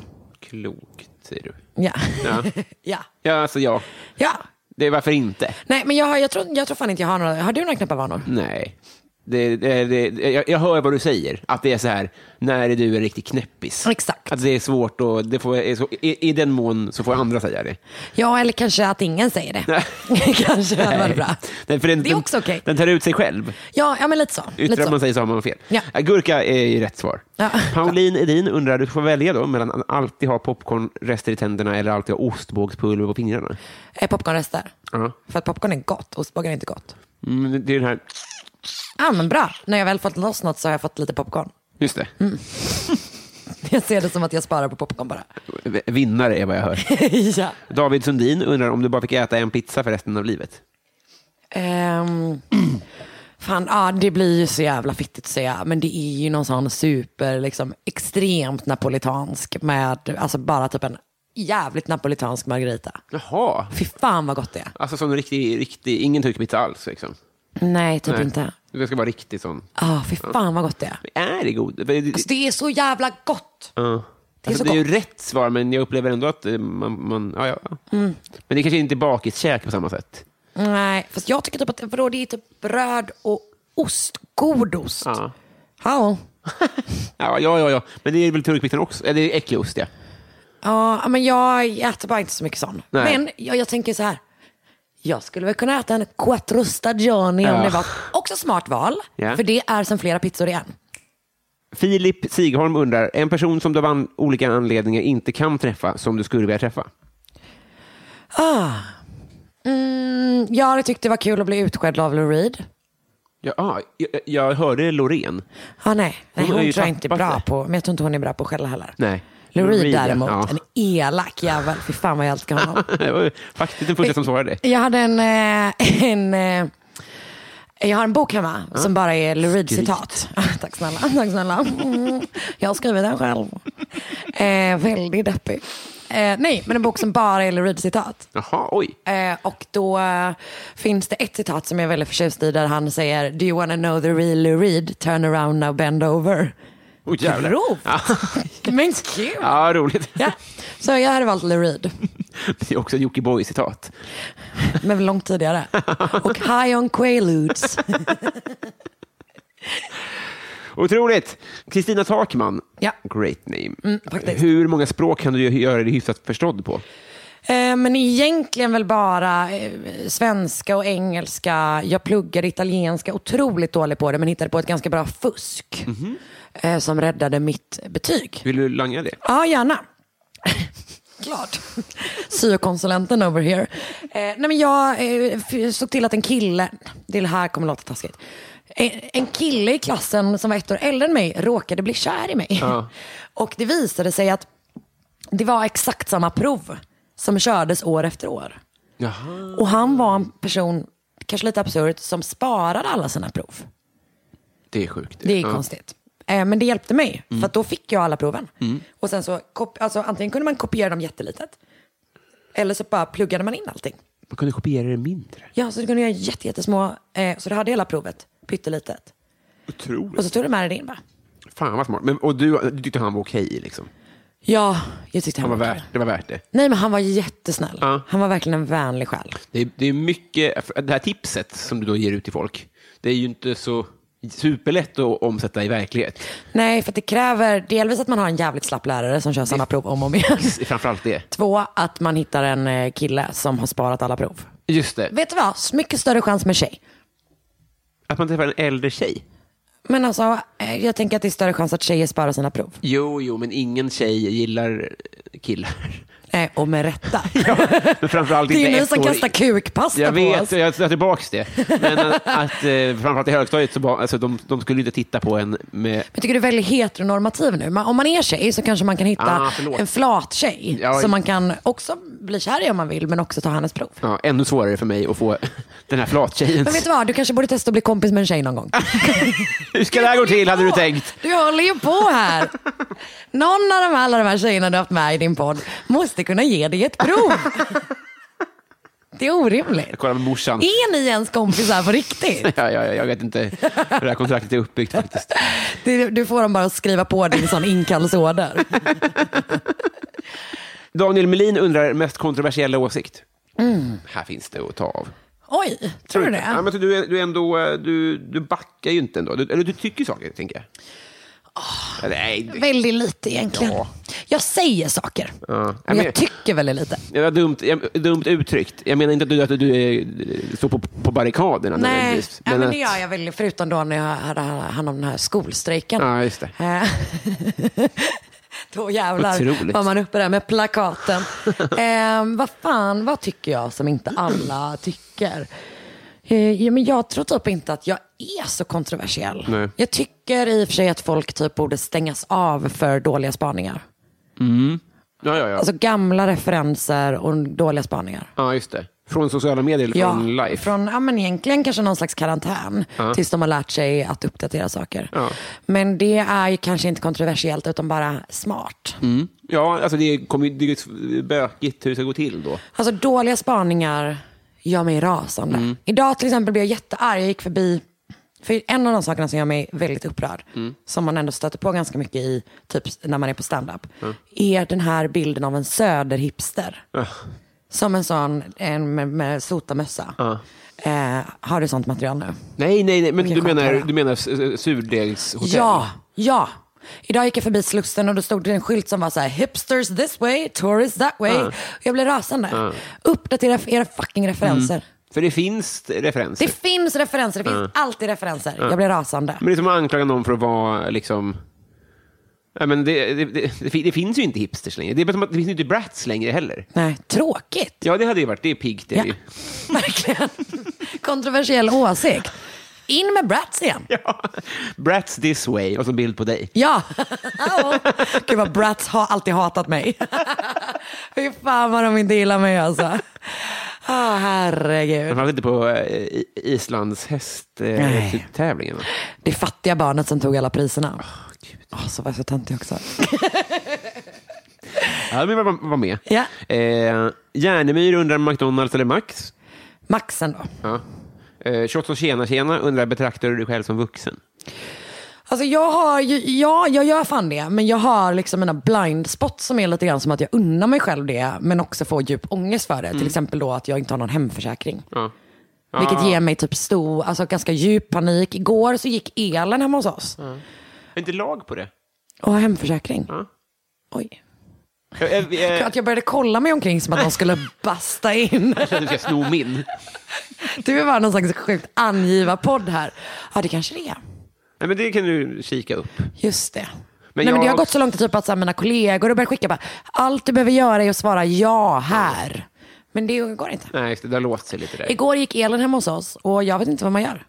Speaker 2: Klokt, säger du.
Speaker 3: Ja.
Speaker 2: Ja.
Speaker 3: *laughs* ja.
Speaker 2: Ja, alltså ja.
Speaker 3: ja.
Speaker 2: Det är varför inte?
Speaker 3: Nej, men jag, har, jag, tror, jag tror fan inte jag har några. Har du några knäppa vanor?
Speaker 2: Nej. Det, det, det, jag, jag hör vad du säger, att det är så här, när är du en riktig knäppis?
Speaker 3: Exakt.
Speaker 2: Att det är svårt och det får, är så, i, i den mån så får andra säga det.
Speaker 3: Ja, eller kanske att ingen säger det. *laughs* kanske hade varit bra.
Speaker 2: Nej, för den,
Speaker 3: Det är också okej.
Speaker 2: Den, den tar ut sig själv.
Speaker 3: Ja, ja men lite så. Lite
Speaker 2: Yttrar man
Speaker 3: så.
Speaker 2: sig så har man fel. Äh,
Speaker 3: Ja.
Speaker 2: Gurka är ju rätt svar.
Speaker 3: Ja.
Speaker 2: Pauline Edin undrar, du får välja då mellan att alltid ha popcornrester i tänderna eller alltid ha ostbågspulver på fingrarna.
Speaker 3: Eh, Popcornrester.
Speaker 2: Ja.
Speaker 3: För att popcorn är gott, ostbågar är inte gott.
Speaker 2: Mm, det är den här...
Speaker 3: Ja, men bra. När jag väl fått loss något så har jag fått lite popcorn. *laughs*
Speaker 2: Just det.
Speaker 3: Mm. Jag ser det som att jag sparar på popcorn bara. *laughs*
Speaker 2: V- Vinnare är vad jag hör.
Speaker 3: ja.
Speaker 2: David Sundin undrar om du bara fick äta en pizza för resten av livet.
Speaker 3: Ehm, *clears throat* fan, ja, det blir ju så jävla fittigt att säga. Men det är ju någon sån super, liksom, extremt napolitansk med, alltså bara typ en jävligt napolitansk margarita.
Speaker 2: Jaha.
Speaker 3: Fy fan vad gott det är.
Speaker 2: Alltså som riktig, riktig, ingen turkpizza alls liksom.
Speaker 3: Nej, typ
Speaker 2: Nej.
Speaker 3: inte.
Speaker 2: Det ska vara riktig sån.
Speaker 3: Ah, fy fan vad gott det är.
Speaker 2: Är det god? Det,
Speaker 3: Alltså, det är så jävla gott.
Speaker 2: Ja.
Speaker 3: Det är
Speaker 2: alltså,
Speaker 3: så
Speaker 2: det är ju
Speaker 3: gott.
Speaker 2: rätt svar, men jag upplever ändå att eh, man... man ja, ja.
Speaker 3: Mm.
Speaker 2: Men det kanske inte är bakiskäk på samma sätt.
Speaker 3: Nej, fast jag tycker typ att vadå, det är typ bröd och ost. God ost.
Speaker 2: Ja.
Speaker 3: Ja.
Speaker 2: Ja, ja, ja, ja. Men det är väl turkpizzan också? Eller det är äcklig ost, ja.
Speaker 3: Ja, men jag äter bara inte så mycket sån.
Speaker 2: Nej.
Speaker 3: Men jag, jag tänker så här. Jag skulle väl kunna äta en quattro stagioni om
Speaker 2: Ja.
Speaker 3: det var. Också smart val,
Speaker 2: Ja.
Speaker 3: för det är som flera pizzor i en.
Speaker 2: Filip Sigholm undrar, en person som du av an- olika anledningar inte kan träffa, som du skulle vilja träffa?
Speaker 3: Mm, jag hade tyckt det var kul att bli utskälld av Lou Reed.
Speaker 2: Ja, ah, jag, jag hörde Loreen. *laughs*
Speaker 3: Ah, nej, nej,
Speaker 2: Hon har
Speaker 3: hon,
Speaker 2: ju
Speaker 3: tror jag inte är
Speaker 2: tappat
Speaker 3: bra
Speaker 2: det.
Speaker 3: på, men jag tror inte hon är bra på att skälla heller.
Speaker 2: Nej.
Speaker 3: Lou
Speaker 2: Lou
Speaker 3: Reed
Speaker 2: Reed, ja.
Speaker 3: däremot,
Speaker 2: Ja.
Speaker 3: en elak jävel. Fy fan vad jag älskar
Speaker 2: *laughs*
Speaker 3: honom.
Speaker 2: Det var ju faktiskt den första som svarade.
Speaker 3: Jag hade en, eh, en eh, jag har en bok hemma som bara är Lou Reed-citat. *laughs* Tack snälla. Tack snälla. Mm. Jag har skrivit
Speaker 2: *laughs*
Speaker 3: den själv. Eh, väldigt deppig. Eh, nej, men en bok som bara är Lou Reed-citat.
Speaker 2: Jaha, oj.
Speaker 3: Eh, och då eh, finns det ett citat som jag är väldigt förtjust i där han säger Do you wanna know the real Lou Reed? Turn around now, bend over.
Speaker 2: Oj, jävlar.
Speaker 3: Grovt.
Speaker 2: Ja, *laughs*
Speaker 3: Men kul.
Speaker 2: ja roligt.
Speaker 3: Ja. Så jag hade valt Lou Reed.
Speaker 2: *laughs* Det är också ett Jockiboi-citat.
Speaker 3: Men långt tidigare. Och High on Quaaludes.
Speaker 2: Otroligt! Kristina Takman,
Speaker 3: Ja. Mm,
Speaker 2: great name.
Speaker 3: faktiskt.
Speaker 2: Hur många språk kan du göra dig hyfsat förstådd på?
Speaker 3: Eh, Men egentligen väl bara eh, svenska och engelska. Jag pluggade italienska, otroligt dålig på det, men hittade på ett ganska bra fusk eh, som räddade mitt betyg.
Speaker 2: Vill du langa det?
Speaker 3: Ja, gärna. Klart. Syokonsulenten over here. Eh, nej men jag eh, f- såg till att en kille, det här kommer låta taskigt. En, en kille i klassen som var ett år äldre än mig råkade bli kär i mig.
Speaker 2: Ja.
Speaker 3: *laughs* Och det visade sig att det var exakt samma prov som kördes år efter år.
Speaker 2: Jaha.
Speaker 3: Och han var en person, kanske lite absurt, som sparade alla sina prov.
Speaker 2: Det är sjukt.
Speaker 3: Det är
Speaker 2: Ja.
Speaker 3: konstigt. Eh, Men det hjälpte mig, för att då fick jag alla proven. Och sen så, kop- alltså, antingen kunde man kopiera dem jättelitet, eller så bara pluggade man in allting.
Speaker 2: Man kunde kopiera det mindre.
Speaker 3: Ja, så kunde jag göra jätte- jättesmå, eh, så du hade hela provet, pyttelitet.
Speaker 2: Otroligt.
Speaker 3: Och så tog du med dig det in bara.
Speaker 2: Fan vad smart. Men, och du, du tyckte han var okej liksom?
Speaker 3: Ja, jag tyckte
Speaker 2: Det
Speaker 3: han
Speaker 2: var
Speaker 3: var
Speaker 2: värt det. Var värt det.
Speaker 3: Nej, men han var jättesnäll.
Speaker 2: Ja.
Speaker 3: Han var verkligen en vänlig själ.
Speaker 2: Det, är, det är mycket, det här tipset som du då ger ut till folk, det är ju inte så superlätt att omsätta i verklighet.
Speaker 3: Nej, för att det kräver delvis att man har en jävligt slapp lärare som kör samma prov om och om *laughs* igen.
Speaker 2: Det är Framförallt det.
Speaker 3: Två, att man hittar en eh, kille som har sparat alla prov.
Speaker 2: Just det,
Speaker 3: Vet du vad? Mycket större chans med tjej.
Speaker 2: att man träffar en äldre tjej.
Speaker 3: Men alltså, eh, jag tänker att det är större chans att tjejer sparar sina prov.
Speaker 2: Jo, jo, men ingen tjej gillar *laughs* killar.
Speaker 3: Eh, och med rätta.
Speaker 2: Men framförallt
Speaker 3: *laughs* det är
Speaker 2: inte
Speaker 3: ju ni
Speaker 2: ett
Speaker 3: som
Speaker 2: år-
Speaker 3: kastar kukpasta
Speaker 2: Jag
Speaker 3: på
Speaker 2: vet,
Speaker 3: oss.
Speaker 2: jag tar tillbaka det. Men att, att eh, framförallt i högstadiet, så bara, alltså, de, de skulle inte titta på en med...
Speaker 3: Jag tycker du är väldigt heteronormativ nu. Man, om man är tjej så kanske man kan hitta
Speaker 2: Ah, förlåt.
Speaker 3: en flat tjej.
Speaker 2: Ja,
Speaker 3: som man kan också bli kär i om man vill, men också ta hennes prov.
Speaker 2: Ja, ännu svårare för mig att få den här
Speaker 3: Men vet
Speaker 2: flattjejens...
Speaker 3: du vad? Du kanske borde testa att bli kompis med en tjej någon gång.
Speaker 2: Hur ska det här gå till, hade du tänkt?
Speaker 3: Du håller ju på här. Någon av de, alla de här tjejerna du har haft med i din podd måste kunna ge dig
Speaker 2: *laughs*
Speaker 3: ett prov. Det är orimligt.
Speaker 2: Jag kollar med morsan.
Speaker 3: Är ni ens kompisar på riktigt?
Speaker 2: Ja, ja, ja, jag vet inte hur det här kontraktet är uppbyggt faktiskt.
Speaker 3: Du, du får dem bara att skriva på din sån inkallsorder.
Speaker 2: Daniel Melin undrar mest kontroversiella åsikt.
Speaker 3: Mm.
Speaker 2: Här finns det att ta av.
Speaker 3: *laughs* Oj, tror du
Speaker 2: Ja,
Speaker 3: det?
Speaker 2: men du, är- du, är ändå, eh, du, du backar ju inte ändå. Du, eller du tycker saker, tänker jag.
Speaker 3: Ah.
Speaker 2: Nej, det-
Speaker 3: Väldigt lite egentligen.
Speaker 2: Ja.
Speaker 3: Jag säger saker, men
Speaker 2: men-
Speaker 3: jag tycker väldigt lite.
Speaker 2: det var dumt, jag, dumt uttryckt. Jag menar inte att du, att du är, står på, på barrikaderna
Speaker 3: Nej,
Speaker 2: nödvändigtvis,
Speaker 3: men det
Speaker 2: att-
Speaker 3: gör jag väl. Förutom då när jag hade hand om den här skolstrejken.
Speaker 2: Ja, just det.
Speaker 3: Eh, *laughs* Då jävlar
Speaker 2: Otroligt.
Speaker 3: var man uppe där
Speaker 2: *laughs*
Speaker 3: med plakaten. eh, vad fan, vad tycker jag som inte alla tycker? Eh, ja, men jag tror typ inte att jag är så kontroversiell.
Speaker 2: Nej.
Speaker 3: Jag tycker i och för sig att folk typ borde stängas av för dåliga spaningar.
Speaker 2: Ja, ja, ja.
Speaker 3: Alltså gamla referenser och dåliga spaningar.
Speaker 2: ja, just det. Från sociala medier eller från life?
Speaker 3: Från, ja, men egentligen kanske någon slags karantän tills de har lärt sig att uppdatera saker.
Speaker 2: Ja.
Speaker 3: Men det är ju kanske inte kontroversiellt utan bara smart.
Speaker 2: Mm. Ja, alltså det kommer ju- det är ju bökigt hur det ska gå till då.
Speaker 3: Alltså dåliga spaningar gör mig rasande. Idag till exempel blev jag jättearg. Jag gick förbi, för en av de sakerna som gör mig väldigt upprörd, som man ändå stöter på ganska mycket i, typ när man är på standup, är den här bilden av en söderhipster. Som en sån en, med, med sotarmössa. Eh, har du sånt material nu?
Speaker 2: Nej, nej, nej, men
Speaker 3: Okej,
Speaker 2: du menar,
Speaker 3: skönt.
Speaker 2: du menar s- s- surdegshotell?
Speaker 3: Ja, ja. Idag gick jag förbi Slussen och då stod det en skylt som var så här hipsters this way, tourists that way. Jag blev rasande. Uppdatera era fucking referenser.
Speaker 2: För det finns referenser.
Speaker 3: Det finns referenser, det finns alltid referenser. Jag blir rasande.
Speaker 2: Mm. Men det är som att anklaga någon för att vara liksom... Nej, men det, det, det, det fin- det finns ju inte hipsters längre. Det, är bara som att det finns ju inte brats längre heller.
Speaker 3: Nej, tråkigt. *laughs*
Speaker 2: Ja, det hade ju varit. Det är piggt. det är
Speaker 3: Ja.
Speaker 2: det ju.
Speaker 3: Verkligen. Kontroversiell åsikt. In med Bratz igen.
Speaker 2: Ja. Brats this way och så bild på dig.
Speaker 3: Ja. *laughs* Hallå. Gud vad Bratz har alltid hatat mig. *laughs* Fy fan vad de inte gillar mig alltså. Åh herregud.
Speaker 2: Framförallt inte på eh, i- Islands hästtävlingen. Eh,
Speaker 3: Nej.
Speaker 2: typ tävlingen, va?
Speaker 3: Det fattiga barnet som tog alla priserna. Åh, så var jag så töntig också.
Speaker 2: ja, men var, var med.
Speaker 3: Ja.
Speaker 2: Eh, Järnemyr undrar McDonalds eller Max.
Speaker 3: Maxen då.
Speaker 2: Ja. Eh, Shots och tjena tjena undrar betraktar du dig själv som vuxen?
Speaker 3: Alltså jag har ju, ja, jag gör fan det. Men jag har liksom mina blind spots som är lite grann som att jag unnar mig själv det. Men också får djup ångest för det. Till exempel då att jag inte har någon hemförsäkring. Vilket ger mig typ stor, alltså ganska djup panik. Igår så gick elen hemma hos oss.
Speaker 2: Är inte lag på det?
Speaker 3: Och har hemförsäkring.
Speaker 2: Ja.
Speaker 3: Oj.
Speaker 2: Eh, eh, eh,
Speaker 3: Att jag började kolla mig omkring som att någon skulle basta in.
Speaker 2: att du ska sno min.
Speaker 3: Du är bara någon slags sjukt angivarpodd här. Ja, det kanske det är.
Speaker 2: Nej, men det kan du kika upp.
Speaker 3: Just det.
Speaker 2: Men
Speaker 3: Men, Nej, men
Speaker 2: jag-
Speaker 3: det har gått så långt typ att så här, mina kollegor har börjat skicka bara, allt du behöver göra är att svara ja här. Men det går inte.
Speaker 2: Nej, just det. Det har låst sig lite där.
Speaker 3: Igår gick elen hemma hos oss och jag vet inte vad man gör.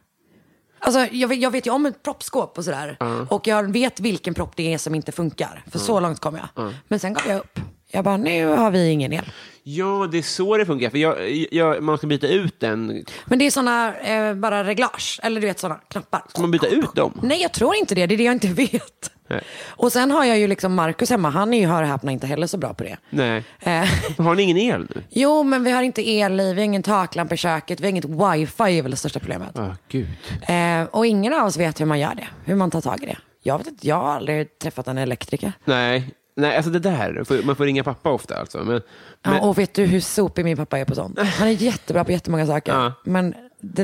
Speaker 3: Alltså, jag, vet, jag vet ju om ett proppskåp och sådär. Och jag vet vilken propp det är som inte funkar. För så långt kom jag. Men sen gav jag upp. Jag bara, nu har vi ingen el.
Speaker 2: Ja, det är så det funkar. För jag, jag, man ska byta ut den.
Speaker 3: Men det är sådana, eh, bara reglage. Eller du vet sådana knappar.
Speaker 2: Ska man byta ut dem?
Speaker 3: Nej, jag tror inte det. Det är det jag inte *laughs* vet.
Speaker 2: Nej.
Speaker 3: Och sen har jag ju liksom Markus hemma. Han är ju, hör och häpna, inte heller så bra på det.
Speaker 2: Nej.
Speaker 3: Eh,
Speaker 2: Har ni ingen el nu?
Speaker 3: jo, men vi har inte el i, vi har ingen taklampa i köket, vi har inget wifi är väl det största problemet.
Speaker 2: Ja, gud.
Speaker 3: Eh, och ingen av oss vet hur man gör det, hur man tar tag i det. Jag vet inte, jag har aldrig träffat en elektriker.
Speaker 2: Nej. Nej, alltså det där. får- Man får ringa pappa ofta alltså. Men, men,
Speaker 3: Ja, och vet du hur sopig min pappa är på sånt? Han är jättebra på jättemånga saker.
Speaker 2: Ja.
Speaker 3: Men det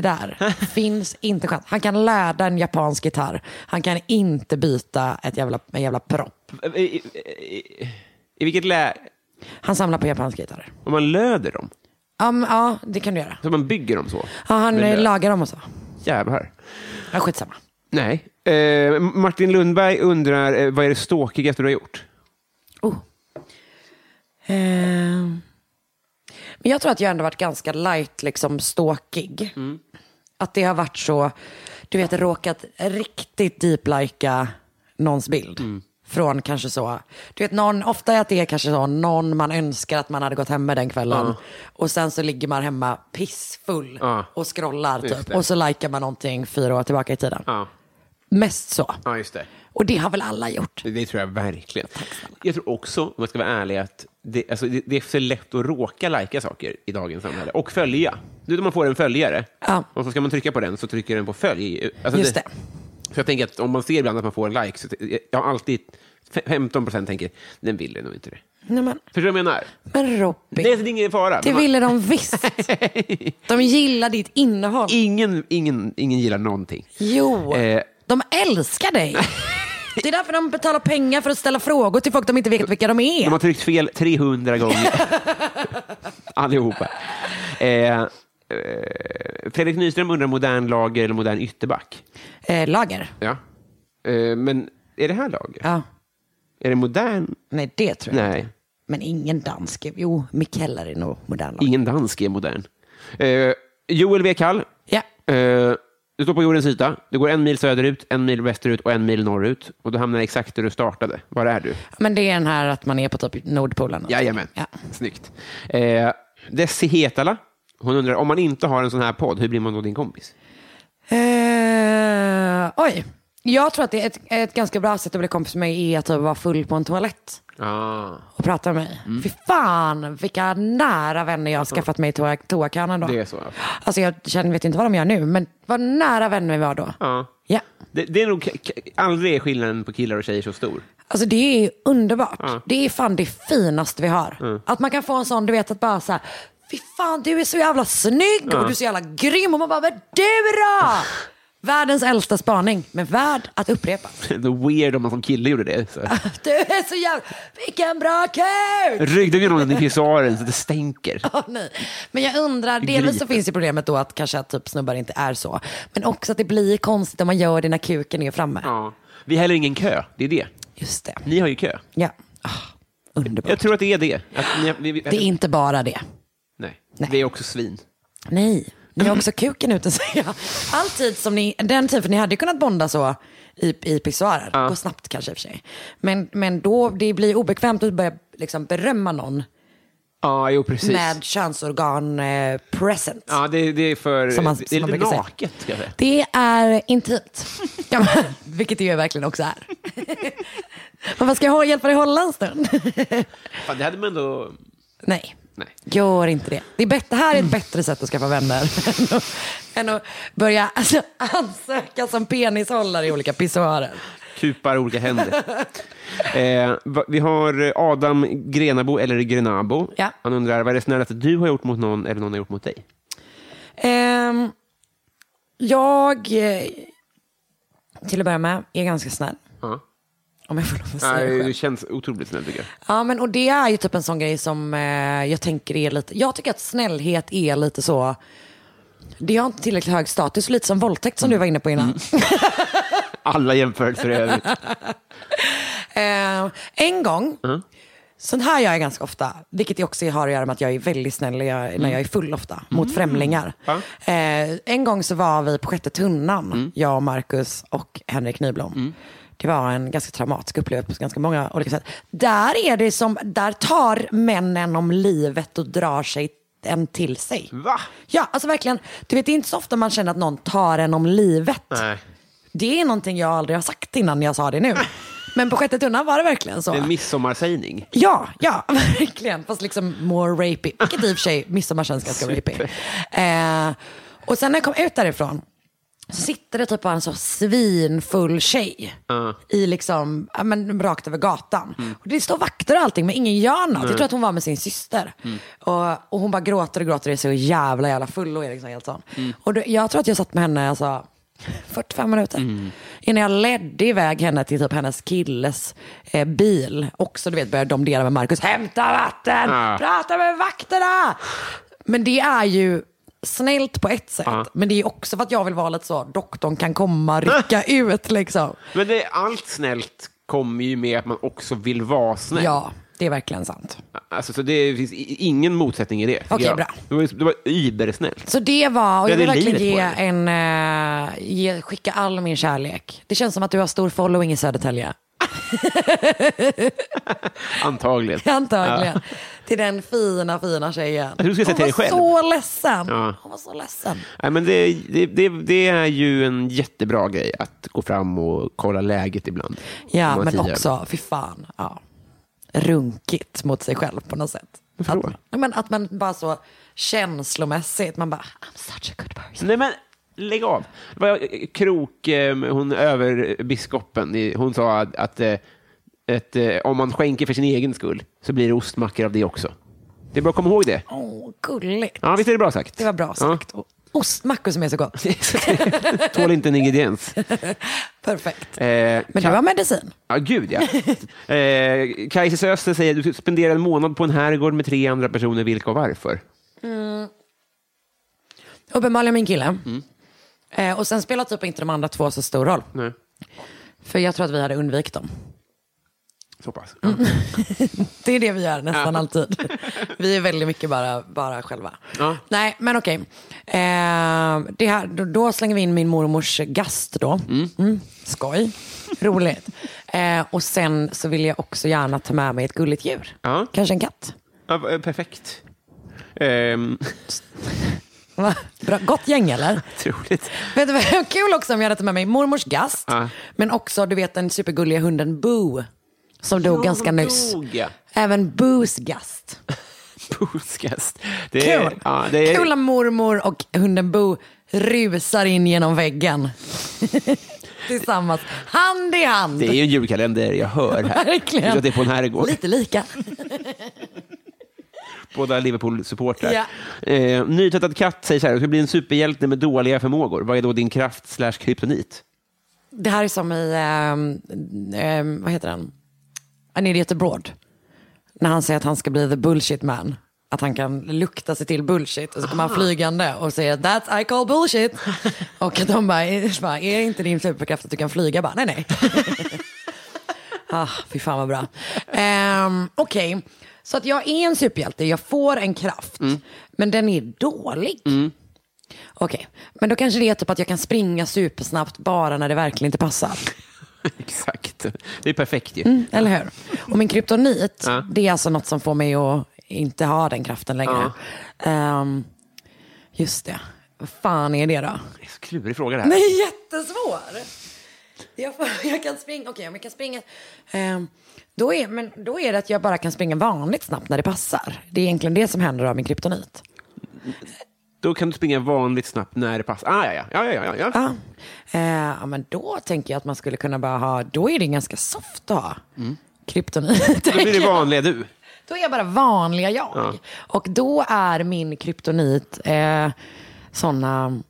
Speaker 2: *laughs*
Speaker 3: där finns inte chans. Han kan läda en japansk gitarr. Han kan inte byta ett jävla, en jävla propp.
Speaker 2: i, i, i, I vilket lä...
Speaker 3: Han samlar på japanska gitarrer.
Speaker 2: Om man löder dem?
Speaker 3: Ja, men ja, det kan du göra.
Speaker 2: Så man bygger dem så?
Speaker 3: Ja, han
Speaker 2: Med
Speaker 3: eh,
Speaker 2: lö-
Speaker 3: lagar dem och så.
Speaker 2: Jävlar.
Speaker 3: Ja, skitsamma.
Speaker 2: Nej. Eh, Martin Lundberg undrar, eh, vad är det ståkigaste du har gjort?
Speaker 3: Oh. Ehm. Men jag tror att jag ändå varit ganska light, liksom ståkig.
Speaker 2: Mm.
Speaker 3: Att det har varit så, du vet råkat riktigt deep-lika någons bild.
Speaker 2: Mm.
Speaker 3: Från kanske så, du vet någon, ofta är att det är kanske så någon man önskar att man hade gått hem med den kvällen. Och sen så ligger man hemma pissfull
Speaker 2: Ja.
Speaker 3: och scrollar
Speaker 2: Just
Speaker 3: typ.
Speaker 2: det.
Speaker 3: Och så likar man någonting fyra år tillbaka i tiden.
Speaker 2: Ja,
Speaker 3: Mest så.
Speaker 2: ja just det.
Speaker 3: Och det har väl alla gjort.
Speaker 2: Det tror jag verkligen. Jag tror också, om jag ska vara ärlig, att det, alltså, det, det är så lätt att råka lajka saker i dagens samhälle. Och följa. Du vet om man får en följare
Speaker 3: Ja.
Speaker 2: och så ska man trycka på den så trycker den på följ. Alltså,
Speaker 3: Just det.
Speaker 2: Så jag tänker att om man ser ibland att man får en like, så jag har alltid fe- 15 procent tänker, den ville nog inte det.
Speaker 3: Nej, men,
Speaker 2: Förstår du vad jag menar?
Speaker 3: men Robin.
Speaker 2: Nej, så det är ingen fara.
Speaker 3: Det
Speaker 2: Man-
Speaker 3: ville de visst.
Speaker 2: *laughs*
Speaker 3: De gillar ditt innehåll.
Speaker 2: ingen, ingen, ingen gillar någonting.
Speaker 3: Jo,
Speaker 2: Eh.
Speaker 3: de älskar
Speaker 2: *laughs*
Speaker 3: dig. Det är därför de betalar pengar för att ställa frågor till folk de inte vet vilka de
Speaker 2: De har
Speaker 3: är.
Speaker 2: tryckt fel 300 *laughs* gånger. Allihopa. Eh, eh, Fredrik Nyström undrar modern lager eller modern ytterback.
Speaker 3: Eh, lager.
Speaker 2: Ja. Eh, men är det här lager?
Speaker 3: Ja.
Speaker 2: Är det modern?
Speaker 3: Nej, det tror jag
Speaker 2: Nej,
Speaker 3: inte. Men ingen dansk. Jo, Mikeller är nog modern lager.
Speaker 2: ingen dansk är modern. Eh, Joel W. Kall.
Speaker 3: Ja.
Speaker 2: Eh, du står på jordens yta. Du går en mil söderut, en mil västerut och en mil norrut. Och du hamnar exakt där du startade. Var är du?
Speaker 3: Men det är den här att man är på typ Nordpolen.
Speaker 2: Jajamän,
Speaker 3: Ja.
Speaker 2: snyggt. Eh, Desi Hetala, hon undrar, om man inte har en sån här podd, hur blir man då din kompis?
Speaker 3: Eh, oj. Jag tror att det är ett, ett ganska bra sätt att bli kompis med mig är att typ vara full på en toalett.
Speaker 2: Ah,
Speaker 3: och prata med mig.
Speaker 2: Mm.
Speaker 3: Fy fan vilka nära vänner jag har skaffat mig i toa- toakanan då.
Speaker 2: Det är så, ja.
Speaker 3: Alltså jag känner, vet inte vad de gör nu, men vad nära vänner vi var då.
Speaker 2: Ja.
Speaker 3: Ja.
Speaker 2: Det, det är nog k- k- aldrig är skillnaden på killar och tjejer så stor. *laughs*
Speaker 3: Alltså det är underbart. Det är fan det finaste vi har.
Speaker 2: Mm.
Speaker 3: Att man kan få en sån, du vet att bara så här, fy fan du är så jävla snygg och du är så jävla grym och man bara, vad är du då?
Speaker 2: *laughs*
Speaker 3: Världens äldsta spaning, men värd att upprepa. *laughs*
Speaker 2: Det är weird om man som kille gjorde det. Så.
Speaker 3: Du är så jävla, vilken bra kuk!
Speaker 2: Ryggde vi någon i pissoaren så att det stänker?
Speaker 3: Ja, nej. Men jag undrar, delvis så
Speaker 2: Griper.
Speaker 3: finns ju problemet då att kanske att typ snubbar inte är så. Men också att det blir konstigt om man gör det när kuken är framme.
Speaker 2: Ja. Vi har heller ingen kö, det är det.
Speaker 3: Just det.
Speaker 2: Ni har ju kö.
Speaker 3: Ja. Ah, underbart.
Speaker 2: Jag tror att det är det. Att ni, vi, vi,
Speaker 3: Det är inte bara det.
Speaker 2: nej.
Speaker 3: Nej.
Speaker 2: Vi är också svin.
Speaker 3: Nej, ni har också kuken ute säger jag. Alltid som ni, den tiden, för ni hade ju kunnat bonda så i, i pissoarer. Gå snabbt kanske i och för sig. Men, men då, det blir obekvämt att börja liksom berömma någon
Speaker 2: Ja, jo precis.
Speaker 3: med könsorgan eh, present.
Speaker 2: Ja, det, det är för...
Speaker 3: Som man-
Speaker 2: det
Speaker 3: som
Speaker 2: är
Speaker 3: man
Speaker 2: lite
Speaker 3: brukar säga.
Speaker 2: naket, ska jag säga.
Speaker 3: Det är *laughs* intimt. Kan man- Vilket det ju verkligen också är. *laughs* Men vad ska jag ha- hjälpa dig hålla en stund?
Speaker 2: Fan, det hade man ändå...
Speaker 3: *laughs* Nej.
Speaker 2: Nej.
Speaker 3: Gör inte det. Det, är bättre, här är ett bättre sätt att skaffa vänner *laughs* än att, än att börja alltså, ansöka som penishållare i olika pissoarer.
Speaker 2: kupar olika händer. eh, va- vi har Adam Grenabo, eller Grenabo.
Speaker 3: Ja.
Speaker 2: Han undrar, vad är det snällaste du har gjort mot någon eller någon har gjort mot dig?
Speaker 3: Ehm, jag, eh, till att börja med, är ganska snäll.
Speaker 2: Ja.
Speaker 3: Om jag får lov att säga det
Speaker 2: Nej,
Speaker 3: själv.
Speaker 2: det känns otroligt snällt tycker jag.
Speaker 3: Ja, men och det är ju typ en sån grej som eh, jag tänker är lite, jag tycker att snällhet är lite så, det har inte tillräckligt hög status, lite som våldtäkt som du var inne på innan.
Speaker 2: Alla jämförelser i övrigt.
Speaker 3: Eh, en gång, sånt här gör jag ganska ofta, vilket jag också har att göra med att jag är väldigt snäll när jag, när jag är full ofta, mot främlingar. Eh, en gång så var vi på Sjätte tunnan, jag och Marcus och Henrik Nyblom. Det var en ganska traumatisk upplevelse på ganska många olika sätt. Där är det som, där tar männen om livet och drar sig en till sig.
Speaker 2: Va?
Speaker 3: Ja, alltså verkligen. Du vet, det är inte så ofta man känner att någon tar en om livet.
Speaker 2: Nej.
Speaker 3: Det är någonting jag aldrig har sagt innan jag sa
Speaker 2: *laughs*
Speaker 3: det nu. Men på sjätte tunnan var det verkligen så.
Speaker 2: Det är en midsommarsägning.
Speaker 3: Ja, ja, *laughs* verkligen. Fast liksom more rapey. Vilket i och för sig midsommarsvenska ska vara rapey. Eh, och sen när jag kom ut därifrån Så sitter det typ bara en så svinfull tjej i liksom, ja, men, rakt över gatan. Och det står vakter och allting men ingen gör något. Jag tror att hon var med sin syster. Och, och hon bara gråter och gråter och är så jävla jävla full och är liksom helt sån. Och då, jag tror att jag satt med henne alltså, 45 minuter.
Speaker 2: Mm.
Speaker 3: Innan jag ledde iväg henne till typ hennes killes eh, bil. Också du vet började domdera med Markus. Hämta vatten!
Speaker 2: Ah.
Speaker 3: Prata med vakterna! Men det är ju snällt på ett sätt. Men det är också för att jag vill vara lite så, doktorn kan
Speaker 2: *laughs*
Speaker 3: komma, rycka ut liksom.
Speaker 2: Men det, allt snällt kommer ju med att man också vill vara snäll.
Speaker 3: Ja, det är verkligen sant.
Speaker 2: Alltså, så det finns i- ingen motsättning i det. tycker
Speaker 3: Okej,
Speaker 2: jag.
Speaker 3: bra.
Speaker 2: Det var, det var ybersnällt.
Speaker 3: Så det var, och
Speaker 2: Det
Speaker 3: jag vill
Speaker 2: är
Speaker 3: verkligen
Speaker 2: livet
Speaker 3: ge
Speaker 2: på
Speaker 3: en, eh, ge, skicka all min kärlek. Det känns som att du har stor following i Södertälje.
Speaker 2: Antagligen.
Speaker 3: *laughs* Antagligen. Till den fina, fina tjejen.
Speaker 2: trodde du skulle säga till dig själv.
Speaker 3: Hon var så ledsen.
Speaker 2: Ja.
Speaker 3: Hon var så ledsen.
Speaker 2: Nej, men det, det, det, det är ju en jättebra grej att gå fram och kolla läget ibland. Om
Speaker 3: Ja,
Speaker 2: man
Speaker 3: men
Speaker 2: tidigare.
Speaker 3: också, fy fan. Ja. Runkigt mot sig själv på något sätt.
Speaker 2: Varför
Speaker 3: Att,
Speaker 2: då?
Speaker 3: Ja, men att man bara så känslomässigt, man bara, I'm such a good person.
Speaker 2: Nej, men lägg av. Det var eh, Krok, eh, hon över biskopen, i- hon sa att, att, eh, ett, eh, om man skänker för sin egen skull så blir det ostmackor av det också. Det är bra att komma ihåg det.
Speaker 3: Åh, gulligt.
Speaker 2: Ja, visst är det bra sagt?
Speaker 3: Det var bra sagt. Och Ostmackor som är
Speaker 2: *laughs*
Speaker 3: så gott.
Speaker 2: Ja. Tål inte en
Speaker 3: *laughs*
Speaker 2: ingrediens.
Speaker 3: Perfekt.
Speaker 2: Eh,
Speaker 3: Men det var medicin.
Speaker 2: Ja, gud ja. Eh, Kajses Öster säger du spenderar en månad på en herrgård med tre andra personer, vilka och varför?
Speaker 3: Uppenbarligen min kille.
Speaker 2: Mm.
Speaker 3: Eh, och sen spelar typ inte de andra två så stor roll.
Speaker 2: Nej.
Speaker 3: För jag tror att vi hade undvikit dem.
Speaker 2: Så pass.
Speaker 3: Mm. Det är det vi gör nästan alltid.
Speaker 2: *laughs*
Speaker 3: Vi är väldigt mycket bara, bara själva.
Speaker 2: Ja.
Speaker 3: Nej, men okej. Eh, det här, då, då slänger vi in min mormors gast då. Mm, skoj. Roligt. Eh, och sen så vill jag också gärna ta med mig ett gulligt djur.
Speaker 2: Ja.
Speaker 3: Kanske en katt.
Speaker 2: Ja, eh, perfekt. Ehm, *laughs*
Speaker 3: Va? Bra, gott gäng eller?
Speaker 2: otroligt.
Speaker 3: Vet du vad *laughs* kul också om jag hade tagit med mig mormors gast.
Speaker 2: Ja.
Speaker 3: Men också du vet den supergulliga hunden Boo. Som dog ganska nyss.
Speaker 2: dog, ja.
Speaker 3: Även Boos gast.
Speaker 2: Podcast. Det
Speaker 3: Kul!
Speaker 2: Eh, Ja, det är,
Speaker 3: Kul om mormor och hunden Bo rusar in genom väggen. *laughs* Tillsammans. Hand i hand.
Speaker 2: det är ju en julkalender jag hör här.
Speaker 3: Verkligen.
Speaker 2: Jag tror att det är på en herrgård.
Speaker 3: Lite lika.
Speaker 2: Båda Liverpool-supportrar.
Speaker 3: Ja.
Speaker 2: Eh, nytvättad katt säger så här, du ska bli en superhjälte med dåliga förmågor. Vad är då din kraft slash kryptonit?
Speaker 3: Det här är som i, ehm, ehm, vad heter den? An idiot abroad. När han säger att han ska bli the bullshit man. Att han kan lukta sig till bullshit. Och så kommer han flygande och säger that's I call bullshit. och att de bara, är bara, är inte din superkraft att du kan flyga? Jag Bara, nej nej. ah, fy fan vad bra. Um, Okej, så att jag är en superhjälte. Jag får en kraft. Men den är dålig. Okej, men då kanske det är typ att jag kan springa supersnabbt bara när det verkligen inte passar.
Speaker 2: Exakt. Det är perfekt ju.
Speaker 3: Eller hur? Och min kryptonit, det är alltså något som får mig att inte ha den kraften längre. Ehm, just det. Vad fan är det då? *laughs*
Speaker 2: Det är så klurig fråga det här.
Speaker 3: Den är jättesvår. Jag, får- *laughs* jag kan springa, okej om jag kan springa. ehm, då, är, men då är det att jag bara kan springa vanligt snabbt när det passar. Det är egentligen det som händer av min kryptonit.
Speaker 2: Då kan du springa vanligt snabbt när det passar. Ah, ja, ja. Ja, ja, ja, ja.
Speaker 3: Ja. Eh, ja, men då tänker jag att man skulle kunna bara ha, då är det ganska soft att ha kryptonit. *laughs*
Speaker 2: Då blir det vanliga du.
Speaker 3: Då är jag bara vanliga jag. Och då är min kryptonit eh, sådana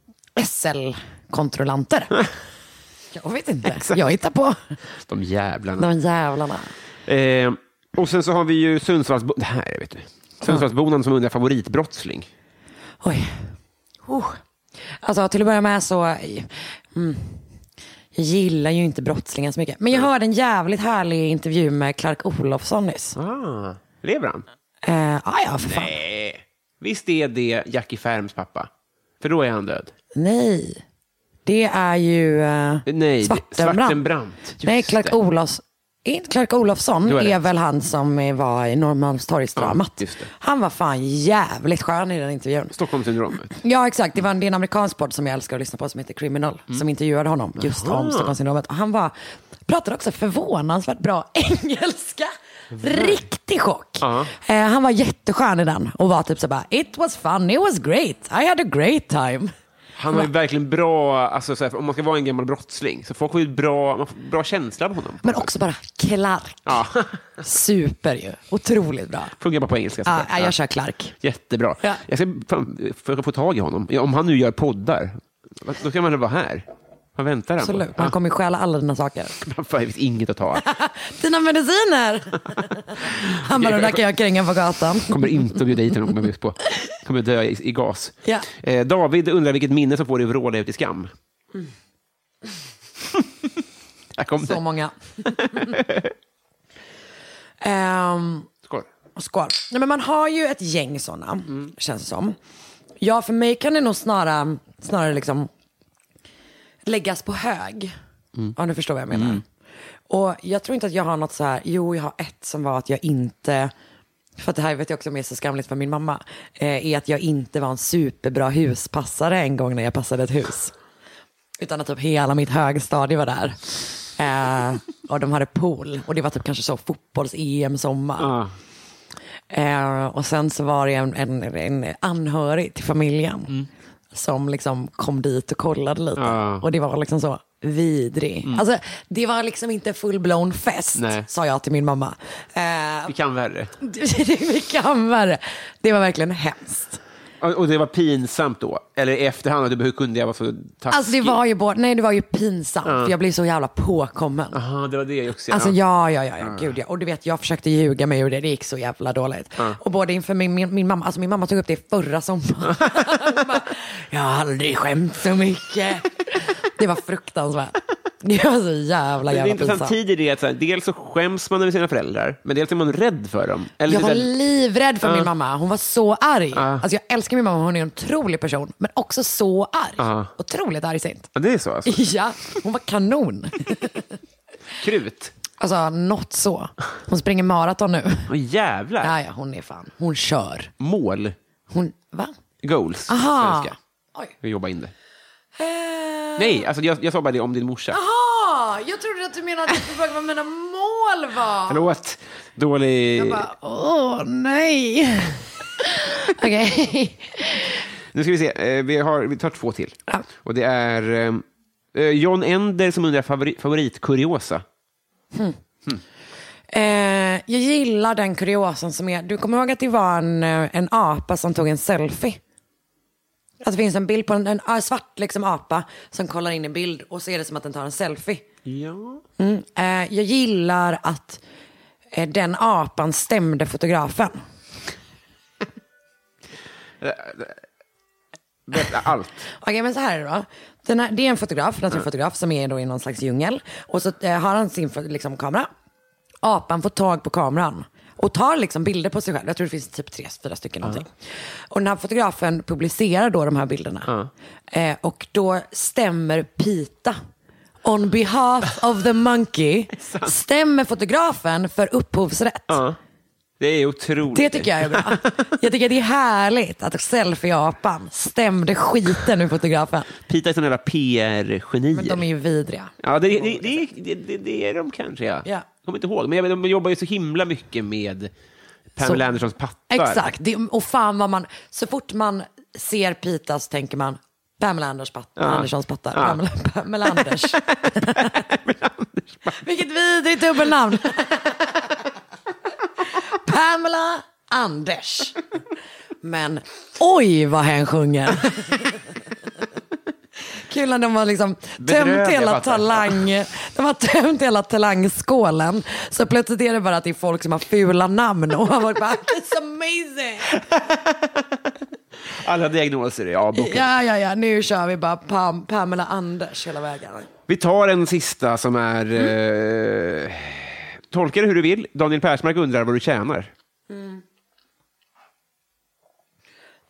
Speaker 3: SL-kontrollanter. jag vet inte, jag hittar på
Speaker 2: De jävlarna.
Speaker 3: de jävlarna.
Speaker 2: Eh, och sen så har vi ju Sundsvallsbo- det här, vet du. Sundsvallsbonan som undrar favoritbrottsling.
Speaker 3: Oj. Oh. Alltså till att börja med så, mm, jag gillar ju inte brottslingar så mycket. Men jag hörde en jävligt härlig intervju med Clark Olofsson nyss.
Speaker 2: Ah, lever han?
Speaker 3: Eh, ah, ja, för fan.
Speaker 2: Nej. Eh, Visst är det Jackie Färms pappa? För då är han död.
Speaker 3: Nej. Det är ju eh,
Speaker 2: Nej,
Speaker 3: Svartenbrandt.
Speaker 2: Svartenbrandt. Just
Speaker 3: Nej, Clark
Speaker 2: det.
Speaker 3: Olofs, är inte Clark Olofsson
Speaker 2: Du har
Speaker 3: är,
Speaker 2: rätt.
Speaker 3: väl han som eh, var i Norrmalmstorgsdramat.
Speaker 2: Ja, just det.
Speaker 3: han var fan jävligt skön i den intervjun.
Speaker 2: Stockholmssyndromet.
Speaker 3: Ja, exakt. Det, var en, det är en amerikansk podd som jag älskar att lyssna på som heter Criminal.
Speaker 2: Mm.
Speaker 3: Som intervjuade honom just om Stockholmssyndromet. Och han var, pratade också förvånansvärt bra *laughs* engelska. Riktig chock. Eh, han var jätteskön i den och var typ så bara, it was fun, it was great, I had a great time.
Speaker 2: Han har ju verkligen bra, alltså, så här, om man ska vara en gammal brottsling, så folk har ju bra, man får bra känsla på honom.
Speaker 3: Men också bara Clark.
Speaker 2: Ja,
Speaker 3: Super ju. Otroligt bra.
Speaker 2: fungerar bara på engelska.
Speaker 3: Ja,
Speaker 2: såklart.
Speaker 3: Ah, ja,
Speaker 2: Ja.
Speaker 3: jag kör Clark.
Speaker 2: Jättebra.
Speaker 3: Ja.
Speaker 2: Jag ska fan, försöka få tag i honom. Ja, Om han nu gör poddar, då ska man väl vara här? Vad väntar han
Speaker 3: Absolut.
Speaker 2: på?
Speaker 3: Man
Speaker 2: Ja,
Speaker 3: kommer ju stjäla alla dina saker.
Speaker 2: fan, det finns inget att ta.
Speaker 3: Dina mediciner! Han bara, de där kan jag kränga på gatan.
Speaker 2: Kommer inte att bjuda hit honom, kommer jag på. Kommer dö i, i gas.
Speaker 3: Ja.
Speaker 2: Eh, David undrar vilket minne som får dig att vråla ut i skam.
Speaker 3: Mm.
Speaker 2: Här kom
Speaker 3: Så
Speaker 2: det. *laughs*
Speaker 3: många. Ehm,
Speaker 2: Skål.
Speaker 3: skål. Nej, men man har ju ett gäng sådana, känns det som. Ja, för mig kan det nog snarare, snarare liksom läggas på hög. Ja, nu förstår vad jag menar. Och jag tror inte att jag har något så här, jo, jag har ett som var att jag inte, för att det här vet jag också om är så skamligt för min mamma, eh, är att jag inte var en superbra huspassare en gång när jag passade ett hus. Utan att typ hela mitt högstadie var där. Eh, och de hade pool och det var typ kanske så fotbolls-EM sommar.
Speaker 2: Ja.
Speaker 3: Eh, och sen så var det en, en, en anhörig till familjen som liksom kom dit och kollade lite.
Speaker 2: Ja.
Speaker 3: Och det var liksom så vidrig. Alltså, det var liksom inte full-blown fest,
Speaker 2: Nej.
Speaker 3: sa jag till min mamma. Eh, *laughs*
Speaker 2: Vi kan värre.
Speaker 3: vi kan värre. Det var verkligen hemskt.
Speaker 2: Och och det var pinsamt då? Eller i efterhand, att du, hur kunde jag vara så taskig?
Speaker 3: Alltså det var ju, både, nej, det var ju pinsamt, för jag blev så jävla påkommen.
Speaker 2: Aha, det var det jag också.
Speaker 3: Alltså
Speaker 2: ja.
Speaker 3: ja, ja, ja, ja. gud ja. Och du vet, jag försökte ljuga mig ur det, det gick så jävla dåligt. Och både inför min, min, min mamma, alltså min mamma tog upp det
Speaker 2: *laughs*
Speaker 3: förra sommaren. *laughs* Hon bara, jag har aldrig skämt så mycket. det var fruktansvärt. Det var så jävla,
Speaker 2: Det är en
Speaker 3: jävla
Speaker 2: intressant
Speaker 3: pinsamt.
Speaker 2: tid i det. Att, så här, dels så skäms man över sina föräldrar, men dels är man rädd för dem. Eller
Speaker 3: Jag
Speaker 2: så
Speaker 3: var
Speaker 2: här-
Speaker 3: livrädd för min mamma, hon var så arg.
Speaker 2: Ah.
Speaker 3: Alltså jag älskar min mamma, hon är en otrolig person, men också så arg.
Speaker 2: Ah.
Speaker 3: Otroligt argsint.
Speaker 2: ja, det är så alltså.
Speaker 3: *laughs* Ja, hon var kanon.
Speaker 2: Krut.
Speaker 3: Alltså något så. Hon springer maraton nu.
Speaker 2: Åh jävlar.
Speaker 3: Ja, ja, hon är fan, hon kör.
Speaker 2: Mål.
Speaker 3: Hon, va?
Speaker 2: Goals.
Speaker 3: Aha.
Speaker 2: Svenska.
Speaker 3: Oj.
Speaker 2: Vi jobbar in det.
Speaker 3: Eh,
Speaker 2: Nej, alltså, jag, jag sa bara det om din morsa.
Speaker 3: Jaha, jag trodde att du menade att du frågade vad mina mål var.
Speaker 2: Förlåt. Dålig...
Speaker 3: Bara, Åh, *laughs* nej. Okej.
Speaker 2: Nu ska vi se. Eh, Vi, har, vi tar två till.
Speaker 3: Ja.
Speaker 2: Och det är eh, John Ender som undrar favori, favoritkuriosa.
Speaker 3: Eh, jag gillar den kuriosan som är, du kommer ihåg att det var en, eh, en apa som tog en selfie? Att det finns en bild på en, en ah, svart liksom, apa som kollar in en bild och så är det som att den tar en selfie.
Speaker 2: Ja.
Speaker 3: Mm. Eh, jag gillar att eh, den apan stämde fotografen.
Speaker 2: Allt.
Speaker 3: Okej, men så här är det då. Den här, det är en fotograf, naturfotograf, som är då i någon slags djungel. Och så eh, har han sin liksom, kamera. Apan får tag på kameran och tar liksom bilder på sig själv. Jag tror det finns typ tre, fyra stycken någonting. Och den här fotografen publicerar då de här bilderna. Eh, och då stämmer Pita. On behalf of the monkey stämmer fotografen för upphovsrätt.
Speaker 2: Det är otroligt.
Speaker 3: Det tycker jag är bra. Jag tycker det är härligt att selfie-apan stämde skiten ur fotografen.
Speaker 2: Pita är sådana jävla PR-genier.
Speaker 3: Men de är ju vidriga.
Speaker 2: Ja, det, det, det, det, det, det är de kanske. Ja.
Speaker 3: Ja.
Speaker 2: Jag kommer inte ihåg, men jag menar, de jobbar ju så himla mycket med Pamela
Speaker 3: Så-
Speaker 2: Andersons pattar.
Speaker 3: Exakt. Det, och fan vad man, så fort man ser Pitas tänker man Pamela Anders pat, Anderssons pattar. Pamela, Pamela Anders. *laughs* Vilket vidrigt *laughs* dubbelnamn. Pamela Anders. Men oj vad hen sjunger. *laughs* Kul när de har liksom
Speaker 2: Bedrövliga
Speaker 3: tömt hela
Speaker 2: pattar.
Speaker 3: talang, de har tömt hela talangskålen. Så plötsligt är det bara att det är folk som har fula namn och man bara, it's amazing.
Speaker 2: Alla diagnoser är avbokade.
Speaker 3: Ja, ja, ja, nu kör vi bara Pam, Pamela Anders hela vägen.
Speaker 2: Vi tar en sista som är...
Speaker 3: Mm.
Speaker 2: Eh, tolka det hur du vill. Daniel Persmark undrar vad du tjänar.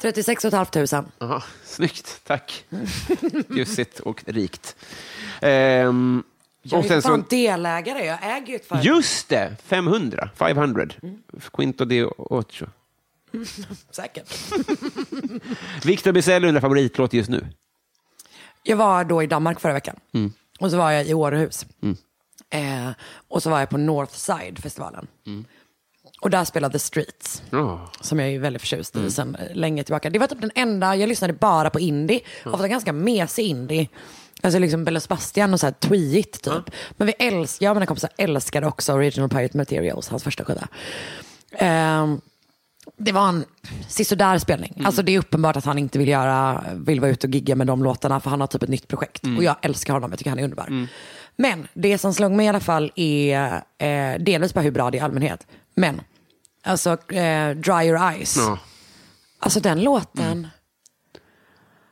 Speaker 3: 36 500.
Speaker 2: Aha, snyggt, tack. *laughs* Bjussigt och rikt. Ehm,
Speaker 3: Jag
Speaker 2: och
Speaker 3: är ju
Speaker 2: sen
Speaker 3: fan
Speaker 2: så,
Speaker 3: delägare, jag äger ju ett företag.
Speaker 2: just det, 500. 500. Quinto de ocho.
Speaker 3: Säkert.
Speaker 2: Victor Bizell undrar favoritlåt just nu.
Speaker 3: Jag var då i Danmark förra veckan. Och så var jag i Århus. Eh, och så var jag på Northside-festivalen. Och där spelar The Streets.
Speaker 2: Ja.
Speaker 3: Som jag är väldigt förtjust i sen länge tillbaka. Det var typ den enda, jag lyssnade bara på indie. Ofta ganska mesig indie. Alltså liksom Bella Sebastian och så här tweet typ. Men vi älskar, jag och mina kompisar älskade också Original Pirate Materials, hans första skiva. Ehm, det var en sisådär spelning. Alltså det är uppenbart att han inte vill, göra, vill vara ute och gigga med de låtarna för han har typ ett nytt projekt. Och jag älskar honom, jag tycker han är underbar. Men det som slog mig i alla fall är eh, delvis bara hur bra det är i allmänhet. Men alltså eh, Dry Your Eyes.
Speaker 2: Ja.
Speaker 3: Alltså den låten. *sighs*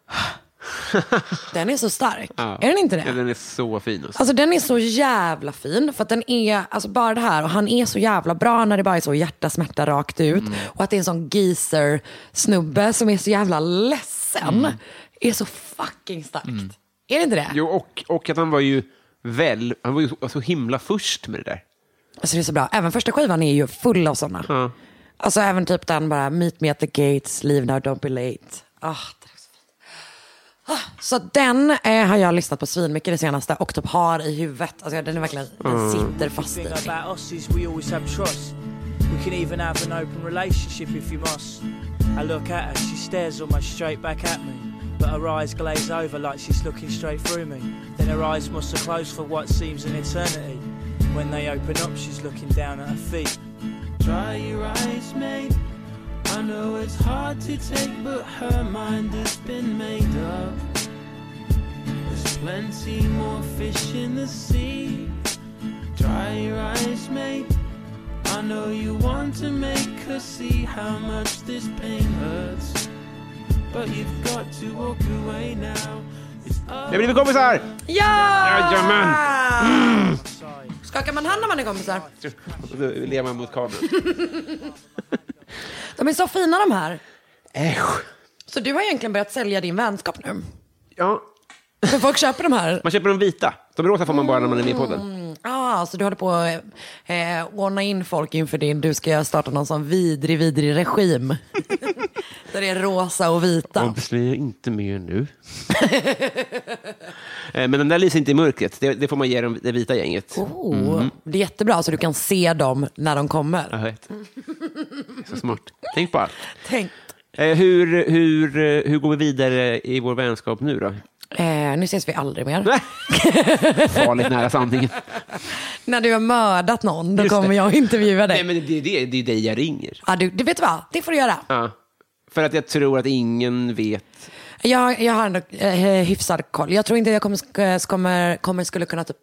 Speaker 3: den är så stark.
Speaker 2: Ja.
Speaker 3: Är den inte det?
Speaker 2: Ja, den är så fin. Alltså.
Speaker 3: Alltså den är så jävla fin. För att den är, alltså bara det här, och han är så jävla bra när det bara är så hjärta, smärta rakt ut. Och att det är en sån geezer snubbe som är så jävla ledsen. Är så fucking starkt. Är det inte det?
Speaker 2: Jo, och, och att han var ju väl, han var ju så, så himla först med det där.
Speaker 3: Alltså det är så bra. Även första skivan är ju full av sådana. Alltså även typ den bara, meet me at the gates, leave now, don't be late. Ah, det är så fint. Ah, så den eh, har jag lyssnat på svinmycket det senaste och typ har i huvudet. Alltså den är verkligen, den sitter fast i
Speaker 7: thing
Speaker 3: mig.
Speaker 7: about us is we always have trust. We can even have an open relationship if you must. I look at her, she stares almost straight back at me. But her eyes glaze over like she's looking straight through me. Then her eyes must have closed for what seems an eternity. When they open up, she's looking down at her feet. Dry your eyes, mate. I know it's hard to take, but her mind has been made up. There's plenty more fish in the sea. Dry your eyes, mate. I know you want to make her see how much this pain hurts. But you've got to walk away now. It's
Speaker 2: Det blir vi kompisar! Jajamän!
Speaker 7: outside.
Speaker 3: Mm. Skakar man hand när man är kompisar?
Speaker 2: Och så ler man mot kameran.
Speaker 3: De är så fina de här.
Speaker 2: Äsch.
Speaker 3: Så du har egentligen börjat sälja din vänskap nu.
Speaker 2: Ja,
Speaker 3: För folk köper de här.
Speaker 2: man köper de vita. De rosa får man bara när man är med i podden.
Speaker 3: Ah, så du håller på att eh, ordna in folk inför din, du ska starta någon sån vidrig, vidrig
Speaker 2: *laughs*
Speaker 3: regim. Där det är rosa och vita.
Speaker 2: Avslöja inte mer nu. *laughs* Eh, Men den där lyser inte i mörkret. Det, det får man ge dem- det vita gänget.
Speaker 3: Oh,
Speaker 2: Mm.
Speaker 3: Det är jättebra så du kan se dem när de kommer.
Speaker 2: Jag vet. Så smart. Tänk på allt.
Speaker 3: Tänk.
Speaker 2: Eh, Hur, hur, eh, hur går vi vidare i vår vänskap nu då?
Speaker 3: Eh, nu ses vi aldrig mer.
Speaker 2: Farligt nära sanningen.
Speaker 3: när du har mördat någon, då
Speaker 2: Just
Speaker 3: kommer
Speaker 2: det.
Speaker 3: jag intervjua dig.
Speaker 2: *laughs* Nej, men det, det, det är dig jag ringer.
Speaker 3: ah, du, du vet vad, det får du göra.
Speaker 2: Ja. För att jag tror att ingen vet.
Speaker 3: Jag, jag har ändå eh, hyfsad koll. Jag tror inte jag kommer, sk- eh, kommer, kommer skulle kunna typ...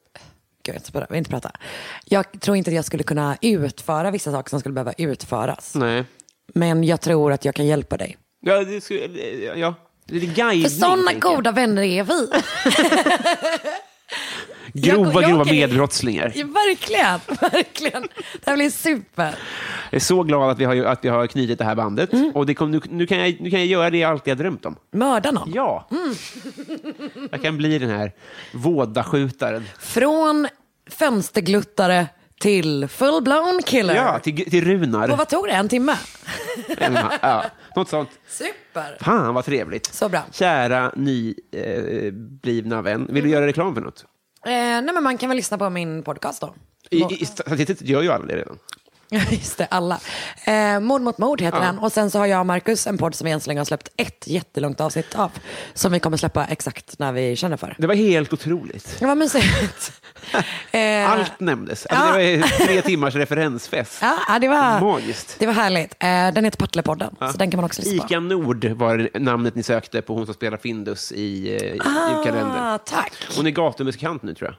Speaker 3: Gud, jag ska bara- jag vill inte prata. Jag tror inte att jag skulle kunna utföra vissa saker som skulle behöva utföras.
Speaker 2: Nej.
Speaker 3: Men jag tror att jag kan hjälpa dig.
Speaker 2: Ja, det, skulle- ja. det är guidning.
Speaker 3: För sådana
Speaker 2: tänker jag.
Speaker 3: goda vänner är vi.
Speaker 2: Grova,
Speaker 3: jag- jag
Speaker 2: grova
Speaker 3: kan-
Speaker 2: medbrottslingar.
Speaker 3: *laughs* Ja, *laughs* verkligen, verkligen. Det här blir super.
Speaker 2: Jag är så glad att vi har, att vi har knutit det här bandet. Och det kom, nu, nu, kan jag, nu kan jag göra det jag alltid har drömt om.
Speaker 3: Mörda någon.
Speaker 2: Ja. Mm. Jag kan bli den här vådaskjutaren.
Speaker 3: Från fönstergluttare till full-blown killer.
Speaker 2: Ja, till, till Runar.
Speaker 3: Och vad tog det? En timme?
Speaker 2: ja, något sånt.
Speaker 3: Super.
Speaker 2: Fan vad trevligt.
Speaker 3: Så bra.
Speaker 2: Kära nyblivna eh, blivna vän,
Speaker 3: Mm.
Speaker 2: vill du göra reklam för något?
Speaker 3: Eh, nej, men man kan väl lyssna på min podcast då.
Speaker 2: I, i, statistiskt gör ju alla det redan.
Speaker 3: Ja, Just det, alla. Eh, mord mot mord heter den. Och sen så har jag och Marcus en podd som vi än så länge har släppt ett jättelångt avsnitt av. Som vi kommer släppa exakt när vi känner för.
Speaker 2: Det var helt otroligt.
Speaker 3: Det var mysigt. *laughs* Eh,
Speaker 2: Allt nämndes. Alltså, Det var tre timmars referensfest.
Speaker 3: Ja, ja, det var,
Speaker 2: Magiskt.
Speaker 3: det var härligt. Eh, den heter Partlepodden, så den kan man också lyssna på.
Speaker 2: Ica Nord var namnet ni sökte på hon som spelar Findus i, eh, i, i kalendern.
Speaker 3: Ah, tack.
Speaker 2: Hon är gatumusikant nu tror jag.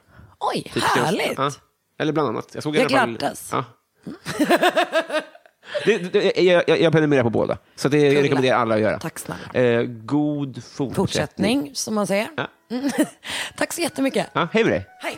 Speaker 3: Oj,
Speaker 2: Typ
Speaker 3: härligt.
Speaker 2: senast- Ja. Eller bland annat. Jag, såg i
Speaker 3: Jag
Speaker 2: alla fall-
Speaker 3: gladdes.
Speaker 2: Ja. *laughs* det, det, jag, jag, jag prenumererar på båda, så det jag rekommenderar alla att göra.
Speaker 3: Tack snälla.
Speaker 2: Eh, god fortsättning.
Speaker 3: Fortsättning, som man säger. Mm. *laughs* tack så jättemycket.
Speaker 2: Ja, hej med dig.
Speaker 3: Hej.